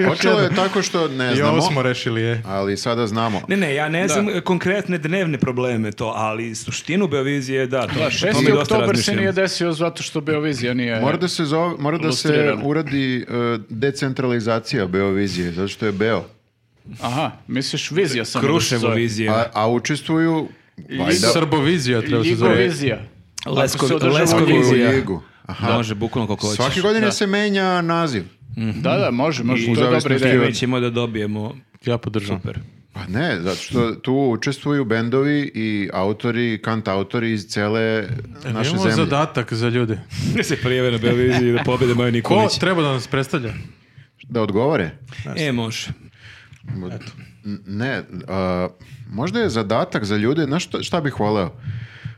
Počelo je tako [laughs] što ne I ovo smo znamo, rešili, je. ali sada znamo. Ne, ne, ja ne znam e, konkretne dnevne probleme to, ali suštinu Beovizije, da, to, da, o 6. tome dosta oktober se razmišljam. nije desio zato što Beovizija nije... Mora da se, zove, mora da se Lustrirano. uradi e, decentralizacija Beovizije, zato što je Beo. Aha, misliš vizija samo da se Kruševo zove. vizije. A, a učestvuju valjda Srbovizija treba se zove. Ljigovizija. Lesko, Ako se održava u Lesko- Leskovizija. Ligu. Aha. Može, bukvalno koliko hoćeš. Svake godine se menja naziv. Da, da, može, može, I- to je dobra zavisnosti ideja. od- Mi ćemo da [laughs] dobijemo Ja podržam. super. Pa ne, zato što tu učestvuju bendovi i autori, kant autori iz cele naše E, Imamo zemlje. zadatak za ljude. Ne se prijeve na Beoviziji da pobede Maju Ko Nikolić. treba da nas predstavlja? Da odgovore. E, može. N- Ne, a, možda je zadatak za ljude, znaš šta, šta bih voleo?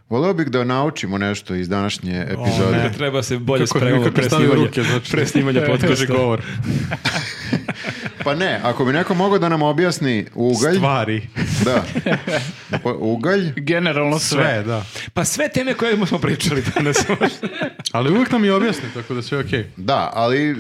Voleo bih da naučimo nešto iz današnje epizode. ne. Treba se bolje Kako- spremamo kako pre stavi snimanja. ruke, znači. Pre snimanja [laughs] Kaže podcasta. govor. pa ne, ako bi neko mogao da nam objasni ugalj, Stvari. da. Pa Ugalj, Generalno sve. Sve, da. Pa sve teme koje smo pričali danas. Ali uvijek nam je objasni, tako da sve je okej. da, ali e,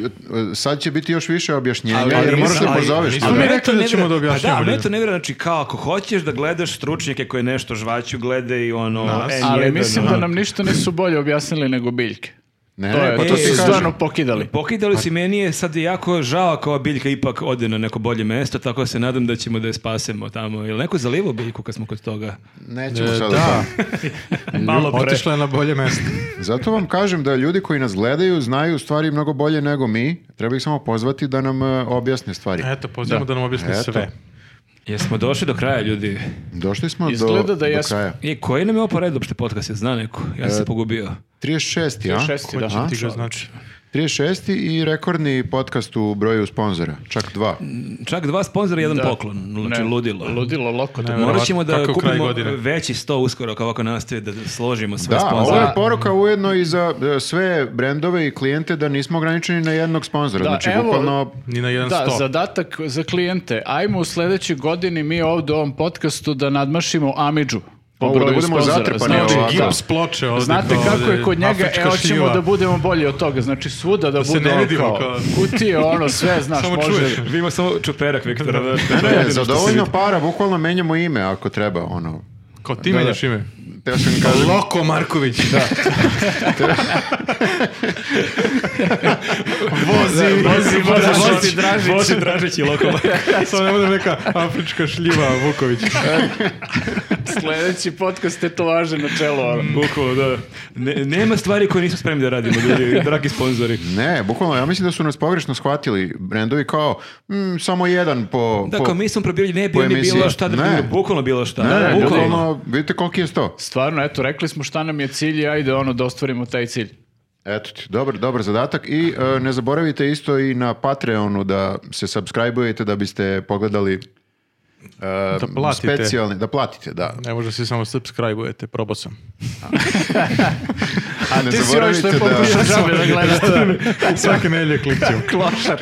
sad će biti još više objašnjenja, Ali- jer ali moraš da nisam- pozoveš. nisam- ljude. mi mene rekli Pa to da ne ćemo vre- da objašnjavamo Pa da, ali mene ljudima. to ne vjerujem, znači kao ako hoćeš da gledaš stručnjake koji nešto žvaću, gledaj i ono Nas. N1, Ali mislim ono. da nam ništa nisu bolje objasnili nego biljke. Ne, To ne, je, pa to to ti se su kažem. stvarno pokidali. Pokidali su i meni je sad jako žao kao biljka ipak ode na neko bolje mesto, tako da se nadam da ćemo da je spasemo tamo. Ili neko zalivo biljku kad smo kod toga? Nećemo E, sad o da, tome. Malo pre. otišla je na bolje mesto. Zato vam kažem da ljudi koji nas gledaju znaju stvari mnogo bolje nego mi. Treba ih samo pozvati da nam e, objasne stvari. Eto, pozivamo da, nam objasni Eto. sve. Jesmo došli do kraja, ljudi. Došli smo do, Izgleda da do jesmo. kraja. I E, koji nam je ovo po redu uopšte podcast? Ja zna neko. Ja sam se pogubio. 36. a? 36., da. Aha. Ti ga znači. 36. i rekordni podcast u broju sponzora. Čak dva. Čak dva sponzora i jedan Da. poklon. Znači, Ne, ludilo. Ludilo, loko. Ne, Morat ćemo da Kako kraj kupimo godine? veći sto uskoro kako ovako nastavi da složimo sve Da, ovo sponzore. je poruka ujedno i za e, sve brendove i klijente da nismo ograničeni na jednog sponzora. Da, znači, evo- bukvalno Ni na jedan Da, sto. zadatak za klijente. Ajmo u sljedećoj godini mi ovdje u ovom podcastu da nadmašimo Amidžu. Po Ovo, da broju budemo sponzora. zatrpani Znači, ovako. Ovdje ovako. da. gips ploče ovdje. Znate kao kako je ovdje kod njega, afrička e, hoćemo šljiva. da budemo bolji od toga. Znači, svuda da, se bude ne ono vidimo, kao kao- kutije, ono, sve, znaš, Samo može. [laughs] čuješ. Vi ima samo čuperak, Viktor. Ne, ne, za dovoljno para, bukvalno menjamo ime ako treba, ono. Kao ti menjaš ime. Teo sam kažem, Loko Marković. Da. Vozi, vozi, vozi, [laughs] vozi, Dražić. Vozi Dražić i Lokomak. Samo ne bude neka afrička šljiva Vuković. Sljedeći podcast tetovaže na čelo, ono. Bukvalo, da. Ne- nema stvari koje nismo spremni da radimo, ljudi, dragi sponzori. ne, bukvalno, ja mislim da su nas pogrešno shvatili brendovi kao, mm, samo jedan po... po- Dakle, mi smo probili, ne bi po oni emisiji. bilo šta da Ne. bilo, bukvalno bilo šta. Ne, Da, ne, bukvalno. bukvalno, vidite koliki je sto. Stvarno, eto, rekli smo šta nam je cilj i ajde, ono, da ostvarimo taj cilj. Eto ti, dobar, dobar zadatak i e, ne zaboravite isto i na Patreonu da se subscribe-ujete da biste pogledali e, Da platite. specijalni, da platite, da. Ne može se samo subscribe-ujete, probao sam. A ne Ti si ovaj što [laughs] je da, [laughs] pokušao žabe da gledaš. Svake nelje klikćem. Klošar.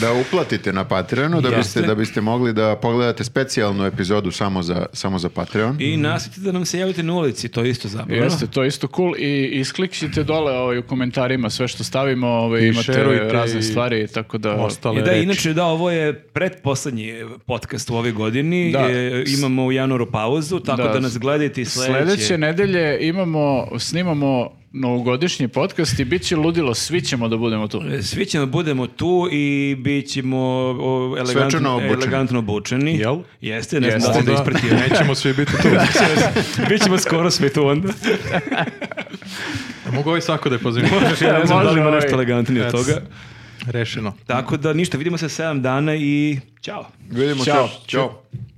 da uplatite na Patreonu, da biste, Jeste. da biste mogli da pogledate specijalnu epizodu samo za, samo za Patreon. I nasjetite da nam se javite na ulici, to je isto zabavno. Jeste, to je isto cool i isklikćite dole ovaj, u komentarima sve što stavimo, ovaj, I imate šerujte razne i stvari, tako da... Ostale I da, reči. inače, da, ovo je pretposlednji podcast u ovoj godini. Da. E, imamo u januaru pauzu, tako da, Da. nas gledajte i sledeće. Sljedeće nedelje imamo, snimamo novogodišnji podcast i bit će ludilo, svi ćemo da budemo tu. E, Svi ćemo budemo tu i bit ćemo o, Svečano elegantno, obučeni. elegantno obučeni. Jel? Jeste, ne znam da Onda li ste to Jeste. [laughs] ispratili. nećemo svi biti tu. bit ćemo skoro svi tu onda. Mogu ovaj sako da je pozivim. ja ne znam da li ima Možemo, nešto ovaj, elegantnije od eto. toga. Rešeno. Tako da ništa, vidimo se 7 dana i ćao. Vidimo se. Ćao. Ćao.